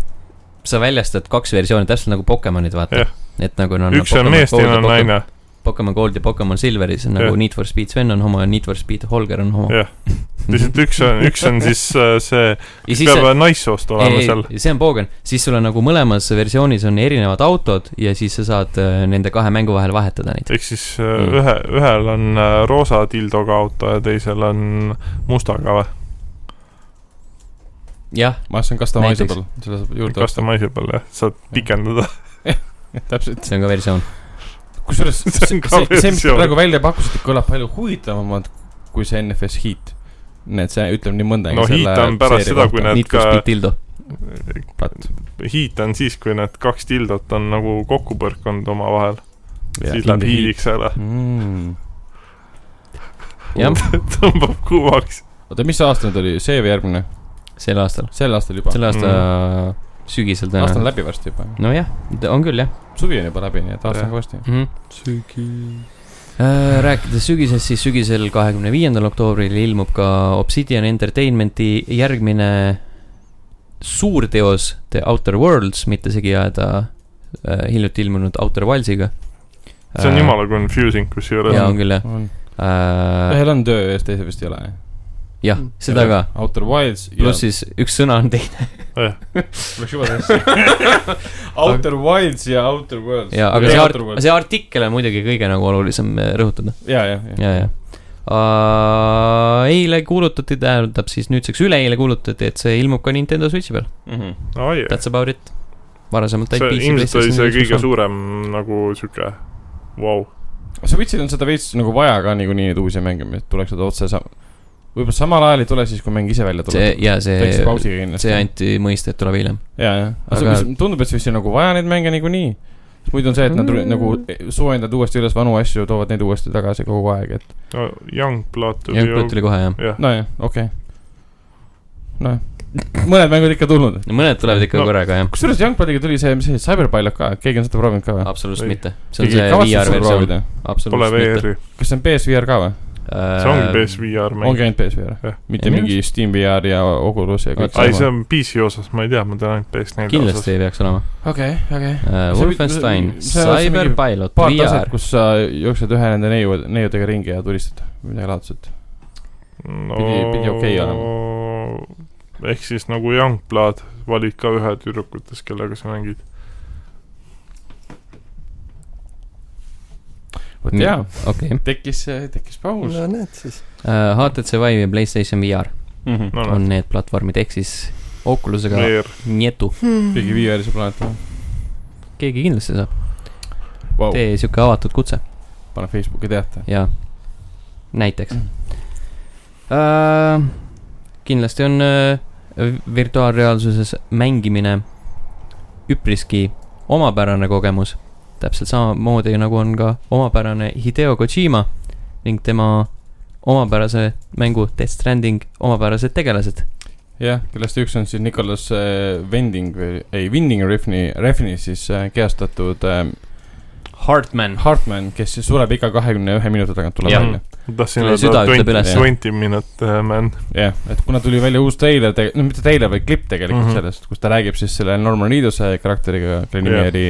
C: sa väljastad kaks versiooni , täpselt nagu Pokemonid , vaata
D: Jah. .
C: et nagu on .
D: üks on mees , teine on naine .
C: Pokemon Gold ja Pokemon Silver , siis on nagu
D: Jah.
C: Need for Speed Sven on homo ja Need for Speed Holger on homo .
D: Jah. lihtsalt üks on , üks on siis äh, see ,
C: ja siis
D: peab naissoost olema
C: ei ,
D: seal .
C: ei , see on poogen , siis sul on nagu mõlemas versioonis on erinevad autod ja siis sa saad äh, nende kahe mängu vahel vahetada neid .
D: ehk siis äh,
C: Mm.
D: ühe , ühel on äh, roosa dildoga auto ja teisel on mustaga või ?
C: jah ,
A: ma arvan , customisable , selle saab juurde osta .
D: customisable jah , saad pikendada .
A: täpselt ,
C: see on ka versioon .
A: kusjuures see,
D: on
A: see ,
D: ka
A: see , mis te
D: versioon.
A: praegu välja pakkusite , kõlab palju huvitavamalt kui see NFS Heat . nii et see ütleb nii mõndagi .
D: no Heat on pärast seda , kui need
C: Need for
D: ka ,
C: Speed Dildo .
D: Heat on siis , kui need kaks dildot on nagu kokku põrkunud omavahel . siis läheb hiiliks ära ,
A: mm. .
C: jah ,
D: tõmbab kuumaks .
A: oota , mis aasta nüüd oli , see või järgmine ?
C: sel aastal ,
A: sel aastal juba ?
C: selle aasta
D: Mm.
C: sügisel
A: aasta on
C: tõenäoliselt .
A: läbi varsti juba .
C: nojah , on küll jah
A: suvi on juba läbi , nii et aasta on kõvasti .
C: mm . -hmm Äh, rääkides sügisest , siis sügisel , kahekümne viiendal oktoobril ilmub ka Obsidian Entertainmenti järgmine suurteos The Outer Worlds , mitte segi ajada äh, hiljuti ilmunud Outer Wildsiga .
D: see on jumala confusing kusjuures .
C: Äh. jaa , on küll jah äh, .
A: ühel on töö ees , teisel vist ei ole .
C: jah , seda ka .
A: Outer Wilds ja
C: pluss siis üks sõna on teine
A: läks juba sisse . Outer Wilds ja Outer Worlds .
C: ja , aga see
A: Outer
C: art- , see artikkel on muidugi kõige nagu olulisem äh, rõhutada .
A: ja , ja ,
C: ja , ja . eile kuulutati , tähendab siis nüüdseks üleeile kuulutati , et see ilmub ka Nintendo Switchi peal .
A: ja .
D: oh, yeah.
C: That's about it . varasemalt
D: see
C: PC,
D: ilmselt oli
C: PlayStation
D: see
C: ja Xbox
D: kõige
C: One.
D: suurem nagu sihuke , vau .
A: Switch'il on seda veits nagu vaja ka niikuinii , et uusi mänge , mis tuleks seda otse sa- , võib-olla samal ajal ei tule siis , kui mäng ise välja
C: see
A: tuleb .
C: ja
A: teeks
C: see ,
A: pausiga kindlasti .
C: see anti mõista , et tuleb hiljem .
A: ja , ja , aga
C: Aga-
A: see- mis- tundub , et siis on nagu vaja neid mänge niikuinii . muidu on see , et nad mm. nagu soojendavad uuesti üles vanu asju , toovad neid uuesti tagasi kogu aeg , et
D: Youngblood tuli ju
C: Youngblood , tuli kohe jah .
D: jah .
A: nojah , okei okay. . nojah , mõned mängud ikka tulnud .
C: mõned tulevad ikka
D: No.
C: no. korraga jah ,
A: kusjuures Youngbloodiga tuli see , mis see Cyberpilot ka , keegi on seda proovinud ka või ?
C: absoluutselt
D: Ei.
C: mitte . see on see VR versioon ,.
D: Pole
C: absoluutselt mitte . Äh,
D: VR-i ,
A: kas see on PSVR ka või ?
D: see ongi PSVR mäng .
A: ongi ainult PSVR
D: Jah. ?
A: mitte
C: Ja minu
A: mingi Steam VR ja Oculus ja kõik
D: ei , see on PC osas , ma ei tea , ma tean ainult PS4 osas .
C: kindlasti ei peaks olema .
A: okei , okei .
C: Wolfenstein ,
A: see on mingi
C: Cyberpilot ,
A: paar taset ,
C: VR ,
A: kus sa jooksed ühe nende neiu , neiudega ringi ja tulistad midagi laadset . Pidi- pidi okei
D: olema . ehk siis nagu Youngblood , valid ka ühe tüdrukutest , kellega sa mängid .
A: vot
C: Nii.
A: jaa ,
C: okei . Äh,
A: tekkis , tekkis paus .
E: no näed siis .
C: HTC Vive ja PlayStation VR
D: no
C: on
D: näed ,
C: need platvormid , ehk siis Oculusega
D: VR ,
C: Nietu ,
A: keegi VR-i saab laenata
C: keegi kindlasti saab ,
A: wow. .
C: tee siuke avatud kutse .
A: pane Facebooki teate .
C: jaa , näiteks uh, . kindlasti on uh, virtuaalreaalsuses mängimine üpriski omapärane kogemus , täpselt samamoodi nagu on ka omapärane Hideo Kojima ning tema omapärase mängu Death Stranding omapärased tegelased .
A: jah , kellest üks on siis Nicolas äh, Vending või , ei , Winding Refni , Refni siis äh, kehastatud äh,
B: Hartman .
A: Hartman , kes siis sureb iga kahekümne ühe minuti tagant , tuleb
D: Jah.
A: välja .
D: ma tahtsin
C: Tuli süda
D: öelda
C: ütleb
D: twenty ,
C: üles.
D: twenty minute äh, man .
A: jah , et kuna tuli välja uus treiler , no mitte treiler , vaid klipp tegelikult mm
D: Mhm.
A: -hmm. sellest , kus ta räägib siis selle Norman Reeduse karakteriga , kelle nimi
D: Jah.
A: oli ,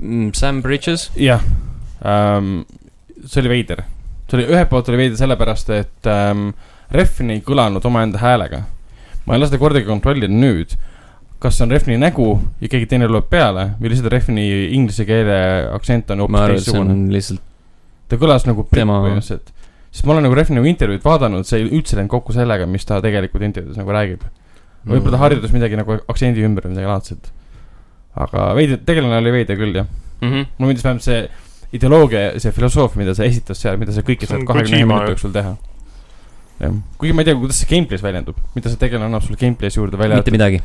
C: Mm, Sam Bridges ,
A: jah ähm, , see oli veider . see oli , ühelt poolt oli veider sellepärast , et ähm, Refn ei kõlanud omaenda häälega . ma ei ole seda kordagi kontrollinud nüüd , kas see on Refni nägu ja keegi teine loeb peale või lihtsalt Refni inglise keele aktsent on
C: ma
A: hoopis
C: arvan , et see
A: teistsugune .
C: on lihtsalt ,
A: ta kõlas nagu britt
C: Tema-
A: põhimõtteliselt . sest ma olen nagu Refni nagu intervjuud vaadanud , see ei üldse läinud kokku sellega , mis ta tegelikult intervjuudes nagu räägib . võib-olla ta
C: Mm.
A: harjutas midagi nagu aktsendi ümber või midagi laadset . aga veidi , tegelane oli veider küll jah
C: Mhm.
B: Mm -hmm.
A: mulle meeldis vähemalt see ideoloogia , see filosoofia , mida sa esitas seal , mida sa kõike
D: See on
A: saad kahekümne ühe
D: Kojima,
A: minuti
D: ju.
A: jooksul teha . kuigi ma ei tea , kuidas see gameplay's väljendub , mida see tegelane annab sulle gameplay's juurde välja
C: mitte . midagi .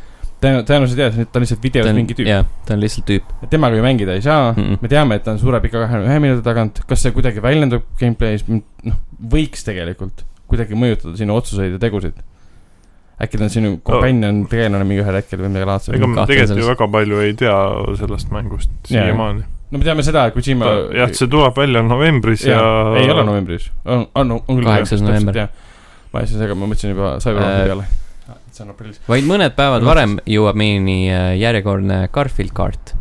A: tõenä- , tõenäoliselt jah , ta on lihtsalt videos mingi tüüp .
C: jah , ta on lihtsalt tüüp .
A: temaga ju mängida ei saa mm ,
C: Mm-mm.
A: -mm. me teame , et ta on suure pika kahekümne ühe minuti tagant , kas see kuidagi väljendub gameplay's , noh , võiks tegelikult kuidagi mõjutada sinu otsuseid ja tegusid . äkki ta on sinu
C: Oh.
A: companion tegelane mingi ühel hetkel või midagi laadset
D: ega . me
C: kahtlen
D: tegelikult ju
C: selles.
D: väga palju ei tea sellest mängust
A: Jaa.
D: siiamaani .
A: no me teame seda , et Kojima
D: jah , see tuleb välja novembris ja, ja...
A: ei ole novembris , on , on , on küll .
C: Kaheksas november. .
A: ma ei saa segada , ma mõtlesin juba Cyberpunki
C: Äh,
A: peale . see on aprillis .
C: vaid mõned päevad varem jõuab meieni äh, järjekordne Garfield kart .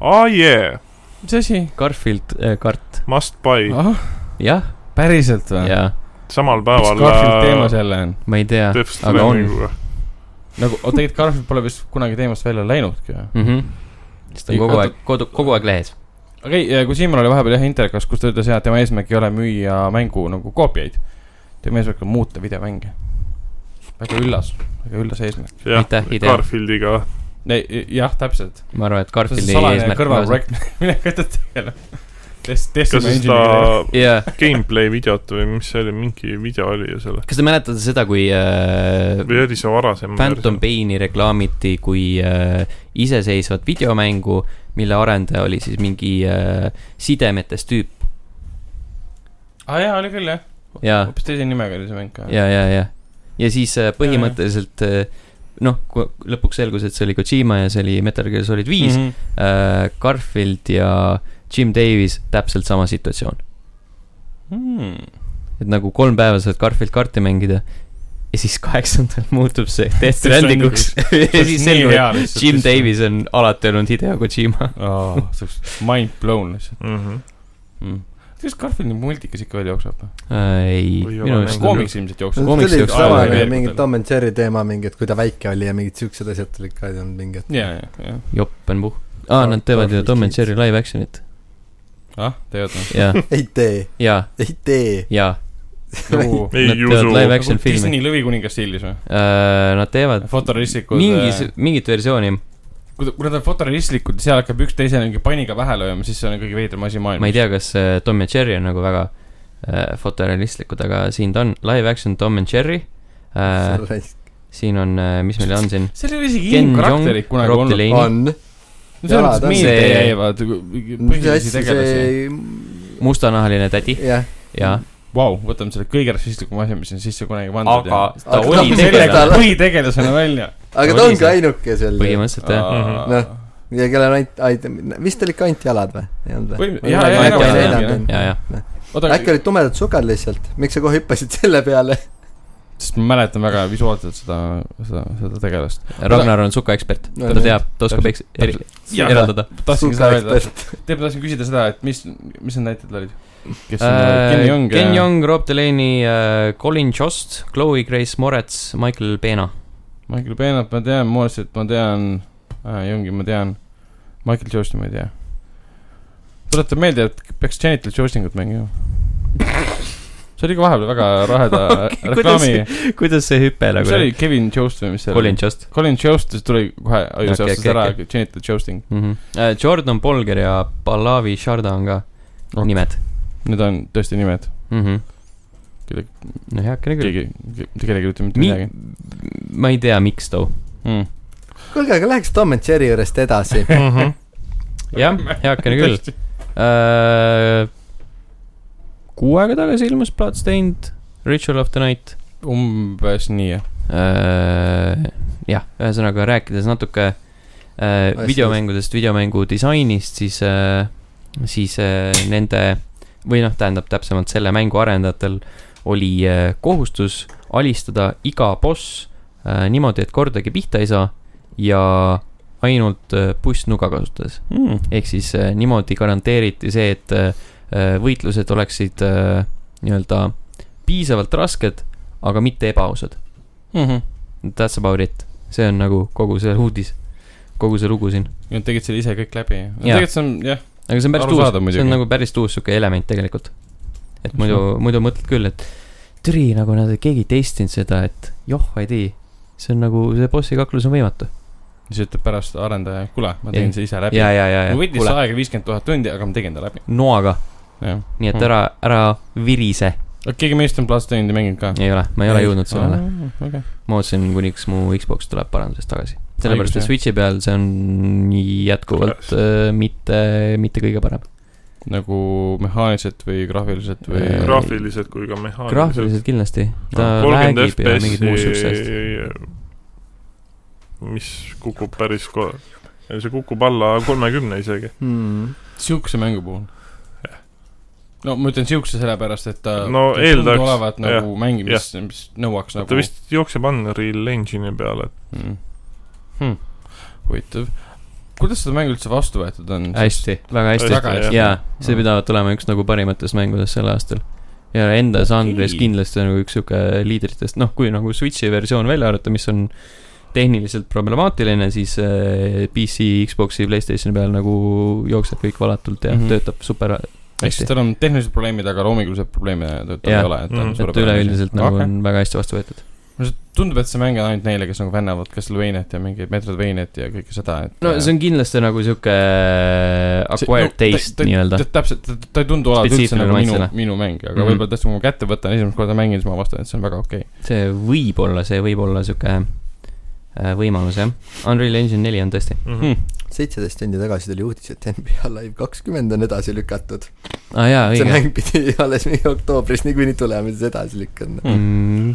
D: aa ah, jee ,
A: mis asi ?
C: Garfield äh, kart ,
D: must buy ,
C: jah ,
A: päriselt või ?
C: jaa ,
D: samal
A: miks
D: päeval .
A: Garfield teemas jälle on ?
C: ma ei tea ,
D: Death
C: aga on mm .
D: Strandinguga .
A: nagu , oota , tegelikult Garfield pole vist kunagi teemast välja läinudki või ?
C: -hmm. siis ta on kogu
A: Oota-
C: aeg , kodu , kogu aeg lehes .
A: okei okay, , kui Siimann oli vahepeal jah intervjuus , kus ta ütles jah , et tema eesmärk ei ole müüa mängu nagu koopiaid . tema eesmärk on muuta videomänge . väga üllas , väga üllas eesmärk .
D: jah ,
C: aitäh , idee .
D: Garfieldiga ,
A: jah , täpselt .
C: ma arvan ,
A: see
C: et
A: on
C: Garfieldi
A: salajane
C: eesmärk .
A: kõrvalprojekt , millega ta tegeleb . Test ,
D: kas
A: testime
D: siis ta
A: engineer'i .
C: jaa ,
D: gameplay videot või mis see oli , mingi video oli ju selle .
C: kas te mäletate seda , kui äh,
D: või oli see varasem ?
C: Phantom Paini reklaamiti kui äh, iseseisvat videomängu , mille arendaja oli siis mingi äh, sidemetes tüüp
A: aa Ah, jaa , oli küll jah .
C: ja ,
A: hoopis teise nimega oli see mäng ka .
C: ja , ja , ja , ja siis äh, põhimõtteliselt äh, noh , lõpuks selgus , et see oli Kojima ja see oli Metal Gear Solid viis mm ,
A: -hmm.
C: -hmm. äh, Garfield ja Jim Davis , täpselt sama situatsioon .
A: Hmm.
C: et nagu kolm päeva saad Garfield karti mängida ja siis kaheksandal muutub see Death Strandinguks
D: nagu
C: ja siis selgub , et Jim . Davis on alati olnud Hideo Kojima .
A: aa , see oleks mind blown lihtsalt
D: mm . -hmm.
A: mm. . kas Garfieldi multikas ikka veel jookseb või ?
C: Äh, ei ,
D: Või
C: minu
D: ole
C: arust
D: mängu-
A: koomiks ilmselt
E: see
A: jookseb .
C: Koomiks
E: tuli üks
C: jookseb alla
E: tavaline
C: veel
E: mingi Tom and Jerry teema mingi , et kui ta väike oli ja mingid siuksed asjad tulid ka , ei olnud mingid .
A: ja , ja , ja .
C: jopp on puh- . aa , nad teevad ju Tom and Jerry live action'it .
A: ah , tead või ?
C: ja ,
E: ei tee ,
C: ja ,
E: ei tee .
C: ja .
A: nagu
D: Ei
C: Nad
D: usu.
C: teevad live action
A: nagu
C: filmi .
A: Disney lõvikuningas stiilis või ?
C: Nad teevad
A: fotorealistlikud .
C: mingis , mingit versiooni ,
A: kui ta- kui nad on fotorealistlikud ja seal hakkab üksteisele mingi paniga pähe lööma , siis see on kõige veidram asi maailmas .
C: ma ei . tea , kas äh, Tom ja Jerry on nagu väga äh, fotorealistlikud , aga siin ta on , live action Tom and Jerry äh, . siin on , mis meil on siin ?
A: seal ei ole isegi
C: Ken
A: inimkarakterid
C: Jeong,
A: kunagi
C: Rob
A: olnud .
C: Delaney.
E: on ,
A: no see on lihtsalt
E: Jaa, ta on
A: meelde
C: see-
A: jäävad
E: see
A: põhilisi
E: asi ,
A: tegelasi .
E: see ,
C: mustanahaline tädi
E: jah .
C: ja ,
A: Vau , võtame selle kõige rassistlikuma asja , mis on sisse kunagi pandud .
C: aga ta
E: Aga
C: oli
E: ta-
C: tegelikult
E: ta-
A: põhitegelasena välja .
E: aga
C: Oli
E: ta ongi
C: see.
E: ainuke seal ,
C: põhimõtteliselt jah .
E: Noh. ja kellel on ainult , ainult , vist olid ka ainult jalad või ? ei olnud või
A: Või- ? jaa, jaa,
E: äkki
C: jaa,
E: olid
C: jaa,
E: seljad
C: jaa, jaa.
E: või ?
A: oota ,
E: äkki olid tumedad sukad lihtsalt , miks sa kohe hüppasid selle peale ?
A: sest ma mäletan väga visuaalselt seda , seda , seda tegelast .
C: Ragnar on sukaekspert ,
E: No
C: ta
E: nii.
C: teab , ta oskab eks- , eri- ,
A: Jah.
C: eraldada .
A: tahtsingi seda öelda ,
E: sukaekspert .
A: tegelikult tahtsin küsida seda , et mis , mis need näitlejad olid ? kes äh, Ken Jeong
C: Ken Jeong , Rob Delaney , Colin Jost , Chloe Grace Moretz , Michael Pena .
A: Michael Peenat ma tean , Morrisit ma tean äh, , Jungi ma tean , Michael Josti ma ei tea . tuletan meelde , et peaks Genital Jostingut mängima . see oli ka vahepeal väga raheda
C: Okei,
A: reklaami ,
C: kuidas see hüpe nagu
A: mis see oli , Kevin Jost või mis see
C: Colin
A: oli ?
C: Jost
A: Colin Jost , siis tuli kohe ajus
C: Okei,
A: okay,
C: okei,
A: ära
C: okei.
A: okay. Genital Josting .
C: mm . -hmm. Jordan Polger ja Pallavi Sharda on ka
A: Okei.
C: nimed
A: Need on tõesti nimed ,
C: mm . -hmm.
A: Kelle-
C: no heakene küll .
A: keegi , mitte kellelgi ei ütle mitte midagi
C: Mi- . ma ei tea , miks too .
A: mm. .
E: kuulge , aga läheks Tom and Jerry juurest edasi .
D: Mm -hmm.
C: jah , heakene küll . Kuu aega tagasi ilmus Bloodstained , Ritual of the Night
A: umbes nii jah ,
C: Äh, jah , ühesõnaga rääkides natuke äh,
E: Asjadest.
C: videomängudest , videomängu disainist , siis äh, , siis äh, nende või noh , tähendab täpsemalt selle mängu arendajatel oli äh, kohustus alistada iga boss äh, niimoodi , et kordagi pihta ei saa ja ainult äh, pussnuga kasutades .
A: mm. .
C: ehk siis äh, niimoodi garanteeriti see , et äh, äh, võitlused oleksid äh, nii-öelda piisavalt rasked , aga mitte ebaausad .
A: Mm -hmm.
C: That's about it , see on nagu kogu see uudis , kogu see lugu siin .
A: Nad tegid selle ise kõik läbi .
C: Jaa.
A: tegelikult see on jah ,
C: aga see on päris
A: Arusaadav
C: uus , see
A: muidugi.
C: on nagu päris uus sihuke element tegelikult . et muidu , muidu mõtled küll , et türi nagu nad , keegi ei testinud seda , et joh , ei tea . see on nagu , see bossi kaklus on võimatu .
A: siis ütleb pärast arendaja , kuule , ma tegin
C: Ei.
A: selle ise läbi
C: ja , ja , ja ,
A: mul
C: ja ,
A: võttis
C: kuule ,
A: aega viiskümmend tuhat tundi , aga ma tegin ta läbi .
C: noaga ,
A: jah .
C: nii et
A: Mm.
C: ära , ära virise .
A: keegi meist on Bloodstainedi mänginud ka ? Ah.
C: ei ole , ma ei ole jõudnud sellele ..
A: okei .
C: ma ootasin , kuniks mu Xbox tuleb parandusest tagasi . sellepärast ,
A: Õigus,
C: et
A: jah.
C: Switchi peal see on jätkuvalt äh, mitte , mitte kõige parem .
A: nagu mehaaniliselt või graafiliselt või
C: Äh, Graaf-
D: graafiliselt kui ka mehaaniliselt .
C: graafiliselt kindlasti , ta
D: kolmkümmend
C: räägib ja mingid muud siuksed asjad .
D: FPS-i , mis kukub päris ko- , see kukub alla kolmekümne isegi .
E: hmm. .
A: siukse mängu puhul ? no ma ütlen siukse sellepärast , et ta
D: No
A: ta
D: eeldaks-
A: tundub olevat nagu mäng ,
D: jah.
A: mis , mis nõuaks
D: ta
A: nagu
D: vist jookseb Unreal Engine'i peale ,
A: mm. . Hmm. huvitav , kuidas seda mängu üldse vastu võetud on ?
C: hästi , väga hästi .
A: Väga hästi.
C: jaa , see pidavat olema üks nagu parimatest mängudest sel aastal . ja enda žanris
A: Okei.
C: kindlasti nagu üks sihuke liidritest , noh , kui nagu Switchi versioon välja arvata , mis on tehniliselt problemaatiline , siis äh, PC , Xbox'i , Playstationi peal nagu jookseb kõik valatult ja mm
A: Mhm.
C: -hmm. töötab super
A: ehk siis
C: hästi .
A: tal on tehnilised probleemid , aga loomingulised probleeme tal
C: Jah.
A: ei ole .
D: Mhm.
C: et üleüldiselt nagu okay. on väga hästi vastu võetud .
A: tundub , et see mäng on ainult neile , kes nagu fännavad Castlevaniat ja mingeid Metroidvaniat ja kõike seda , et
C: no see on kindlasti nagu sihuke acquired see, no, taste nii-öelda .
A: täpselt , ta ta ei tundu olevat üldse
C: Spetsiifiline
A: nagu minu
C: maitsele. ,
A: minu mäng , aga
C: Mhm.
A: võib-olla tõesti , kui ma kätte võtan , esimest korda mängin , siis ma vastan , et see on väga okei okay. .
C: see võib olla , see võib olla sihuke äh, võimalus jah . Unreal Engine neli on tõesti .
A: Mhm.
D: mm .
E: seitseteist tundi tagasi tuli uudis , et NBA Live kakskümmend on edasi lükatud .
C: aa ah, jaa ,
E: see
C: õige .
E: mäng pidi alles mingi oktoobris niikuinii tulema , siis edasi lükkanud .
C: mm, .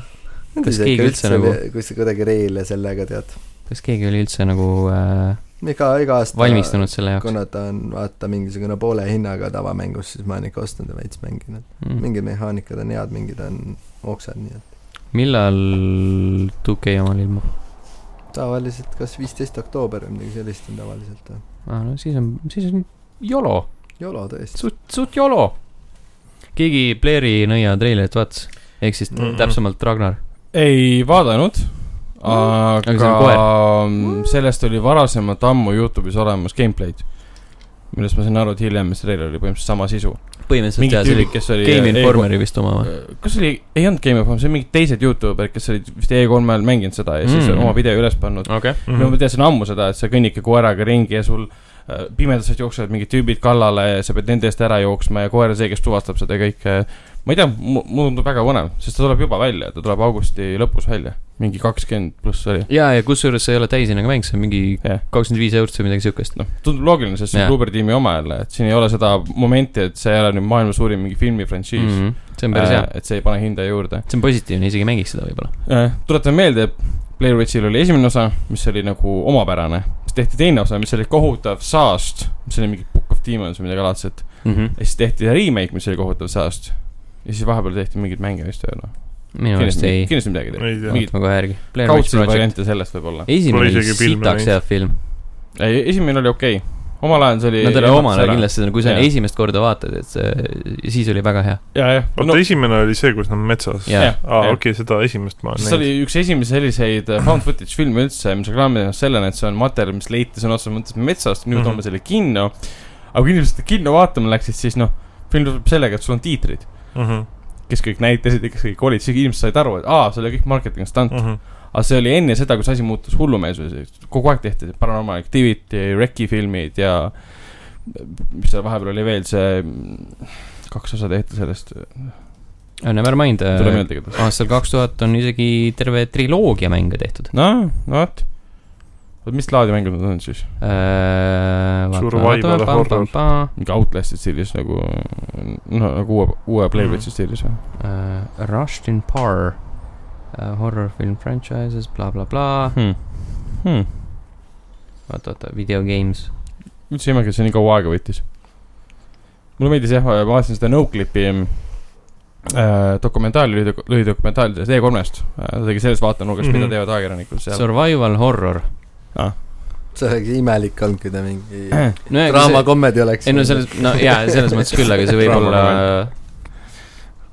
C: kas keegi üldse nagu- ?
E: kui sa kuidagi reele sellega tead .
C: kas keegi oli üldse nagu äh,
E: iga , iga aasta
C: valmistunud selle jaoks ?
E: kuna ta on vaata mingisugune poole hinnaga tavamängus , siis ma olen ikka ostnud ja veits mänginud .
C: Mm.
E: mingid mehaanikad on head , mingid on oksad , nii et
C: millal 2K omal ilmub ?
E: tavaliselt kas viisteist oktoober või midagi sellist on tavaliselt või ?
C: aa , Ah, no siis on , siis on YOLO ,
E: YOLO tõesti .
C: suht , suht YOLO . keegi Playeri nõia treilerit vaatas , ehk siis mm
D: Mhm.
C: -hmm. täpsemalt Ragnar .
A: ei vaadanud ,
C: Aga see
A: Mhm. aga mm,
C: on
A: sellest oli varasemalt ammu Youtube'is olemas gameplay'd , millest ma sain aru , et hiljem see treiler oli põhimõtteliselt sama sisu .
C: põhimõtteliselt
A: mingi
C: jaa , see
A: tüüp
C: oli ,
A: kes oli .
C: Game Informeri vist oma või ?
A: kas see oli , ei olnud Game Informer , see olid mingid teised Youtuber'id , kes olid vist E3-l mänginud seda ja siis
C: Mm.
A: oma video üles pannud .
C: okei .
D: Mhm.
A: no ma teadsin ammu seda , et sa kõnnidki koeraga ringi ja sul äh, pimedusest jooksevad mingid tüübid kallale ja sa pead nende eest ära jooksma ja koer on see , kes tuvastab seda kõike . ma ei tea , mulle tundub väga põnev , sest ta tuleb juba välja , ta tuleb augusti lõpus välja , mingi kakskümmend pluss oli .
C: jaa , ja kusjuures see ei ole täishinnaga mäng , see on mingi
A: Jah.
C: kakskümmend viis eurot või midagi siukest .
A: noh , tundub loogiline , sest see on
C: Jaa.
A: Bluebird tiimi oma jälle , et siin ei ole seda momenti , et see ei ole nüüd maailma suurim mingi filmifrantsiis mm .
C: see on Mhm. päris hea ,
A: et see ei pane hinda juurde .
C: see on positiivne , isegi mängiks seda võib-olla .
A: Äh, tuletan meelde , Blair Witchil oli esimene osa , mis oli nagu omapärane , siis tehti teine osa , mis oli kohutav saast , mis oli mingi Book of Demons või midagi alates , ja siis tehti remake , mis oli kohutav saast . ja siis vahepeal tehti mingeid mänge vist veel või ?
C: minu meelest
A: kindlasti
C: ei ,,
A: kindlasti midagi tehti .
D: ei tea ,
A: Mingid
C: vaatame kohe järgi .
A: kaudseid variante sellest võib-olla .
C: esimene
D: Pole
C: oli
D: isegi filmi
C: sitaks
D: näinud.
C: hea film .
A: ei , esimene oli okei okay. , omal ajal see oli .
C: no ta oli omal ajal . kindlasti , kui sa
A: Jaa.
C: esimest korda vaatad , et see , siis oli väga hea .
A: ja , jah .
D: oota , esimene oli see , kus nad metsas .
C: Jaa.
D: aa , okei , seda esimest ma
A: see oli
D: näinud .
A: üks esimesi selliseid äh, found footage filme üldse , mis reklaamid ennast sellena , et see on materjal , mis leiti sõna otseses mõttes metsast , nüüd
D: Mhm.
A: toome selle kinno . aga kui inimesed kinno vaatama läksid , siis noh , film tuleb sellega , et sul on tiitrid ,
D: Mhm,
A: kes kõik näitasid ja kes kõik olid , siis inimesed said aru , et aa , see oli kõik marketing stunt .
D: mhm.
A: aga see oli enne seda , kui see asi muutus hullumeelsuseks , kogu aeg tehti Paranormal Activity , Wrecki filmid ja mis seal vahepeal oli veel see , kaks osa tehti sellest ,
C: Oh, Never mind ,
A: ei tule meelde igatahes .
C: aastal kaks tuhat on isegi terve triloogia mänge tehtud .
A: no , no vot . oot , mis laadi mängud nad on siis ?
C: Äh,
D: Survival horror.
A: mingi Outlast'i stiilis nagu , noh , nagu uue , uue Playboy'i
D: Mhm.
A: stiilis või ?
C: Äh, Rushed in Par , horror film franchises bla, , blablabla , oot , oota , video games .
A: üldse ei imegi , et see nii kaua aega võttis . mulle meeldis jah , ma vaatasin seda Noclipi äh, dokumentaali , lühidokumentaali sellest E3-st äh, . ta tegi sellest vaatenurgast mm , -hmm.
D: Mhm.
A: mida teevad ajakirjanikud seal .
C: Survival horror .
E: see oleks imelik olnud , kui ta mingi
C: no ja ,
E: draamakomedi oleks .
C: ei no selles , no jaa , selles mõttes küll , aga see võib
A: Draama
C: olla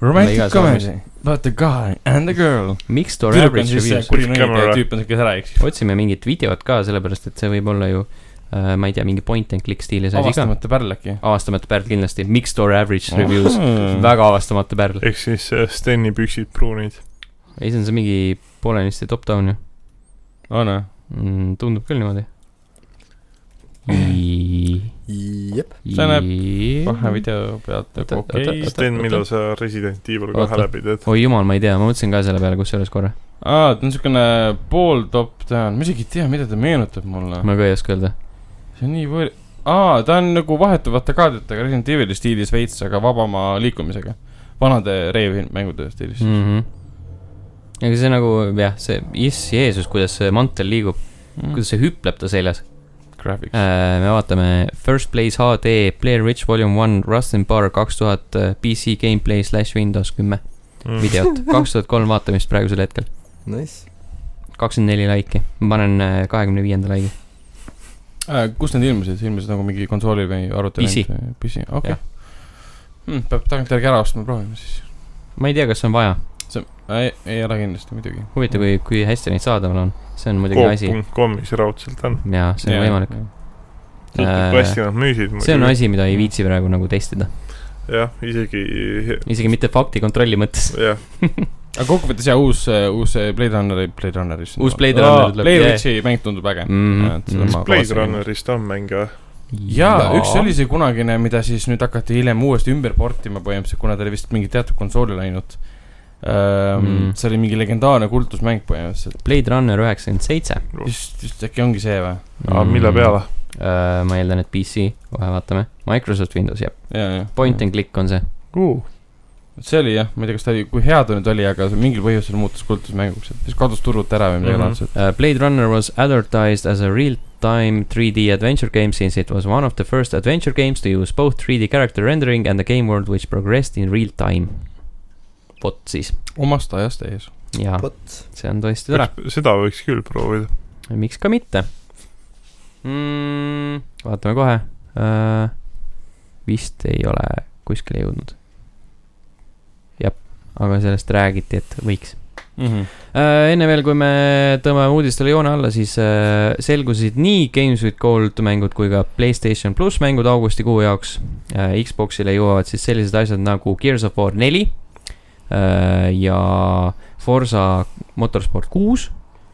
A: Romantic
C: Igas vormis.
A: comedy about the guy and the girl .
C: mixed or
A: tüdruk on
C: average
A: siis see
C: reviews .
A: kuri nõige
D: Camera.
A: tüüp on see , kes ära eksib .
C: otsime mingit videot ka , sellepärast et see võib olla ju äh, , ma ei tea , mingi point and click stiilis asi ka .
A: avastamata pärl äkki . Hmm.
C: avastamata pärl kindlasti , mixed or
A: Oh.
C: average reviews . väga avastamata pärl .
D: ehk siis äh, Steni püksid pruunid .
C: ei , see on see mingi poolenisti top-down ju
A: on või ?
C: mm, . tundub küll niimoodi .
E: jep ,
A: See näeb kahe . video pealt
C: Oota,
A: nagu okei
C: oota,
A: okay. .
D: Sten , millal sa Resident Evil
C: Oota.
D: kahe läbi teed ?
C: oi jumal , ma ei tea , ma mõtlesin ka selle peale kusjuures korra .
A: aa , ta on siukene pooltop down , ma isegi ei tea , mida ta meenutab mulle .
C: ma ka ei oska öelda .
A: see on nii võõr- , aa , ta on nagu vahetuvate kaadritega Resident Evil'i stiilis veits , aga vabama liikumisega . vanade Reivi mängude stiilis
C: Hmm.
A: mm. .
C: Mhm. aga see nagu jah , see , iss Jeesus , kuidas see mantel liigub , kuidas see hüpleb ta seljas .
A: Hmm. Graphics äh. .
C: me vaatame First Place HD , Player Rich Volume One , Rustin Bar kaks tuhat , PC Gameplay slash Windows kümme
D: Mhm.
A: Mhm.
C: videot , kaks tuhat kolm vaatamist praegusel hetkel ,
E: Nice .
C: kakskümmend neli laiki , ma panen äh, kahekümne viienda laigi .
A: kus Äh, need ilmusid , ilmusid nagu mingi konsooli või arvuti ?
C: PC. .
A: PC , okei
C: Jah.
A: okay. . Hmm, peab tagantjärgi ära ostma , proovime siis .
C: ma ei tea , kas on vaja ,
A: see , ei , ei ole kindlasti muidugi .
C: huvitav , kui , kui hästi neid saadaval on , see on
A: Oh,
C: muidugi asi
D: Coop.com'is raudselt on .
C: ja see on võimalik .
D: sõltub , kui hästi nad müüsid
C: Äh, see on
D: muidugi .
C: asi , mida ei viitsi praegu nagu testida ,
D: jah , isegi ,
C: isegi mitte faktikontrolli mõttes .
D: jah ,
A: aga kokkuvõttes jaa , uus , uus äh, Blade Runneri , Blade Runneri .
C: Uus Blade Runner tuleb,
A: Blade
C: jah.
A: Witchi mäng tundub äge
C: Mhm.
A: Ja, et seda
C: Mhm.
A: ma
D: Blade
A: kavatsen-
D: Runnerist on mänge .
A: jaa , üks oli see kunagine , mida siis nüüd hakati hiljem uuesti ümber portima põhimõtteliselt , kuna ta oli vist mingi teatud konsooli läinud mm.
C: Mm. .
A: see oli mingi legendaarne kultusmäng põhimõtteliselt ,
C: Blade Runner üheksakümmend seitse .
A: just , just äkki ongi see või ?
C: Mm.
D: aga mille ? peale ?
C: Äh, ma eeldan , et PC , kohe vaatame , Microsoft Windows , jah ,
A: ja , ja .
D: Mm.
C: point and click on see .
A: see oli jah , ma ei tea , kas ta oli , kui hea ta nüüd oli , aga see mingil põhjusel muutus kultusmänguks , et siis kadus turult ära või midagi
D: Mhm.
A: laadset .
C: Äh, Blade Runner was advertised as a real-time 3D adventure game since it was one of the first adventure games to use both 3D character rendering and a game world which progressed in real time . vot siis ,
A: omast ajast ees .
C: jaa ,
E: vot .
C: see on tõesti tore ,
D: seda võiks küll proovida .
C: miks ka mitte mm, . vaatame kohe uh, , vist ei ole kuskile jõudnud . jah , aga sellest räägiti , et võiks .
A: Mhm.
C: Äh, enne veel , kui me tõmbame uudistele joone alla , siis äh, selgusid nii Games with Gold mängud kui ka Playstation pluss mängud augustikuu jaoks . Xboxile jõuavad siis sellised asjad nagu Gears of War neli äh, ja Forsa Motorsport kuus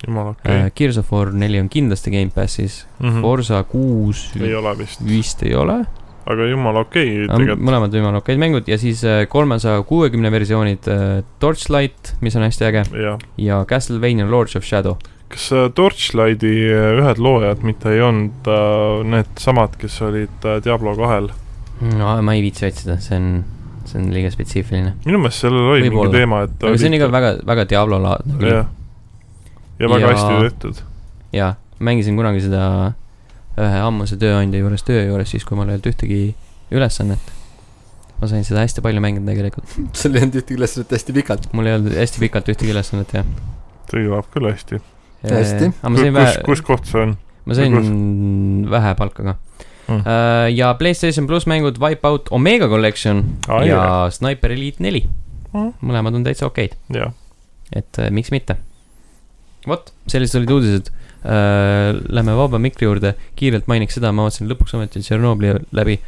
D: jumala okei Mm. Mhm.
C: okay. . Äh, Gears of War neli on kindlasti Gamepassis , Forsa kuus
D: ei ole vist ,
C: vist ei ole .
D: aga jumala okei tegelikult .
C: mõlemad võimalikud okeid mängud ja siis äh, kolmesaja kuuekümne versioonid äh, Torchlight , mis on hästi äge
D: jah ,
C: ja Castlevania Lords of Shadow .
D: kas äh, Torchlighti äh, ühed loojad mitte ei olnud äh, need samad , kes olid äh, Diablo kahel ? Mm.
C: no ma ei viitsi otsida , see on , see on liiga spetsiifiline .
D: minu meelest sellel oli
C: Võib-olla.
D: mingi teema , et
C: aga see on ikka väga , väga Diablo-laadne küll .
D: jah , ja väga
C: Ja-
D: hästi tehtud .
C: jaa , mängisin kunagi seda ühe ammuse tööandja juures , töö juures , siis kui mul ei olnud ühtegi ülesannet . ma sain seda hästi palju mängida tegelikult .
E: sul ei olnud ühtegi ülesannet hästi pikalt .
C: mul ei olnud hästi pikalt ühtegi ülesannet , jah .
D: kõlab küll hästi .
E: Hästi.
C: aga ma sain
D: kus ,
C: vähe ,
D: kus koht see on ?
C: ma sain
D: kus-
C: vähe palka ka
D: Mm.
C: mm. . ja Playstation pluss mängud Wipeout Omega Collection
D: Aa,
C: ja Sniper Elite neli
D: Mm. .
C: mõlemad on täitsa okeid .
D: jah ,
C: et äh, miks mitte . vot , sellised olid uudised äh, . Lähme vaba mikri juurde , kiirelt mainiks seda , ma vaatasin lõpuks ometi Tšernobõli läbi ,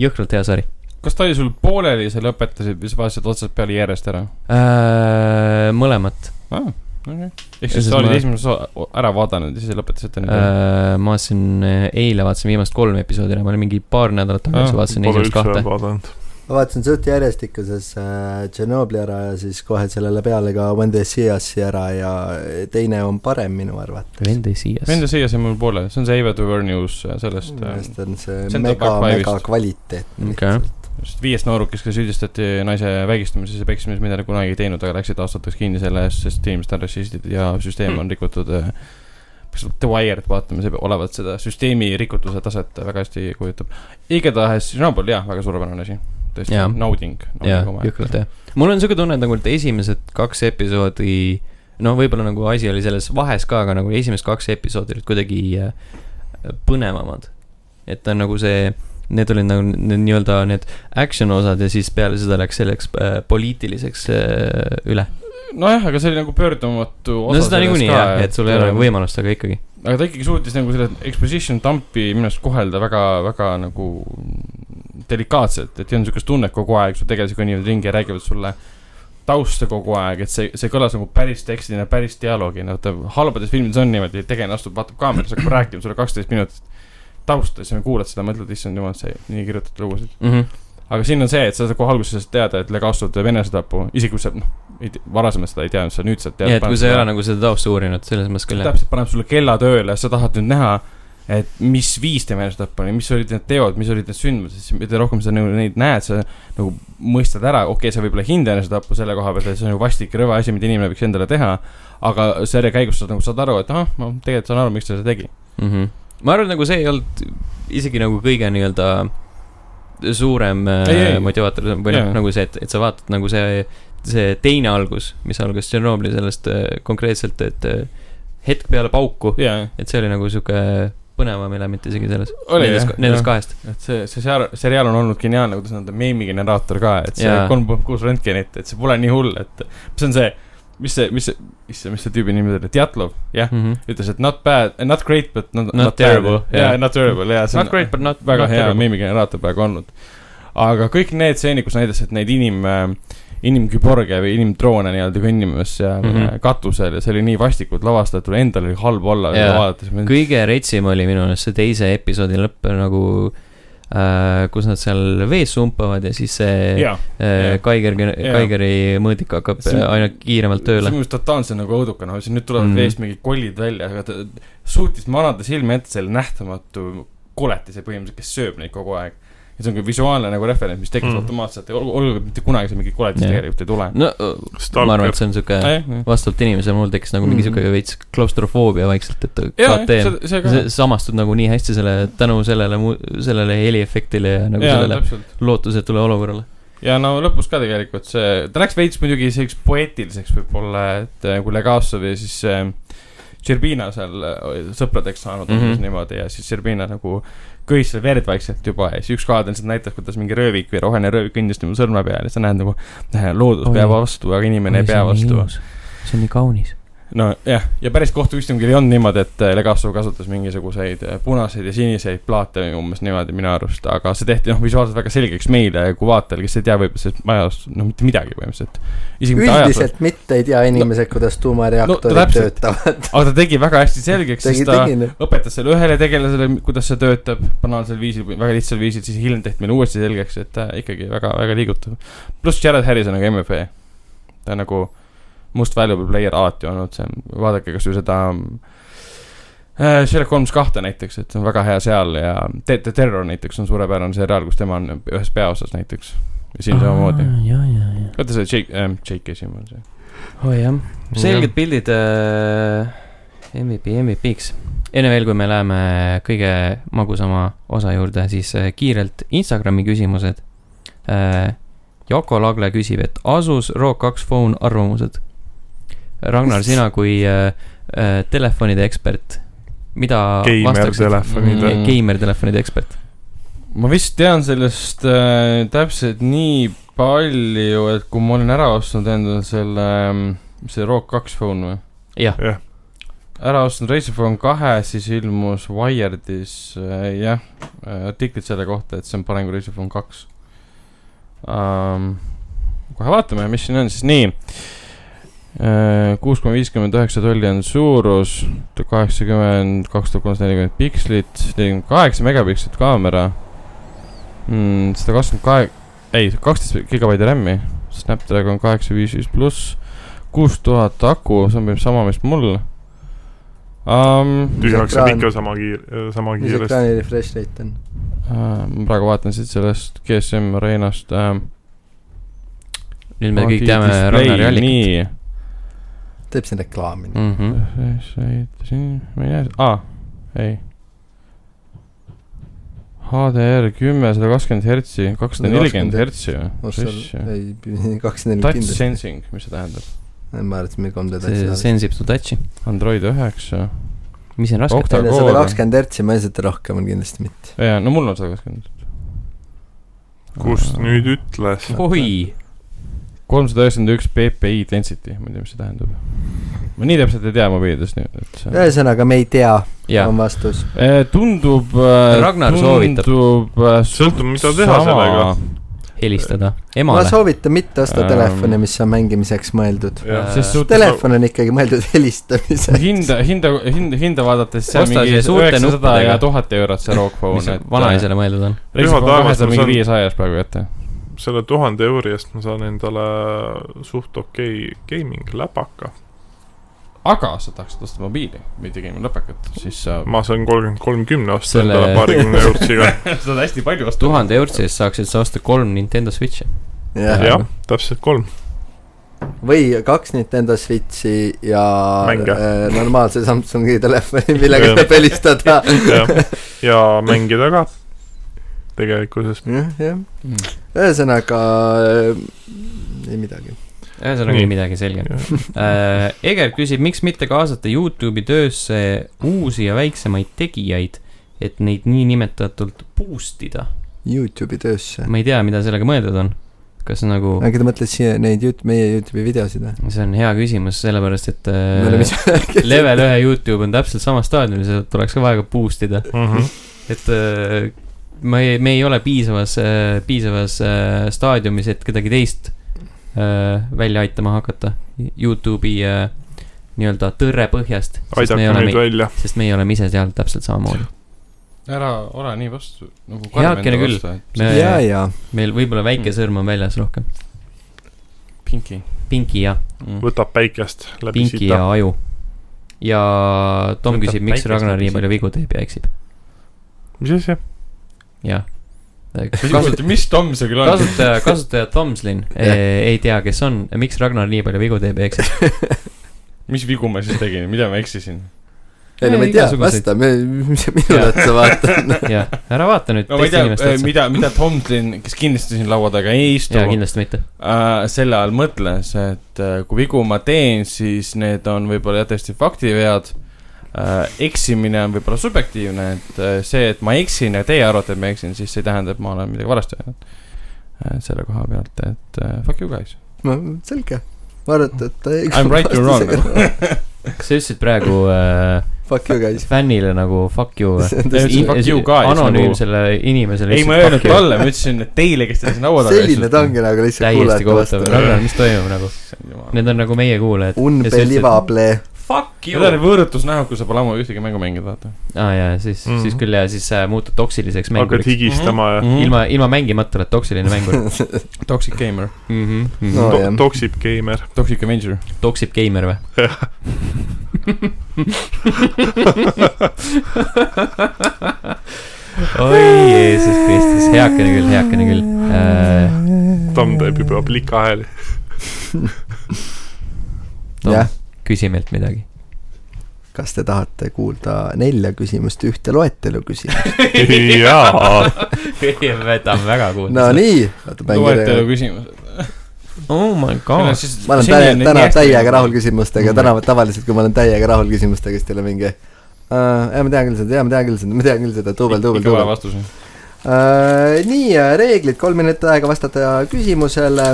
C: jõhkralt hea sari
A: kas ta oli sul pooleli , sa lõpetasid või sa vaatasid otsast peale järjest ära ?
C: äh, . mõlemat
A: aa , okei . ehk
C: Ja
A: siis
C: siis
A: sa olid
C: ma-
A: esimese osa ära vaadanud ja siis lõpetasid ta
D: Mm-hmm.
A: nüüd ära ?
C: äh, , ma vaatasin äh, , eile vaatasin viimast kolm episoodi ära , ma olin mingi paar nädalat
A: Ah,
C: tagasi ah, , vaatasin
D: pole
C: esimest
D: üldse
C: kahte .
D: vaadanud .
E: ma vaatasin suht järjestikuses äh, Tšernobõli ära ja siis kohe sellele peale ka When the Seas'i ära ja teine on parem minu arvates .
C: Vende siias .
A: Vende siia see on mul pooleli , see on see Ava to Earn News sellest , ähm,
E: minu meelest on see
A: Central
E: mega
A: Park , Five'ist.
E: mega kvaliteetne
C: Okei.
E: lihtsalt .
A: sellest viiest noorukest , kes süüdistati naise vägistamises ja peksimises , mida nad kunagi ei teinud , aga läksid aastateks kinni selle eest , sest inimesed on rassistid ja süsteem
C: Hmm.
A: on rikutud . peaks The Wire'it vaatama , see olevat seda süsteemi rikutuse taset väga hästi kujutab . igatahes Chernobyl jah , väga suurepärane asi , tõesti
C: Jaa. ,
A: nauding .
C: jaa , jõhkralt hea . mul on siuke tunne , et nagu et esimesed kaks episoodi , noh , võib-olla nagu asi oli selles vahes ka , aga nagu esimesed kaks episoodi olid kuidagi äh, põnevamad . et ta on nagu see , need olid nagu need nii-öelda need action osad ja siis peale seda läks selleks äh, poliitiliseks äh, üle .
A: nojah , aga see oli nagu pöördumatu
C: no seda niikuinii jah , et sul ei ole nagu võimalust , aga ikkagi .
A: aga ta ikkagi suutis nagu selle exposition dump'i minu arust kohelda väga , väga nagu delikaatselt , et ei olnud niisugust tunnet kogu aeg , su tegelased kõnnivad ringi ja räägivad sulle tausta kogu aeg , et see , see kõlas nagu päris tekstina , päris dialoogina , vaata halbades filmides on niimoodi , et tegelane astub , vaatab kaamerasse , hakkab rääkima sulle kaksteist minutit tausta ja siis sa kuulad seda , mõtled , issand jumal , see nii kirjutatud lugusid .
C: Mm -hmm.
A: aga siin on see , et sa saad kohe alguses teada , et Legasov teeb enesetapu , isegi kui sa noh , varasemalt seda ei teadnud , sa nüüd saad
C: nii
A: teada .
C: et kui sa ei ole nagu seda tausta uurinud , selles mõttes küll jah .
A: täpselt paneb sulle kella tööle , sa tahad nüüd näha , et mis viis tema ennast tappa oli , mis olid need teod , mis olid need sündmused , siis mida rohkem sa nagu neid näed , sa nagu mõistad ära , okei okay, , sa võib-olla ei hinda ennast tappa selle koha pealt , et see on nagu vastik ja rõve asi , mida inimene võiks endale teha , aga selle käigus sa nagu saad aru , et ahah , ma tegelikult saan aru , miks ta seda tegi .
C: ma arvan , nagu see ei olnud isegi nagu kõige nii-öelda suurem äh,
A: Ei, ei.
C: motivaator või
A: Jaa.
C: noh , nagu see , et , et sa vaatad nagu see , see teine algus , mis algas Tšernobõli sellest äh, konkreetselt , et äh, hetk peale pauku ,
A: jaa ,
C: et see oli nagu sihuke põnevam element isegi selles .
A: Oli,
C: Nendest
A: jah, ,
C: nendest
A: jah.
C: kahest .
A: et see , see sear- seriaal on olnud geniaalne , kuidas nad on meemigeneraator ka , et see
C: Jaa.
A: kolm punkt kuus röntgenit , et see pole nii hull , et see on see , mis see , mis see , issand , mis see tüübi nimi oli , Djatlov , jah .
C: Mhm.
A: ütles , et not bad , not great , but not,
C: Not terrible,
A: jaa yeah.
C: jah.
A: not terrible , jaa .
C: Not great , but not
A: väga
C: not
A: hea
C: terrible.
A: meemigeneraator praegu olnud . aga kõik need stseenid , kus näitas , et neid inim , inimküborge või inimdroone nii-öelda kõnnimas seal mm
C: Mhm.
A: -hmm. katusel ja see oli nii vastikult lavastatud , endal oli halb olla
C: Jaa.
A: yeah. vaadates .
C: kõige retsim oli minu meelest see teise episoodi lõpp nagu äh, , kus nad seal vees sumpavad ja siis see
A: jaa ,
C: äh,
A: jaa.
C: Kaiger ,
A: Jaa.
C: Kaigeri mõõdik hakkab
A: See on-
C: äh, aina kiiremalt
A: see on
C: tööle .
A: minu arust totaalselt nagu õudukene , siis nüüd tulevad
C: Mhm.
A: mm. veest mingid kollid välja , aga ta suutis manada silme ette selle nähtamatu koletise põhimõtteliselt , kes sööb neid kogu aeg . ja see on ka visuaalne nagu referents , mis tekkis
D: Mhm.
A: mm. automaatselt , olgu , olgu , mitte kunagi see mingi koletis
C: Jah.
A: yeah. tegelikult ei tule .
C: no ma arvan ,
D: Stalker
C: et see on siuke
A: Ah, jah, jah.
C: vastavalt inimesele , mul tekkis nagu mingi
A: Mhm.
C: siuke veits klaustrofoobia vaikselt , et
A: jaa ,
C: KTM .
A: see , see ka .
C: sa samastud nagu nii hästi selle , tänu sellele , sellele heliefektile ja nagu
A: jaa ,
C: sellele
A: täpselt .
C: lootusetule olukorrale .
A: ja no lõpus ka tegelikult see , ta läks veits muidugi selliseks poeetiliseks võib-olla , et äh, kui Legasov ja siis äh, Tšerbina seal äh, olid sõpradeks saanud mm
C: Mhm.
A: -hmm. niimoodi ja siis Tšerbina nagu köis seal verd vaikselt juba ja siis üks kaadel lihtsalt näitas , kuidas mingi röövik või roheline röövik kõndis tema sõrme peal ja sa näed nagu , loodus
C: Oi.
A: peab vastu , aga inimene ei pea vastu .
C: see on nii kaunis .
A: nojah , ja päris kohtuistungil ei olnud niimoodi , et eh, Legasov kasutas mingisuguseid äh, punaseid ja siniseid plaate või umbes niimoodi minu arust , aga see tehti noh , visuaalselt väga selgeks meile kui vaatajale , kes ei tea võib-olla sellest majast noh , mitte midagi põhimõtteliselt . isegi mitte ajast ,
E: üldiselt mitte ei tea inimesed , kuidas tuumareaktorid
A: No
E: no,
A: täpselt.
E: töötavad .
A: aga ta tegi väga hästi selgeks ,
E: tegi ,
A: sest ta
E: tegi nüüd .
A: õpetas selle ühele tegelasele , kuidas see töötab banaalsel viisil , väga lihtsal viisil , siis hiljem tehti meile uuesti selgeks , et ta ikkagi väga , väga liigutav . pluss Jared Harris on nagu MVP . ta on nagu must valuable player alati olnud , see on , vaadake kasvõi seda äh, Sherlock Holmes kahte näiteks , et see on väga hea seal ja The, The Terror näiteks on suurepärane seriaal , kus tema on ühes peaosas näiteks . ja siin samamoodi .
C: ja , ja , ja ,
A: vaata see Jake äh, , Jake esimene on see .
C: oo jah , selged pildid äh, MVP , MVP-ks . enne veel , kui me läheme kõige magusama osa juurde , siis äh, kiirelt Instagrami küsimused äh, . Jako Lagle küsib , et Asus ROG kaks Phone arvamused . Ragnar , sina kui äh, äh, telefonide ekspert , mida vastaksid-
D: geimertelefonide
A: Mm.
D: mm. .
C: geimertelefonide ekspert .
A: ma vist tean sellest äh, täpselt nii palju , et kui ma olin ära ostnud endale selle , mis see ROG kaks phone või ?
C: jah ,
D: jah ,
A: ära ostnud Razer Phone kahe , siis ilmus Wired'is äh, jah äh, , artiklid selle kohta , et see on parem kui Razer Phone kaks um, . kohe vaatame , mis siin on siis , nii . kuus koma viiskümmend üheksa tolli on suurus , kaheksakümmend , kaks tuhat kolmsada nelikümmend pikslit , nelikümmend kaheksa megapikslit kaamera mm, . sada kakskümmend kahe , ei , kaksteist gigabaiti RAM-i , Snapdragon kaheksa viis viis pluss , kuus tuhat aku , see on põhimõtteliselt sama , mis mul um, .
D: tühjaks saab
E: Ekraan.
D: ikka sama kiir- , sama
E: mis
D: kiiresti .
E: ekraani refresh rate on ?
A: Äh, ma praegu vaatan siit sellest GSM areenast ähm, .
C: nüüd me kõik teame Ragnari allikat .
A: nii ,
E: teeb siin reklaami mm. .
C: Mm -hmm.
A: siin , ma ei näe , aa , ei . HDR kümme , sada kakskümmend hertsi , kakssada nelikümmend
E: 120
A: hertsi või ?
E: ei , kaks neli
A: Touch
E: kindlasti .
A: sensing , mis see tähendab ?
E: ma arvan , et meil kolm teda
C: see
E: asja .
C: sensib su touch'i ,
A: Android üheksa ,
C: mis on raske .
A: Octa-
E: enne
A: Octa-core.
E: sada kakskümmend hertsi ma ei saa seda rohkem on kindlasti mitte .
A: jaa , no mul on sada kakskümmend .
D: kus nüüd ? ütles ?
C: oi ,
A: kolmsada üheksakümmend üks PPI density , ma ei tea , mis see tähendab . ma nii täpselt ei tea mobiilidest nüüd , et see on .
E: ühesõnaga , me ei tea ,
C: jaa ,
E: on vastus .
A: Eh, tundub .
C: Ragnar soovitab.
A: tundub eh, s-
D: sõltub , mida teha
A: sama.
D: sellega .
C: helistada
E: ma
C: emale .
E: soovitan mitte osta
A: Ähm.
E: telefoni , mis on mängimiseks mõeldud .
D: jah ,
A: Ses suhtes
E: telefon on ikkagi mõeldud helistamiseks .
A: hinda , hinda , hinda , hinda vaadates seal
C: Osta
A: mingi
C: see suurte
A: üheksasada
C: nuppudega.
A: ja tuhat eurot see Rock
C: mis
A: Phone ,
C: vanaisale mõeldud on ?
D: Püha taevas, ma
A: mingi
D: saan-
A: viiesajas praegu kätte .
D: selle tuhande euri eest ma saan endale suht okei gaming läpaka .
A: aga sa tahaksid osta mobiili , mitte game läpakat , siis sa
D: ma saan kolmkümmend , kolmkümne osta
C: Selle-
D: selle... endale paarikümne eurot siga .
A: saad hästi palju osta .
C: tuhande eurtsi eest saaksid sa osta kolm Nintendo Switchi .
E: jah
D: jah , täpselt kolm .
E: või kaks Nintendo Switchi ja
D: Mänge.
E: äh, normaalse Samsungi telefoni , millega
D: Jah.
E: saab helistada .
D: ja mängida ka tegelikkuses .
E: jah , jah
A: Mm. .
E: ühesõnaga äh, ei midagi .
C: ühesõnaga
D: Nii.
C: ei midagi selge . Eger küsib , miks mitte kaasata Youtube'i töösse uusi ja väiksemaid tegijaid , et neid niinimetatult boost ida .
E: Youtube'i töösse .
C: ma ei tea , mida sellega mõeldud on . kas nagu ,
E: äkki ta mõtles siia neid Youtube , meie Youtube'i videosid või ?
C: see on hea küsimus , sellepärast et
E: me
C: äh,
E: oleme ise
C: level ühe Youtube on täpselt samas staadiumis , et tuleks ka vaja ka boost ida .
D: Mhm.
C: et äh, ma ei , me ei ole piisavas , piisavas äh, staadiumis , et kedagi teist äh, välja aitama hakata . Youtube'i äh, nii-öelda tõrre põhjast . sest me
D: aidake meid
C: oleme ,
D: välja .
C: sest meie oleme ise seal täpselt samamoodi .
A: ära ole nii vastu , nagu
C: Heakene küll. Me-
E: ja , ja
C: meil võib-olla väike sõrm on väljas rohkem .
A: pinki
C: pinki ja ,
A: mm. .
D: võtab päikest läbi
C: pinki
D: sita .
C: ja aju . ja Tom
B: Võtab
C: küsib , miks
B: päikest
C: Ragnar nii
B: läbi
C: palju vigu teeb ja eksib .
D: mis asja ?
C: jah .
A: Kasu... mis Tom see küll on ?
C: kasutaja , kasutaja Tomslin
E: Jah.
C: eh, ei tea , kes on , miks Ragnar nii palju vigu teeb ja eksib .
A: mis vigu ma siis tegin , mida ma eksisin ?
E: ei no ma
C: Ei,
E: ei tea ,
C: igasuguseid.
E: vasta , mis sa minu otsa vaatad .
C: jah , ära vaata nüüd
A: no ma ei
C: teiste inimeste
A: tea , äh,
C: otsa .
A: mida , mida Tomlin , kes kindlasti siin laua taga ei istu
C: jaa ,, kindlasti mitte .
A: äh, selle all mõtles , et äh, kui vigu ma teen , siis need on võib-olla jah, täiesti faktivead äh, . eksimine on võib-olla subjektiivne , et äh, see , et ma eksin ja teie arvate , et ma eksin , siis see ei tähenda , et ma olen midagi valesti öelnud äh, . selle koha pealt , et äh, fuck you guys .
E: no selge , ma arvan , et , et ta ei
A: I m right you are wrong .
C: kas sa ütlesid praegu äh,
E: Fuck you guys .
C: fännile nagu fuck you või ?
A: ütlesin fuck you guys nagu-
C: anonüümsele inimesele .
A: ei , ma ei öelnud . talle , ma ütlesin et teile , kes te siin laua taga
E: selline ta . ongi nagu lihtsalt
C: täiesti
E: kuulajate
C: kohutav ,
E: vastu .
C: Ragnar , mis toimub nagu ? Need on nagu meie kuulajad .
E: Unbelievable .
C: Fuck
A: Need on võõrutusnähud , kui sa pole ammu ühtegi mängu mänginud , vaata .
C: aa jaa , siis mm , -hmm.
D: Mhm.
C: siis küll jaa , siis äh, muutud toksiliseks
D: hakkad
C: mänguriks .
D: higistama ja
A: Mhm.
C: ilma , ilma mängimata oled toksiline mängur
A: Toxic gamer , Mhm,
C: mm . -hmm.
E: No.
C: No.
D: to-
E: jah.
D: toksib geimer .
A: toxic avenger .
C: toksib geimer või ? oi Jeesus Kristus , heakene küll , heakene küll äh, .
D: Tom teeb juba plika hääli .
C: Tom.
E: jah ,
C: küsi meilt midagi .
E: kas te tahate kuulda nelja küsimust , ühte loetelu küsimust ?
D: jaa .
C: ta on väga kuulda .
E: Nonii , oota mäng
A: loetelu
E: ära .
A: küsimused .
C: oh my god .
E: ma olen täie, täna täiega rahul . küsimustega ,
C: Mm.
E: täna tavaliselt , kui ma olen täiega rahul küsimustega , siis teil on mingi Uh, jah , ma tean küll seda , jaa , ma tean küll seda , ma tean küll seda , duubel , duubel ,
A: ikka vaja
E: duubel .
A: vastuse .
E: Äh, nii , reeglid , kolm minutit aega vastata küsimusele .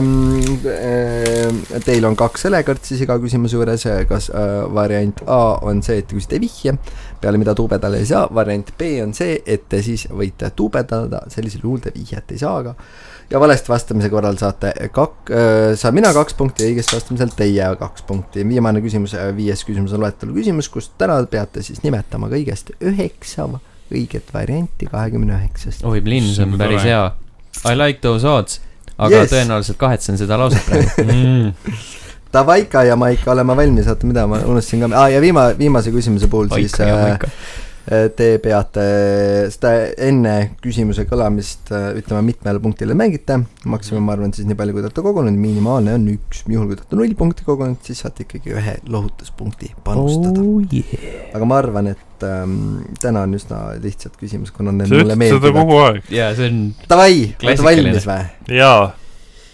E: Teil on kaks õlekõrtsi iga küsimuse juures , kas äh, variant A on see , et te küsite vihje , peale mida tuubedale ei saa , variant B on see , et te siis võite tuubedada , sellisel juhul te vihjet ei saa ka . ja valesti vastamise korral saate kak- , saan mina kaks punkti , õigesti vastamisel teie kaks punkti . viimane küsimus , viies küsimus on loetelu küsimus , kus täna peate siis nimetama kõigest üheksa õiget varianti kahekümne üheksast .
C: oi , Blinn , see on
A: Issand,
C: päris
A: tore.
C: hea . I like those odds , aga
E: Yes.
C: yes. tõenäoliselt kahetsen seda lauset praegu .
A: Mm.
E: Davai , Kaia Maika , oleme valmis , oota , mida ma unustasin ka ah, , ja viima- , viimase küsimuse puhul siis
C: Maika ja
E: äh,
C: Maika .
E: te peate seda enne küsimuse kõlamist äh, ütlema , mitmele punktile mängite , maksimum , ma arvan , siis nii palju , kui te olete kogunenud , minimaalne on üks , juhul kui te olete null punkti kogunenud , siis saate ikkagi ühe lohutuspunkti panustada .
C: Oh, yeah.
E: aga ma arvan , et ähm, täna on üsna lihtsad küsimused , kuna need
D: sa
E: mulle
D: ütled seda
E: meeldivad .
D: kogu aeg .
C: ja see on ,
E: Davai , olete
C: Klassikaline.
E: valmis või ?
D: jaa .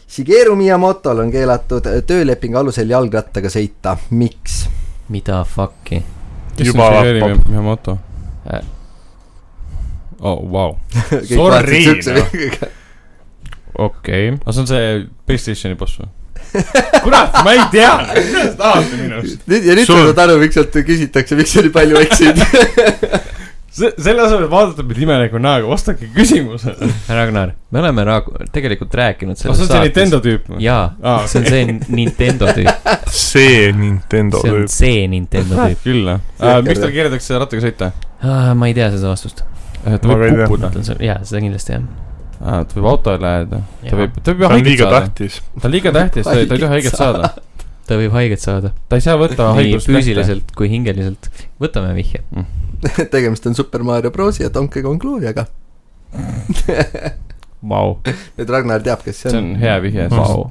E: Shigeru Miyamotol on keelatud töölepingu alusel jalgrattaga sõita , miks ?
C: mida fuck'i .
D: Juba lappab.
A: minu moto
C: Äh. .
A: oh , vau .
E: Kõik
A: Sorry,
E: vaatasid siukse
A: noh.
E: pilguga.
A: okei . aga see on see Playstationi boss või ? kurat , ma ei tea , mida te tahate minust ?
E: nüüd ja nüüd sa
D: Sul-
E: saad aru , miks sealt küsitakse , miks sa nii palju eksid .
A: see , selle asemel et vaadata mind imeliku näoga , vastake küsimusele .
C: Ragnar , me oleme nagu tegelikult rääkinud
A: kas
C: sellest
A: Ah, see on see Nintendo tüüp või ?
C: jaa
A: Aa,
C: ah, , see on see Nintendo tüüp ,
D: see Nintendo
C: see on
D: tüüp .
C: see Nintendo tüüp .
A: küll jah
E: See-
A: äh, . miks tal keeldutakse rattaga sõita ?
C: ma ei tea seda vastust .
A: ta
D: Ma ka ei
A: võib
D: tea.
A: kukkuda .
C: jaa , seda kindlasti jah .
A: ta võib auto üle jääda ,
C: Jaa.
A: ta võib , ta võib ju
D: ta on
A: haiget
D: liiga
A: saada ,
D: tähtis .
A: ta on liiga tähtis , ta ei ta ei tohi haiget saada ,
C: ta võib haiget saada .
A: ta ei saa võtta
C: nii
A: haigust
C: füüsiliselt kui hingeliselt . võtame vihje .
E: tegemist on Super Mario Brosi ja Donkey Kong Glory'ga .
A: Vau ,
E: nüüd Ragnar teab , kes see
A: see
E: on .
A: on hea vihje .
D: Vau.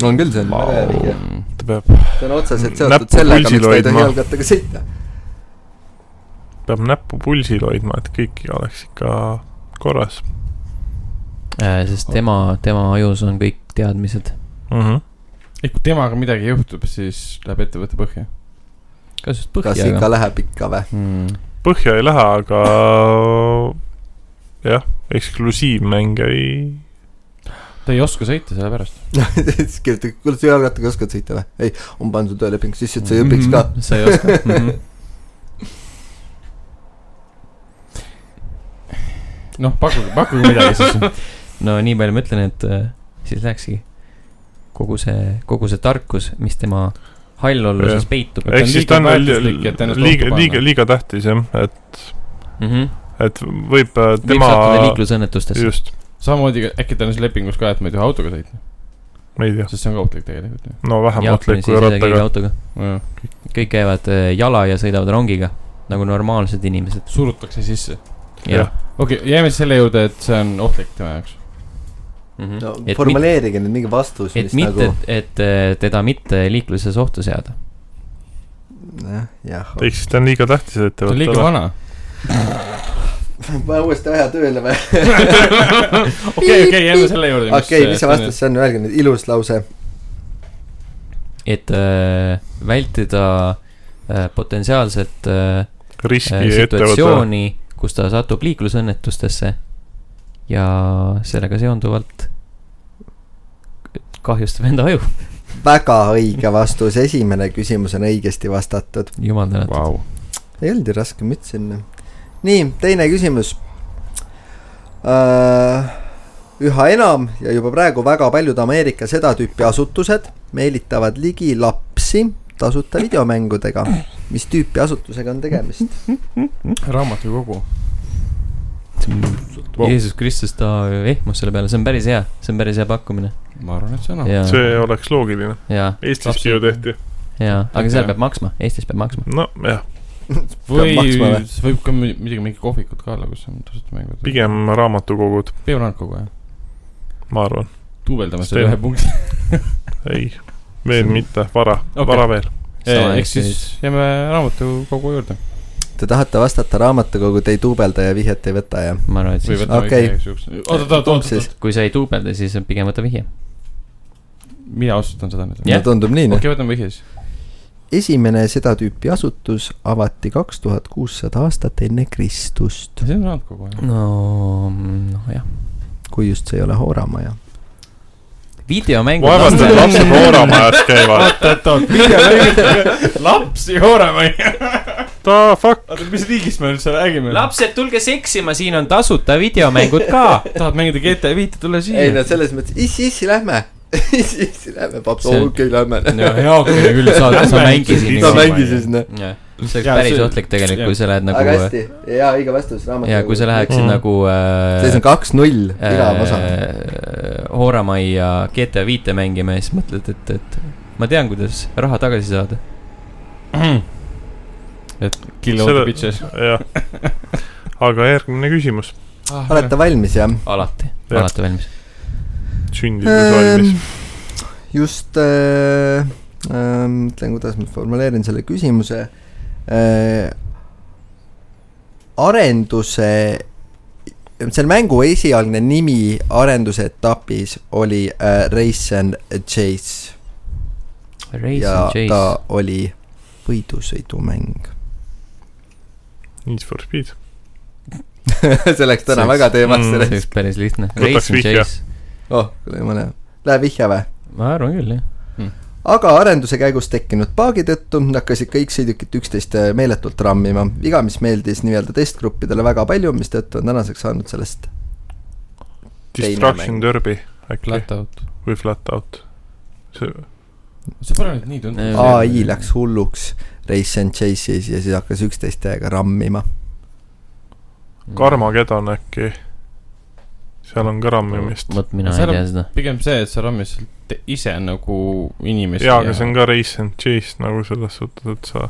E: on küll , see on väga hea vihje .
D: ta peab ,
E: see on otseselt
D: Näppu
E: seotud sellega ,
D: pulsil
E: miks ta
A: noh.
E: ei tohi
D: hoidma.
E: jalgrattaga sõita .
D: peab näppu pulsil hoidma , et kõik oleks ikka korras
C: Äh, sest tema , tema ajus on kõik teadmised .
D: mm .
A: Mhm.
D: -hmm.
A: ei , kui temaga midagi juhtub , siis läheb ettevõte põhja
C: kas just põhja
E: kas
C: Hmm.
E: ikka
C: ka ?
E: läheb ikka või ?
A: mm. .
D: põhja ei lähe , aga jah , eksklusiivmänge ei ,
A: ta ei oska sõita sellepärast .
E: siis kirjutage , kuule , sa jalgrattaga oskad sõita või ? ei , on pandud su tööleping sisse , et sa ei õpiks ka .
C: sa ei oska mm .
A: Mhm.
C: -hmm.
A: noh , pakkuge , pakkuge midagi siis .
C: no nii palju ma ütlen , et äh, siis läkski kogu see , kogu see tarkus , mis tema hall olluses
D: Jah.
C: peitub
A: ta on
D: ehk siis
A: liiga
D: ta on
A: väärtuslik, et
D: liiga ,
A: ennast
D: liiga ,
A: ohtu
D: liiga ,
A: panna.
D: liiga tähtis jah , et ,
C: mm . -hmm.
D: et võib äh,
C: võib
D: tema
C: Tema... sattuda , liiklusõnnetustesse .
D: just ,
A: samamoodi äkki ta on siis lepingus ka , et ma ei tohi autoga sõita ,
D: ma ei tea ,
A: sest see on ka ohtlik tegelikult ju
D: no vähem ohtlik kui rattaga .
C: autoga .
A: Jah.
C: kõik käivad äh, jala ja sõidavad rongiga nagu normaalsed inimesed .
A: surutakse sisse .
D: jah ,
A: okei okay, , jääme siis selle juurde , et see on ohtlik tema jaoks . Mhm.
E: no
C: et mit-
E: formuleerige nüüd mingi vastus ,
C: et
E: mis
C: mitte
E: nagu ,,
C: et äh, teda mitte liikluses ohtu seada .
E: jah , jah .
D: ehk siis ta on liiga tähtis
A: ta on
D: ettevõte
A: liiga
D: ole.
A: vana .
E: vaja uuesti aja tööle või ?
A: okei , okei , jääme selle juurde .
E: okei , mis see vastus see on , öelge nüüd ilus lause .
C: et äh, vältida äh, potentsiaalset äh,
D: riski
C: äh,
D: ettevõte ,
C: situatsiooni , kus ta satub liiklusõnnetustesse ja sellega seonduvalt kahjustab enda aju .
E: väga õige vastus , esimene küsimus on õigesti vastatud .
C: jumal tänatud .
A: wow. ?
E: ei olnud ju raske müts enne . nii , teine küsimus uh, . üha enam ja juba praegu väga paljud Ameerika seda tüüpi asutused meelitavad ligi lapsi tasuta videomängudega . mis tüüpi asutusega on tegemist ?
A: raamatukogu . Vau.
C: Jeesus Kristus , ta ehmus selle peale , see on päris hea , see on päris hea pakkumine .
A: ma arvan , et see on ohtlik .
C: ja ,
D: see oleks loogiline ,
C: ja ,
D: Eestiski ju tehti ,
C: ja , aga
A: Jah.
C: seal peab maksma , Eestis peab maksma .
D: nojah ,
A: või
E: Peab maksma või?
A: see võib ka mi- muidugi mingi kohvikud ka olla , kus on tasuta mängud .
D: pigem raamatukogud ,
A: pigem raamatukogu jah .
D: ma arvan ,
A: duubeldame
D: Stel-
A: selle ühe punkti .
D: ei , veel mitte , vara
A: Okei.
D: okay. , vara veel ,
A: ehk siis jääme raamatukogu juurde .
E: Te tahate vastata raamatukogu , te ei duubelda ja vihjet ei võta ja ?
C: ma arvan , et
A: või
C: siis ,
A: võtame
E: Okei.
A: okay. igaks juhuks . oot , oot , oot , oot ,
E: siis
A: oot ,
C: kui sa ei duubelda , siis pigem võta vihje .
A: mina otsustan seda nüüd .
E: yeah. , tundub nii noh okay. .
A: okei , võtame vihje siis .
E: esimene seda tüüpi asutus avati kaks tuhat kuussada aastat enne Kristust ,
A: see on raamatukogu jah .
C: no ,
E: noh,
C: nojah .
E: kui just see ei ole Hooramaja .
C: videomängud .
D: vaevalt need lapsed hooramajast käivad ,
A: oot , oot , oot , videomängud , lapsi hoorama ei jää .
D: the fuck ,
A: oota , mis riigist me üldse räägime ?
C: lapsed , tulge seksima , siin on tasuta videomängud ka .
A: tahad mängida GTA viite , tule
E: ei no
A: siia .
E: selles mõttes , issi , issi , lähme . issi , issi , lähme , paps ,
C: See-
E: okei , lähme .
C: heakene küll , sa , sa mängi siin .
E: ta mängis siis noh .
C: see oleks
A: Jaa,
C: päris
A: see-
C: ohtlik tegelikult , kui sa lähed
E: Nagu... aga
C: nagu ,
E: hästi , hea , õige vastus , raamat .
C: ja kui sa läheksid
E: Mm.
D: Mhm.
C: nagu äh,
E: seis on kaks-null , igav osa .
C: äh, Hooramai ja GTA viite mängima ja siis mõtled , et , et ma tean , kuidas raha tagasi saada .
A: et kill all the
D: Seda-
A: bitches .
D: jah , aga järgmine küsimus , Ah,
E: olete valmis , jah ?
C: alati ,
D: Jah.
C: alati valmis .
E: Ehm.
D: sündides valmis .
E: just äh, , äh, mõtlen , kuidas ma formuleerin selle küsimuse äh, . arenduse , selle mängu esialgne nimi arenduse etapis oli äh, Race and Chase
C: Race
E: ja
C: and
E: ta
C: Chase ,
E: oli võidusõidumäng .
D: Need for Speed ,
E: see läks täna
C: See
E: väga
C: oleks-
E: teemasse
D: mm,
E: mm,
C: see . oleks päris lihtne .
D: Võtaks
C: Race and
D: vihje.
C: Chase ,
E: oh , kuule jumala hea . Läheb vihje või ?
C: ma arvan küll , jah .
E: aga arenduse käigus tekkinud paagi tõttu hakkasid kõik sõidukid üksteist äh, meeletult rammima . viga , mis meeldis nii-öelda testgruppidele väga palju , mistõttu on tänaseks saanud sellest Teine
D: Destruction
E: mäng.
D: Derby äkki
A: Flat out .
D: või Flat Out , see ,
A: see pole nüüd nii tundnud .
C: Ei,
E: ai läks hulluks Race and Chase'is ja siis hakkas üksteist täiega rammima .
D: Karmageddon äkki , seal on ka rammimist .
C: vot mina
A: Seal
C: ei
A: on-
C: tea seda .
A: pigem see , et sa rammid sealt ise nagu inimesi .
D: jaa , aga see on ka race and chase nagu selles suhtes , et sa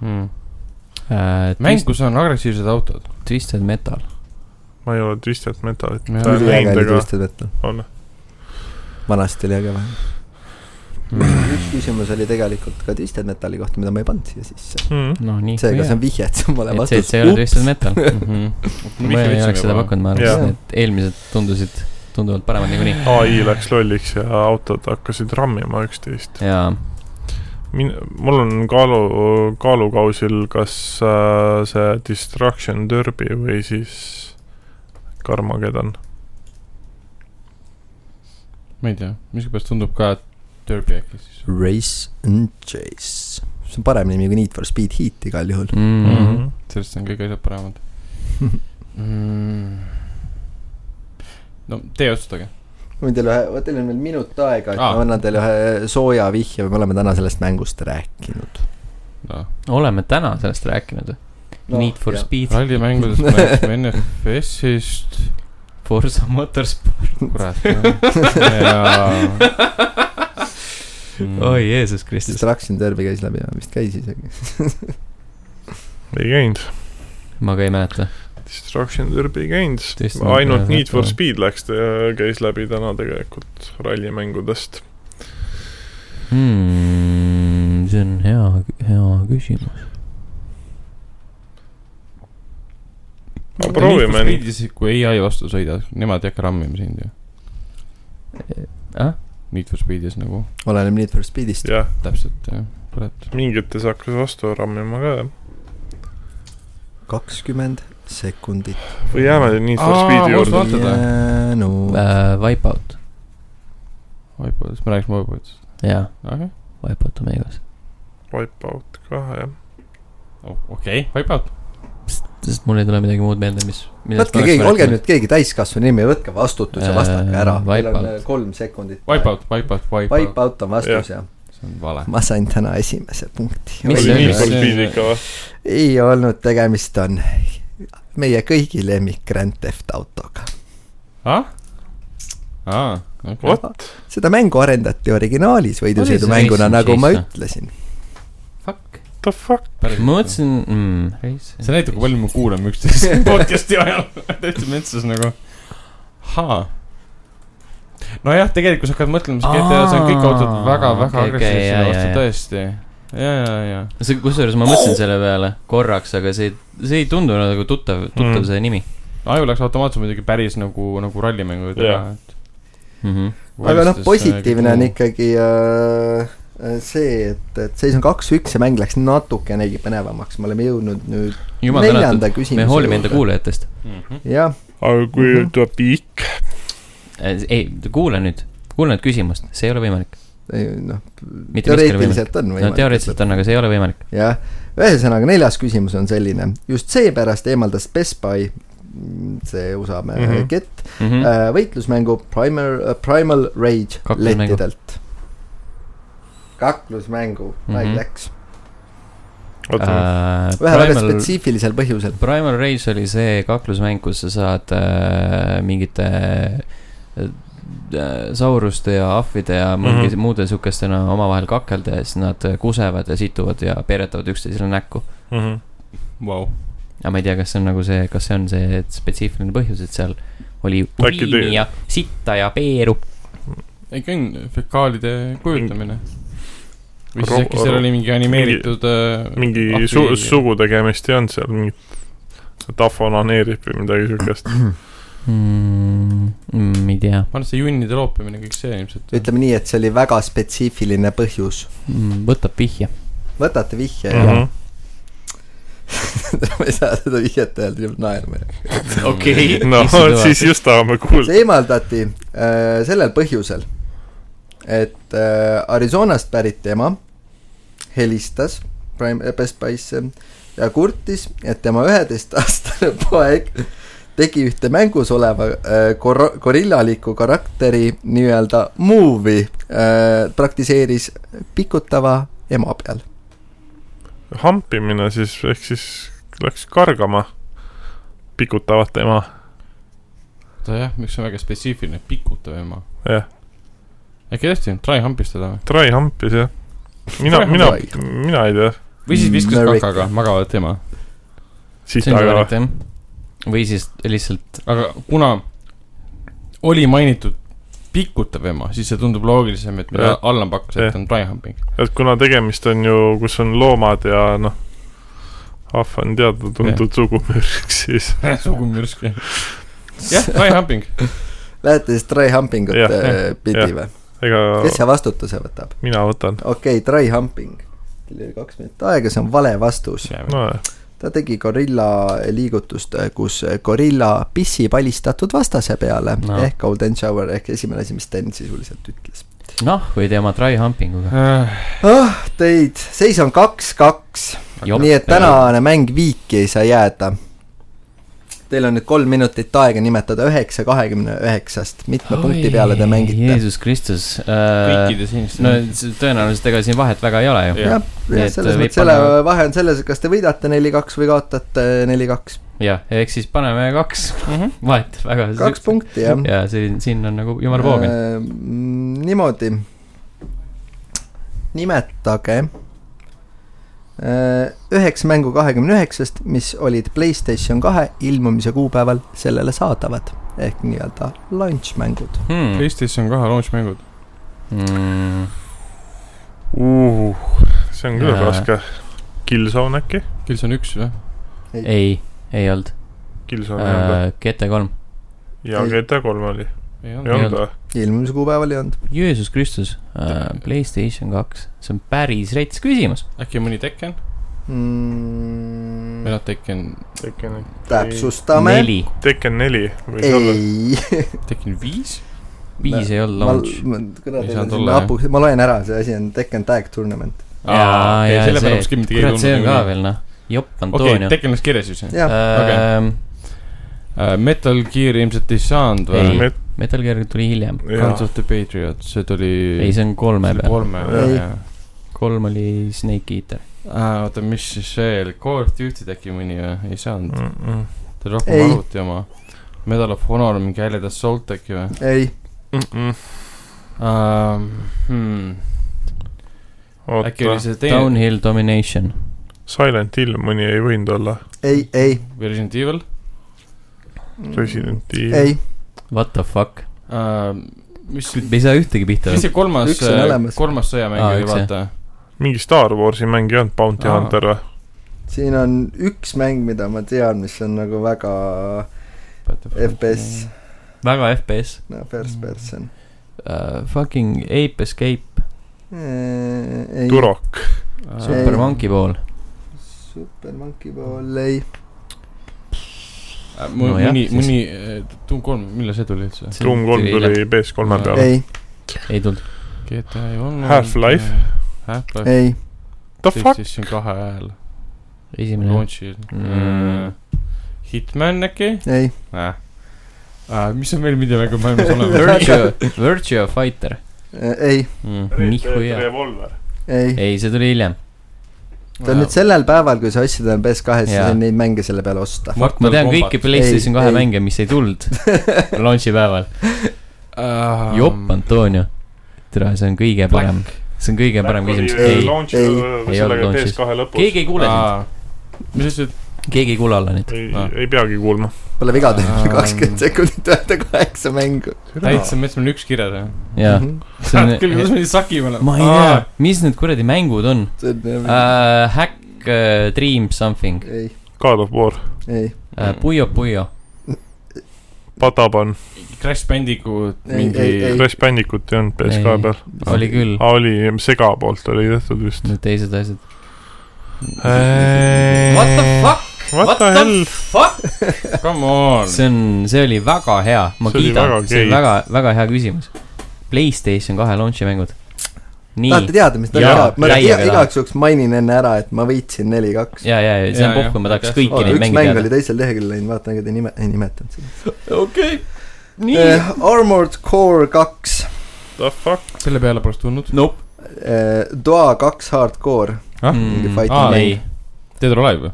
A: mm. . mängus on agressiivsed autod .
C: Äh, Twisted Metal .
D: ma ei ole Twisted Metalit
A: Ma ei ole
E: üliäge
D: näinud ,
E: oli
D: aga
E: Twisted Metal ,
D: on .
E: vanasti oli äge vähe . Mhm.
D: Mm.
E: üks küsimus oli tegelikult ka Twisted Metali kohta , mida ma ei pannud siia sisse .
D: Hmm.
C: no nii .
E: seega see on vihje , et see on vale
C: et see , et
E: vastus
C: see ei . ole Twisted Metal . ma ei oleks seda
A: pakkunud .
C: pakkunud , ma arvasin , et eelmised tundusid tunduvalt paremad niikuinii .
D: ai läks lolliks ja autod hakkasid rammima üksteist .
C: jaa ,
D: min- , mul on kaalu , kaalukausil kas äh, see Destruction Derby või siis Karmageddon .
A: ma ei tea , miskipärast tundub ka , et Derby äkki siis .
E: Race and Chase . see on parem nimi kui Need for Speed Heat igal juhul .
D: Mhm.
C: mm, .
A: sellest on kõik asjad paremad mm. . no teie otsustage .
E: ma võin teile ühe , teil on veel minut aega , et
A: Aa.
E: ma annan teile ühe sooja vihje , me oleme täna sellest mängust rääkinud .
A: noh ,
C: oleme täna sellest rääkinud või no, ? Need for jah. Speed ,
A: rallimängudest me rääkisime NFS-ist ,
C: Forza Motorsport
A: kurat . ja .
C: mm. . oi Jeesus Kristus ,
E: Destruction Derby käis läbi , vist käis isegi .
D: ei käinud ,
C: ma ka ei mäleta .
D: Destruction Derby ei käinud
C: Tõesti, , ma
D: ainult
C: pean
D: Need for
C: mõtlema.
D: Speed läks , käis läbi täna tegelikult rallimängudest .
C: Mm, see on hea , hea küsimus .
D: aga proovime nii .
A: nii . kui ai vastu sõida , nemad ei hakka rammima sind ju .
C: Ah?
A: Need for Speedis nagu ,
E: oleneb Need for Speedist .
D: jah ,
A: täpselt jah , kurat .
D: mingites hakkas vastu rammima ka .
E: kakskümmend sekundit .
D: või jääme Need for
A: Aa,
D: Speedi
A: ma
D: juurde
A: arvan, . Vaatad või?
E: no
C: Äh, Wipeout ,
A: Wipeoutist , me rääkisime Wipeoutist .
C: jaa ,
A: okei ,
C: Wipeout on meie kaas .
D: Wipeout ka jah .
A: okei , Wipeout .
C: sest mul ei tule midagi muud meelde , mis .
E: võtke keegi , olge . nüüd keegi täiskasvanu nimi , võtke vastutus ja
C: Äh,
E: vastake ära . Teil on äh,
C: Wipeout.
E: kolm sekundit .
A: Wipeout , Wipeout , Wipeout .
E: Wipeout on vastus jah .
A: see on vale .
E: ma sain täna esimese punkti .
D: oli
C: Mis see oli?
D: Need for
A: See-
D: Speed ikka või ?
E: ei olnud , tegemist on meie kõigi lemmik Grand Theft Autoga .
A: ah ? aa , okei .
D: What ?
E: seda mängu arendati originaalis
C: Race
E: võidusõidumänguna ,
C: and
E: nagu ma
C: Chase või?
E: ütlesin .
C: Fuck .
D: The fuck ?
C: ma mõtlesin mm, .
A: see näitab , kui palju me kuulame üksteist podcast'i ajal . täitsa metsas nagu . ahaa . nojah , tegelikult sa hakkad mõtlema , see GTA , see on kõik autod
C: Aa,
A: väga-väga
C: okei, okei, jaa,
A: agressiivsed vastu
C: jaa, ,
A: tõesti . ja , ja , ja .
C: see , kusjuures ma mõtlesin selle peale korraks , aga see , see ei tundunud nagu tuttav , tuttav
D: Mm.
C: mm. see nimi
A: aju läks automaatselt muidugi päris nagu , nagu rallimängud
D: Jah.
A: ära , et . äh,
C: mm . -hmm.
E: aga noh , positiivne
C: nagu-
E: on . ikkagi äh, see , et , et seis on kaks-üks ja mäng läks natukenegi põnevamaks , me oleme jõudnud nüüd
C: jumal tänatud ,
E: neljanda
C: me
E: küsimuse
C: hoolime enda . kuulajatest .
A: Mhm.
E: jah ,
D: aga kui
E: Mhm.
D: tuleb pikk ,
C: Äh, ei , kuula nüüd , kuula nüüd küsimust , see ei ole võimalik .
E: noh ,
C: Mitte miskil
E: teoreetiliselt on
C: no teoreetiliselt on , aga see ei ole võimalik .
E: jah , ühesõnaga neljas küsimus on selline , just seepärast eemaldas Best Buy , see USA mm
D: Mhm.
E: -hmm. kett
C: mm . -hmm.
E: äh, , võitlusmängu Primal , Primal Rage
C: Kaklusmängu.
E: lettidelt . kaklusmängu , ai
C: Mhm.
E: läks ,
D: oota ,
C: Äh,
E: ühel väga
C: Primal ,
E: spetsiifilisel põhjusel .
C: Primal Rage oli see kaklusmäng , kus sa saad äh, mingite äh, sauruste ja ahvide ja mingi mm
D: Mhm.
C: -hmm. muude sihukestena omavahel kakelda ja siis nad kusevad ja situvad ja peeretavad üksteisele näkku .
D: Mhm.
A: Vau .
C: aga ma ei tea , kas see on nagu see , kas see on see spetsiifiline põhjus , et seal oli
D: Äkki
C: uriini
D: te-
C: ja sitta ja peeru .
A: ikka on fekaalide kujutamine . või siis
D: Ro-
A: äkki seal
D: ro-
A: oli mingi animeeritud .
C: äh,
D: mingi su- , sugu tegemist ei olnud seal , mingit tahv onaneerib või midagi siukest .
C: mm, . Mm, ei tea
A: ma arvan , et see äh, junnide loopimine , kõik see ilmselt .
E: ütleme nii , et see oli väga spetsiifiline põhjus .
C: mm, , võtab vihje .
E: võtate vihje mm -hmm.
D: okei ,
C: Mhm.
E: ja ma ei saa seda vihjet öelda , nüüd naerma .
D: no
C: Issand jumal.
D: siis just tahame kuulda .
E: see eemaldati äh, sellel põhjusel , et äh, Arizonast pärit ema helistas Prime , Best Buy'sse ja kurtis , et tema üheteistaastane poeg tegi ühte mängus oleva äh, kor- , gorillaliku karakteri nii-öelda movie äh, , praktiseeris pikutava ema peal .
D: hampimine siis , ehk siis läks kargama pikutavat ema .
A: ta jah , miks see on väga spetsiifiline , pikutav ema .
D: jah ,
A: äkki tõesti , try humpis teda või ?
D: Try Hampis jah . mina ,
A: Try
D: mina
E: Hump. ,
D: mina ei tea .
A: või siis viskas
E: Merrick.
A: kakaga magavat ema .
D: siit
C: see on see
D: taga
C: variant , jah . või siis lihtsalt ,
A: aga kuna oli mainitud pikutav ema , siis see tundub loogilisem , et mida
D: Jah.
A: Allan pakkus , et
D: Jah.
A: on try humping .
D: et kuna tegemist on ju , kus on loomad ja noh , ahv on teada-tuntud sugumürgiks , siis
A: sugumürsk jah . jah , try humping .
E: Lähete siis try humping ut
D: Jah,
E: äh, pidi
D: jah.
E: või ?
D: ega
E: kes see vastutuse võtab ?
D: mina võtan .
E: okei okay, , try humping . teil oli kaks minutit aega , see on vale vastus .
D: nojah ,
E: ta tegi gorilla liigutust , kus gorilla pissi palistatud vastase peale no.
C: No.
E: ehk golden shower ehk esimene asi , mis Sten sisuliselt ütles .
C: noh , või tema try humping uga .
A: Äh,
E: ah , teid , seis on kaks-kaks .
C: Jop.
E: nii et tänane mäng viiki ei saa jääda . Teil on nüüd kolm minutit aega nimetada üheksa kahekümne üheksast , mitme Oi, punkti peale te mängite ?
C: Jeesus Kristus äh, .
A: kõikide siniste
C: no s- tõenäoliselt ega siin vahet väga ei ole ju .
E: jah ,
C: Nii
E: jah ,
C: et äh,
E: selles
C: võib
E: mõttes selle
C: panna-
E: vahe on selles , kas te võidate neli-kaks või kaotate neli-kaks .
C: jah , ehk siis paneme kaks vahet väga .
E: kaks punkti , jah .
C: ja siin , siin on nagu jumal poogen .
E: Äh, niimoodi . nimetage äh, üheks mängu kahekümne üheksast , mis olid Playstation kahe ilmumise kuupäeval sellele saadavad ehk nii-öelda launch mängud .
C: Hmm.
A: Eestis on kohe launch mängud .
C: Hmm.
E: Uhuh.
D: see on küll
C: Jaa.
D: raske . Killzone äkki ?
A: Killzone üks või ?
C: ei , ei olnud
D: Killzone ei olnud või ?
C: äh, . GT3 .
D: ja
E: ei.
D: GTA kolm oli ,
A: ei
D: ei
A: olnud .
D: olnud
C: olnud.
D: või ?
E: ilmumise kuupäeval ei olnud .
C: Jeesus Kristus äh, , Playstation kaks , see on päris rets küsimus .
A: äkki mõni Tekken ? või noh , Tekken ,
D: Tekken ,
E: Mm, täpsustame .
C: neli ,
D: Tekken neli võis olla .
E: ei ,
A: Tekken viis ?
C: viis ei olnud
E: ma ,
C: launch .
A: Ei
E: kuradi
A: saanud , olla,
E: hapu , ma loen ära , see asi on Tekken Tag Tournament .
C: jaa , jaa ,
A: selle peale oleks
C: see ,
A: kindlasti keegi
C: kurat , see on ka
A: tulnud .
C: veel noh , jopp
A: okei ,
C: Antonio .
A: Tekken läks kirja siis .
E: jah ,
C: Äh,
A: Äh, Metal Gear ilmselt ei saanud
C: Ei.
A: või ?
C: Metal Gear tuli hiljem .
A: Guns of the Patriot , see tuli .
C: ei , see on kolme
A: oli
C: peal ,
A: kolme
E: Ei.
A: peal , jah .
C: kolm oli Snake Eater .
A: oota , mis siis veel , Call of Duty't äkki mõni või ? ei saanud , ta oli rohkem
E: Ei.
A: arvuti oma . Medal of Honor , mingi Allied Assault äkki või ?
E: ei ,
A: hmm. äkki
D: oota
A: oli , see teine ,
C: Downhill Domination ,
D: Silent Hill mõni ei võinud olla ,
E: ei , ei ,
A: Resident Evil ?
D: Resident Evil .
E: ei ,
C: what the fuck ,
A: Ähm, mis ,
C: me ei saa ühtegi pihta .
A: mis see kolmas äh,
E: Üks on olemas. ,
A: kolmas sõjamäng
C: Aa,
A: oli ,
C: üks, jah.
A: vaata .
D: mingi Star Warsi mäng ei olnud , Bounty
A: Aa.
D: Hunter või ?
E: siin on üks mäng , mida ma tean , mis on nagu väga FPS ,
C: väga FPS
E: no
C: Mm.
E: first person .
C: uh, , fucking Ape Escape ,
E: Äh, ei ,
D: Turok ,
C: Super
E: Ei.
A: Äh,
C: Monkey Ball ,
E: Super Monkey Ball , ei ,
A: mõni ,
C: nojah,
A: mõni
C: siis- ,
A: mõni , Doom kolm , millal see tuli üldse ?
C: See
D: Doom kolm
C: tuli
D: tuli PS3-e peale .
E: ei ,
C: ei tulnud .
A: GTA ei olnud .
D: Half-Life. .
A: Half-Life .
E: ei ,
D: The fuck ?
A: siis on kahe hääl .
C: esimene ,
A: Launch'il Äh,
C: Mm. .
A: Hitman äkki ?
E: ei ,
A: mis on veel videomängu maailmas olemas ?
C: Virtua , Virtua Fighter ,
E: ei ,
C: Mm. nihuja .
D: Revolver .
E: ei .
C: ei , see tuli hiljem .
E: ta
A: Äh,
E: on nüüd sellel päeval , kui sa ostsid oma PS2-s , siis
C: Jaa.
E: on neid mänge selle peale osta .
A: Fuck,
C: ma tean kõiki . PlayStation
E: Ei,
C: kahe
E: ei.
C: mänge , mis ei tulnud launch'i päeval .
A: Ähm,
C: jopp , Antonio . tere , see on kõige parem , see on kõige parem küsimus . ei ,
E: ei,
C: ei olnud
D: sellega
C: launch'is.
D: PS2 lõpus .
C: keegi ei kuule sind ,
A: mis sa ütlesid ?
C: keegi ei kuule Allanit .
D: ei
A: Aa. ,
D: ei peagi kuulma .
E: Pole viga teha
A: Ähm.
E: kakskümmend sekundit öelda kaheksa mängu .
A: täitsa mets , mul on üks kirjas jah .
C: jaa ,
E: Mhm.
C: see on
A: küll , kuidas me siis sakime oleme ?
C: ma ei tea , mis need kuradi mängud on
E: see on jah ,
C: uh, ? Hack uh, , Dream Something uh, ,
E: ei ,
D: God of War ,
E: ei ,
C: Puyo Puyo ,
D: Pataban ,
A: Crash Bandicoot ,
E: Ei,
A: mingi
E: ei, ei.
D: Crash Bandicoot ei olnud PS2
C: Ei.
D: peal .
C: oli küll ,
D: aa , oli , Sega poolt oli tehtud vist .
C: need teised asjad .
D: What
C: fuck ,
D: What the hell ?
C: fuck ?
A: come on .
C: see on , see oli väga hea , ma
D: See oli väga
C: kiidan , see
D: gei.
C: on väga , väga hea küsimus . Playstation kahe launch'i mängud .
E: tahate
C: nii ,
E: teada , mis ta
C: Jaa,
E: teab ? ma
C: täiega
E: iga-
C: tahan.
E: igaks juhuks mainin enne ära , et ma võitsin neli-kaks .
C: ja , ja , ja see
A: Jaa,
C: on
A: jah,
C: pohv , ma tahaks
A: aitäh.
C: kõiki
E: oota ,
C: neid
E: üks
C: mänge
E: mäng oli
C: teada .
E: teisel leheküljel läinud , vaatan , ega te nime , ei nimetanud seda .
C: okei ,
E: Eh, Armored Core kaks ,
D: The fuck ?
A: selle peale poleks tulnud .
C: Nope .
E: Eh, Doa kaks Hardcore ,
A: Ah?
E: mingi
C: Mm,
E: fighting
A: aa,
E: mäng .
C: ei ,
A: Dead or Alive või ?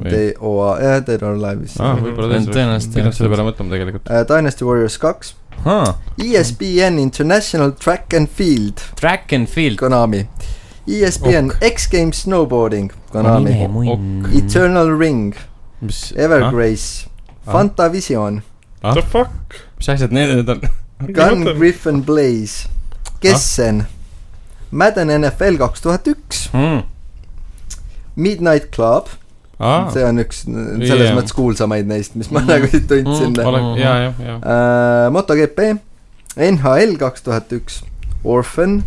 E: They are , jah , They are alive vist
A: aa , võib-olla
C: Mhm. Tõenäoliselt,
A: tõenäoliselt ,
C: jah.
A: pidanud selle peale mõtlema tegelikult .
E: uh, . Dynasty Warriors kaks , E ESPN International Track and Field ,
C: Track and field .
E: Konami . E ESPN ok. X Games Snowboarding , Konami . Eternal Ring ,
A: mis ,
E: Evergrace ,
A: Ah.
E: Fantavision ,
A: Ah?
D: The fuck ?
A: mis asjad need nüüd on ?
E: Gun Griffin Blaze , Kessen , Madden NFL kaks tuhat üks ,
C: Mm.
E: Midnight Club ,
A: aa ,
E: see on üks n- selles
A: Jaa.
E: mõttes kuulsamaid neist , mis ma
C: Mm.
E: nagu siit tundsin
C: Mm. .
A: ole , jaa , jah , jah .
E: Äh, MotoGP , NHL kaks tuhat üks , Orphan ,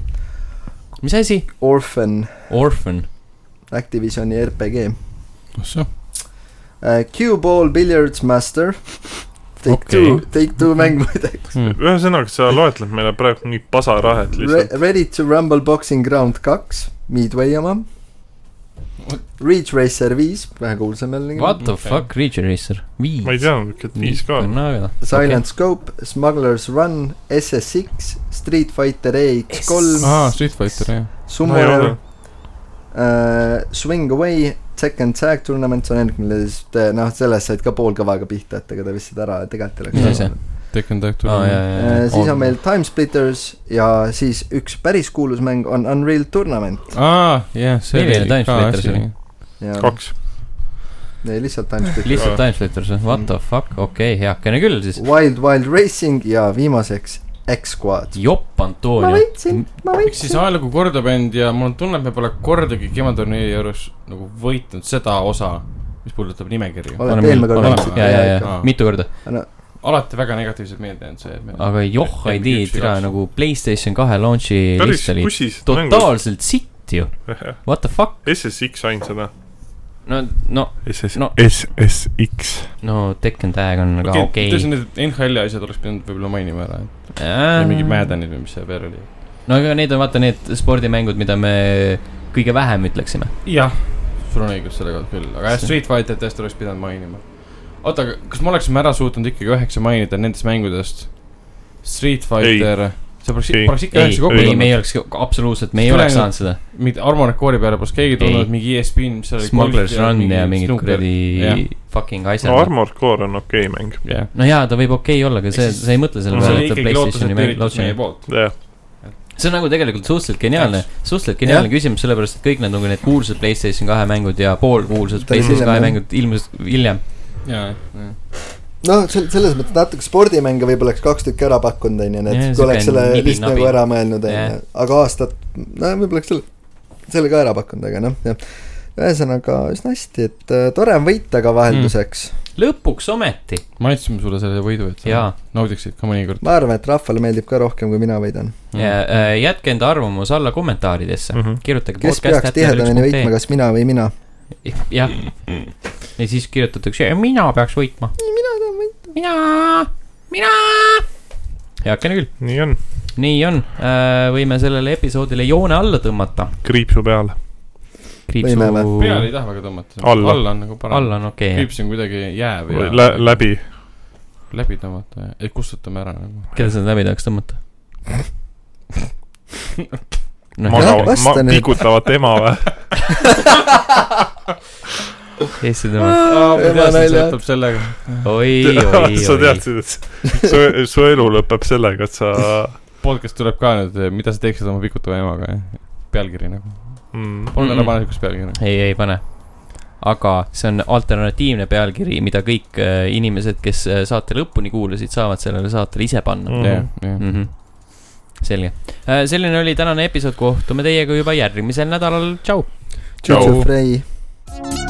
C: mis asi ?
E: Orphan ,
C: Orphan .
E: Activisioni RPG
A: ahsoo ,
E: äh, , Q-Ball Billiards Master , Take okay.
A: Okei.
E: Two , Take Two mäng muideks
D: ühesõnaga , sa loetled meile praegu nii pasarahet
E: Re ,
D: lihtsalt .
E: Ready to Rumble Boxing Round kaks , Midway oma , Ridge Racer viis , vähe kuulsam jälle ,
C: What the fuck , Ridge Racer ? viis .
D: ma ei teadnudki , et viis ka on .
E: Silent okay. Scope , Smugglers Run , SS-X , Street Fighter EX kolm ,
A: aa , Street Fighter , jah .
D: ma ei ole
E: Summoner ,, äh, Swing Away , Check and Tag Tournament , see on ainult , mille siis te- noh , sellest said ka pool kõvaga pihta , et ega ta vist seda ära tegelikult ei oleks
C: Mis asi?
E: saanud.
A: Tekken Tag
C: aa , jaa ,
A: Tournament .
C: jaa ,
E: Äh, siis on meil Time Splitters ja siis üks päris kuulus mäng on Unreal Tournament
A: aa , jah , see
C: Milline
A: oli
C: Time
A: ka
C: Splitter see
A: asi
C: oli? .
E: ja
D: kaks .
E: ei, lihtsalt Time Splitters ,
C: lihtsalt Timesplitters , what the fuck , okei okay, , heakene küll siis .
E: Wild Wild Racing ja viimaseks X-Squad .
C: jopp
E: ma
C: Antonio .
E: võitsin , ma
A: miks siis
E: võitsin .
A: ajalugu kordab end ja mul on tunne , et me pole kordagi kematurniiri juures nagu võitnud seda osa , mis puudutab nimekirju .
E: oleme eelmine kord
A: oleme-
E: võitnud .
C: ja , ja , ja
A: ikka.
C: mitu korda ,
A: alati väga negatiivselt meelde jäänud see , et me
C: aga joh ei tee , tira nagu Playstation kahe launch'i
D: päris
C: list oli
D: kusist mängud .
C: totaalselt sitt ju , what the fuck ,
D: SSX ainsana .
C: no , no ,
D: SS
C: No. ,
D: SSX .
C: no Tekken Tag on ka okei .
A: tõesti , need NHL-i asjad oleks pidanud võib-olla mainima ära , et
C: Ähm.
A: ja mingid Maddenid või mis seal veel oli .
C: no aga need on vaata need spordimängud , mida me kõige vähem ütleksime .
A: jah , sul on õigus selle kohta küll , aga jah , Street Fighter tõesti oleks pidanud mainima . oota , aga kas me oleksime ära suutnud ikkagi üheksa mainida nendest mängudest ? Street Fighter , see poleks ,
D: Ei.
A: poleks ikka
C: ei ,
A: üheksa kokku
C: ei , me
A: tulnud .
C: ei oleks absoluutselt , me ei oleks saanud seda .
A: mingid Armo Rekoori peale poleks keegi tulnud
C: Ei. ,
A: mingi E ESPN , mis seal oli .
C: Smugglers Run ja mingid
A: jah.
C: kuradi fucking
D: no
C: asjad .
D: Armored Core on okei mäng .
A: jah ,
C: no jaa , ta võib okei olla , aga see ,
A: Ehk siis-
C: sa ei mõtle selle
A: no see
C: peale ,
A: oli
C: et ta
A: ikkagi
C: Playstationi
A: lootuselt
C: mäng ,
A: üritus meie
C: launch'i .
A: poolt .
D: jah ,
C: see on nagu tegelikult suhteliselt geniaalne , suhteliselt geniaalne küsimus , sellepärast et kõik need nagu need kuulsad Playstation kahe mängud ja poolkuulsad
E: Ta
C: Playstation
E: hiljem,
C: kahe
E: jah.
C: mängud ilmusid hiljem .
A: jaa , jah .
E: noh , sel- , selles mõttes natuke spordimänge võib-olla oleks kaks tükki ära pakkunud , onju ,
C: Jah,
E: need , kui
C: sihuke
E: oleks selle
C: nibi-nabi.
E: vist nagu ära mõelnud ,
C: Jah.
E: onju , aga aastat , no võib-olla oleks selle , selle ka ära pakkunud , aga noh , jah . ühesõnaga üsna hästi , et äh, tore on võita ka vahelduseks mm. .
C: lõpuks ometi ,
A: me andsime sulle selle võidu , et sa
C: jaa .
A: naudiksid ka mõnikord .
E: ma arvan , et rahvale meeldib ka rohkem , kui mina võidan .
A: Mm.
C: jätke enda arvamus alla kommentaaridesse
D: Mhm. ,
C: kirjutage .
E: kes peaks tihedamini võitma ,? kas mina või mina ?
C: jah .
D: Mm,
C: ja siis kirjutatakse , mina peaks võitma . mina tahan võita . mina , mina . heakene küll ,
D: nii on .
C: nii on , võime sellele episoodile joone alla tõmmata .
D: kriipsu peale .
E: Võime
C: kriipsu
A: peale ei taha väga tõmmata .
D: Alla.
A: alla on nagu parem .
C: alla on okei okay. ,
A: kriips on kuidagi jääv ja
D: Lä- , läbi .
A: läbi tõmmata ja , et kustutame ära nagu .
C: keda seda läbi tahaks tõmmata noh ,
D: magavad ,
E: vasta
D: ma- ,
E: nüüd.
D: tikutavad ema või ?
C: Eesti tema ,
A: ma
E: Ema
A: teadsin , et see
E: nalja.
A: lõpeb sellega .
C: oi , oi ,
D: sa
C: oi .
D: teadsid , et su , su elu lõpeb sellega , et sa
A: podcast tuleb ka nüüd , mida sa teeksid oma pikutava emaga , jah . pealkiri nagu .
D: mm, .
A: on
C: Mm-mm.
A: ära pannud üks pealkiri . nagu.
C: ei , ei pane . aga see on alternatiivne pealkiri , mida kõik äh, inimesed , kes äh, saate lõpuni kuulasid , saavad sellele saatele ise panna
D: Mm.
A: jah , jah .
C: mm . -hmm. selge , selline oli tänane episood , kohtume teiega juba järgmisel nädalal , tšau .
D: Tšau.
E: Frey .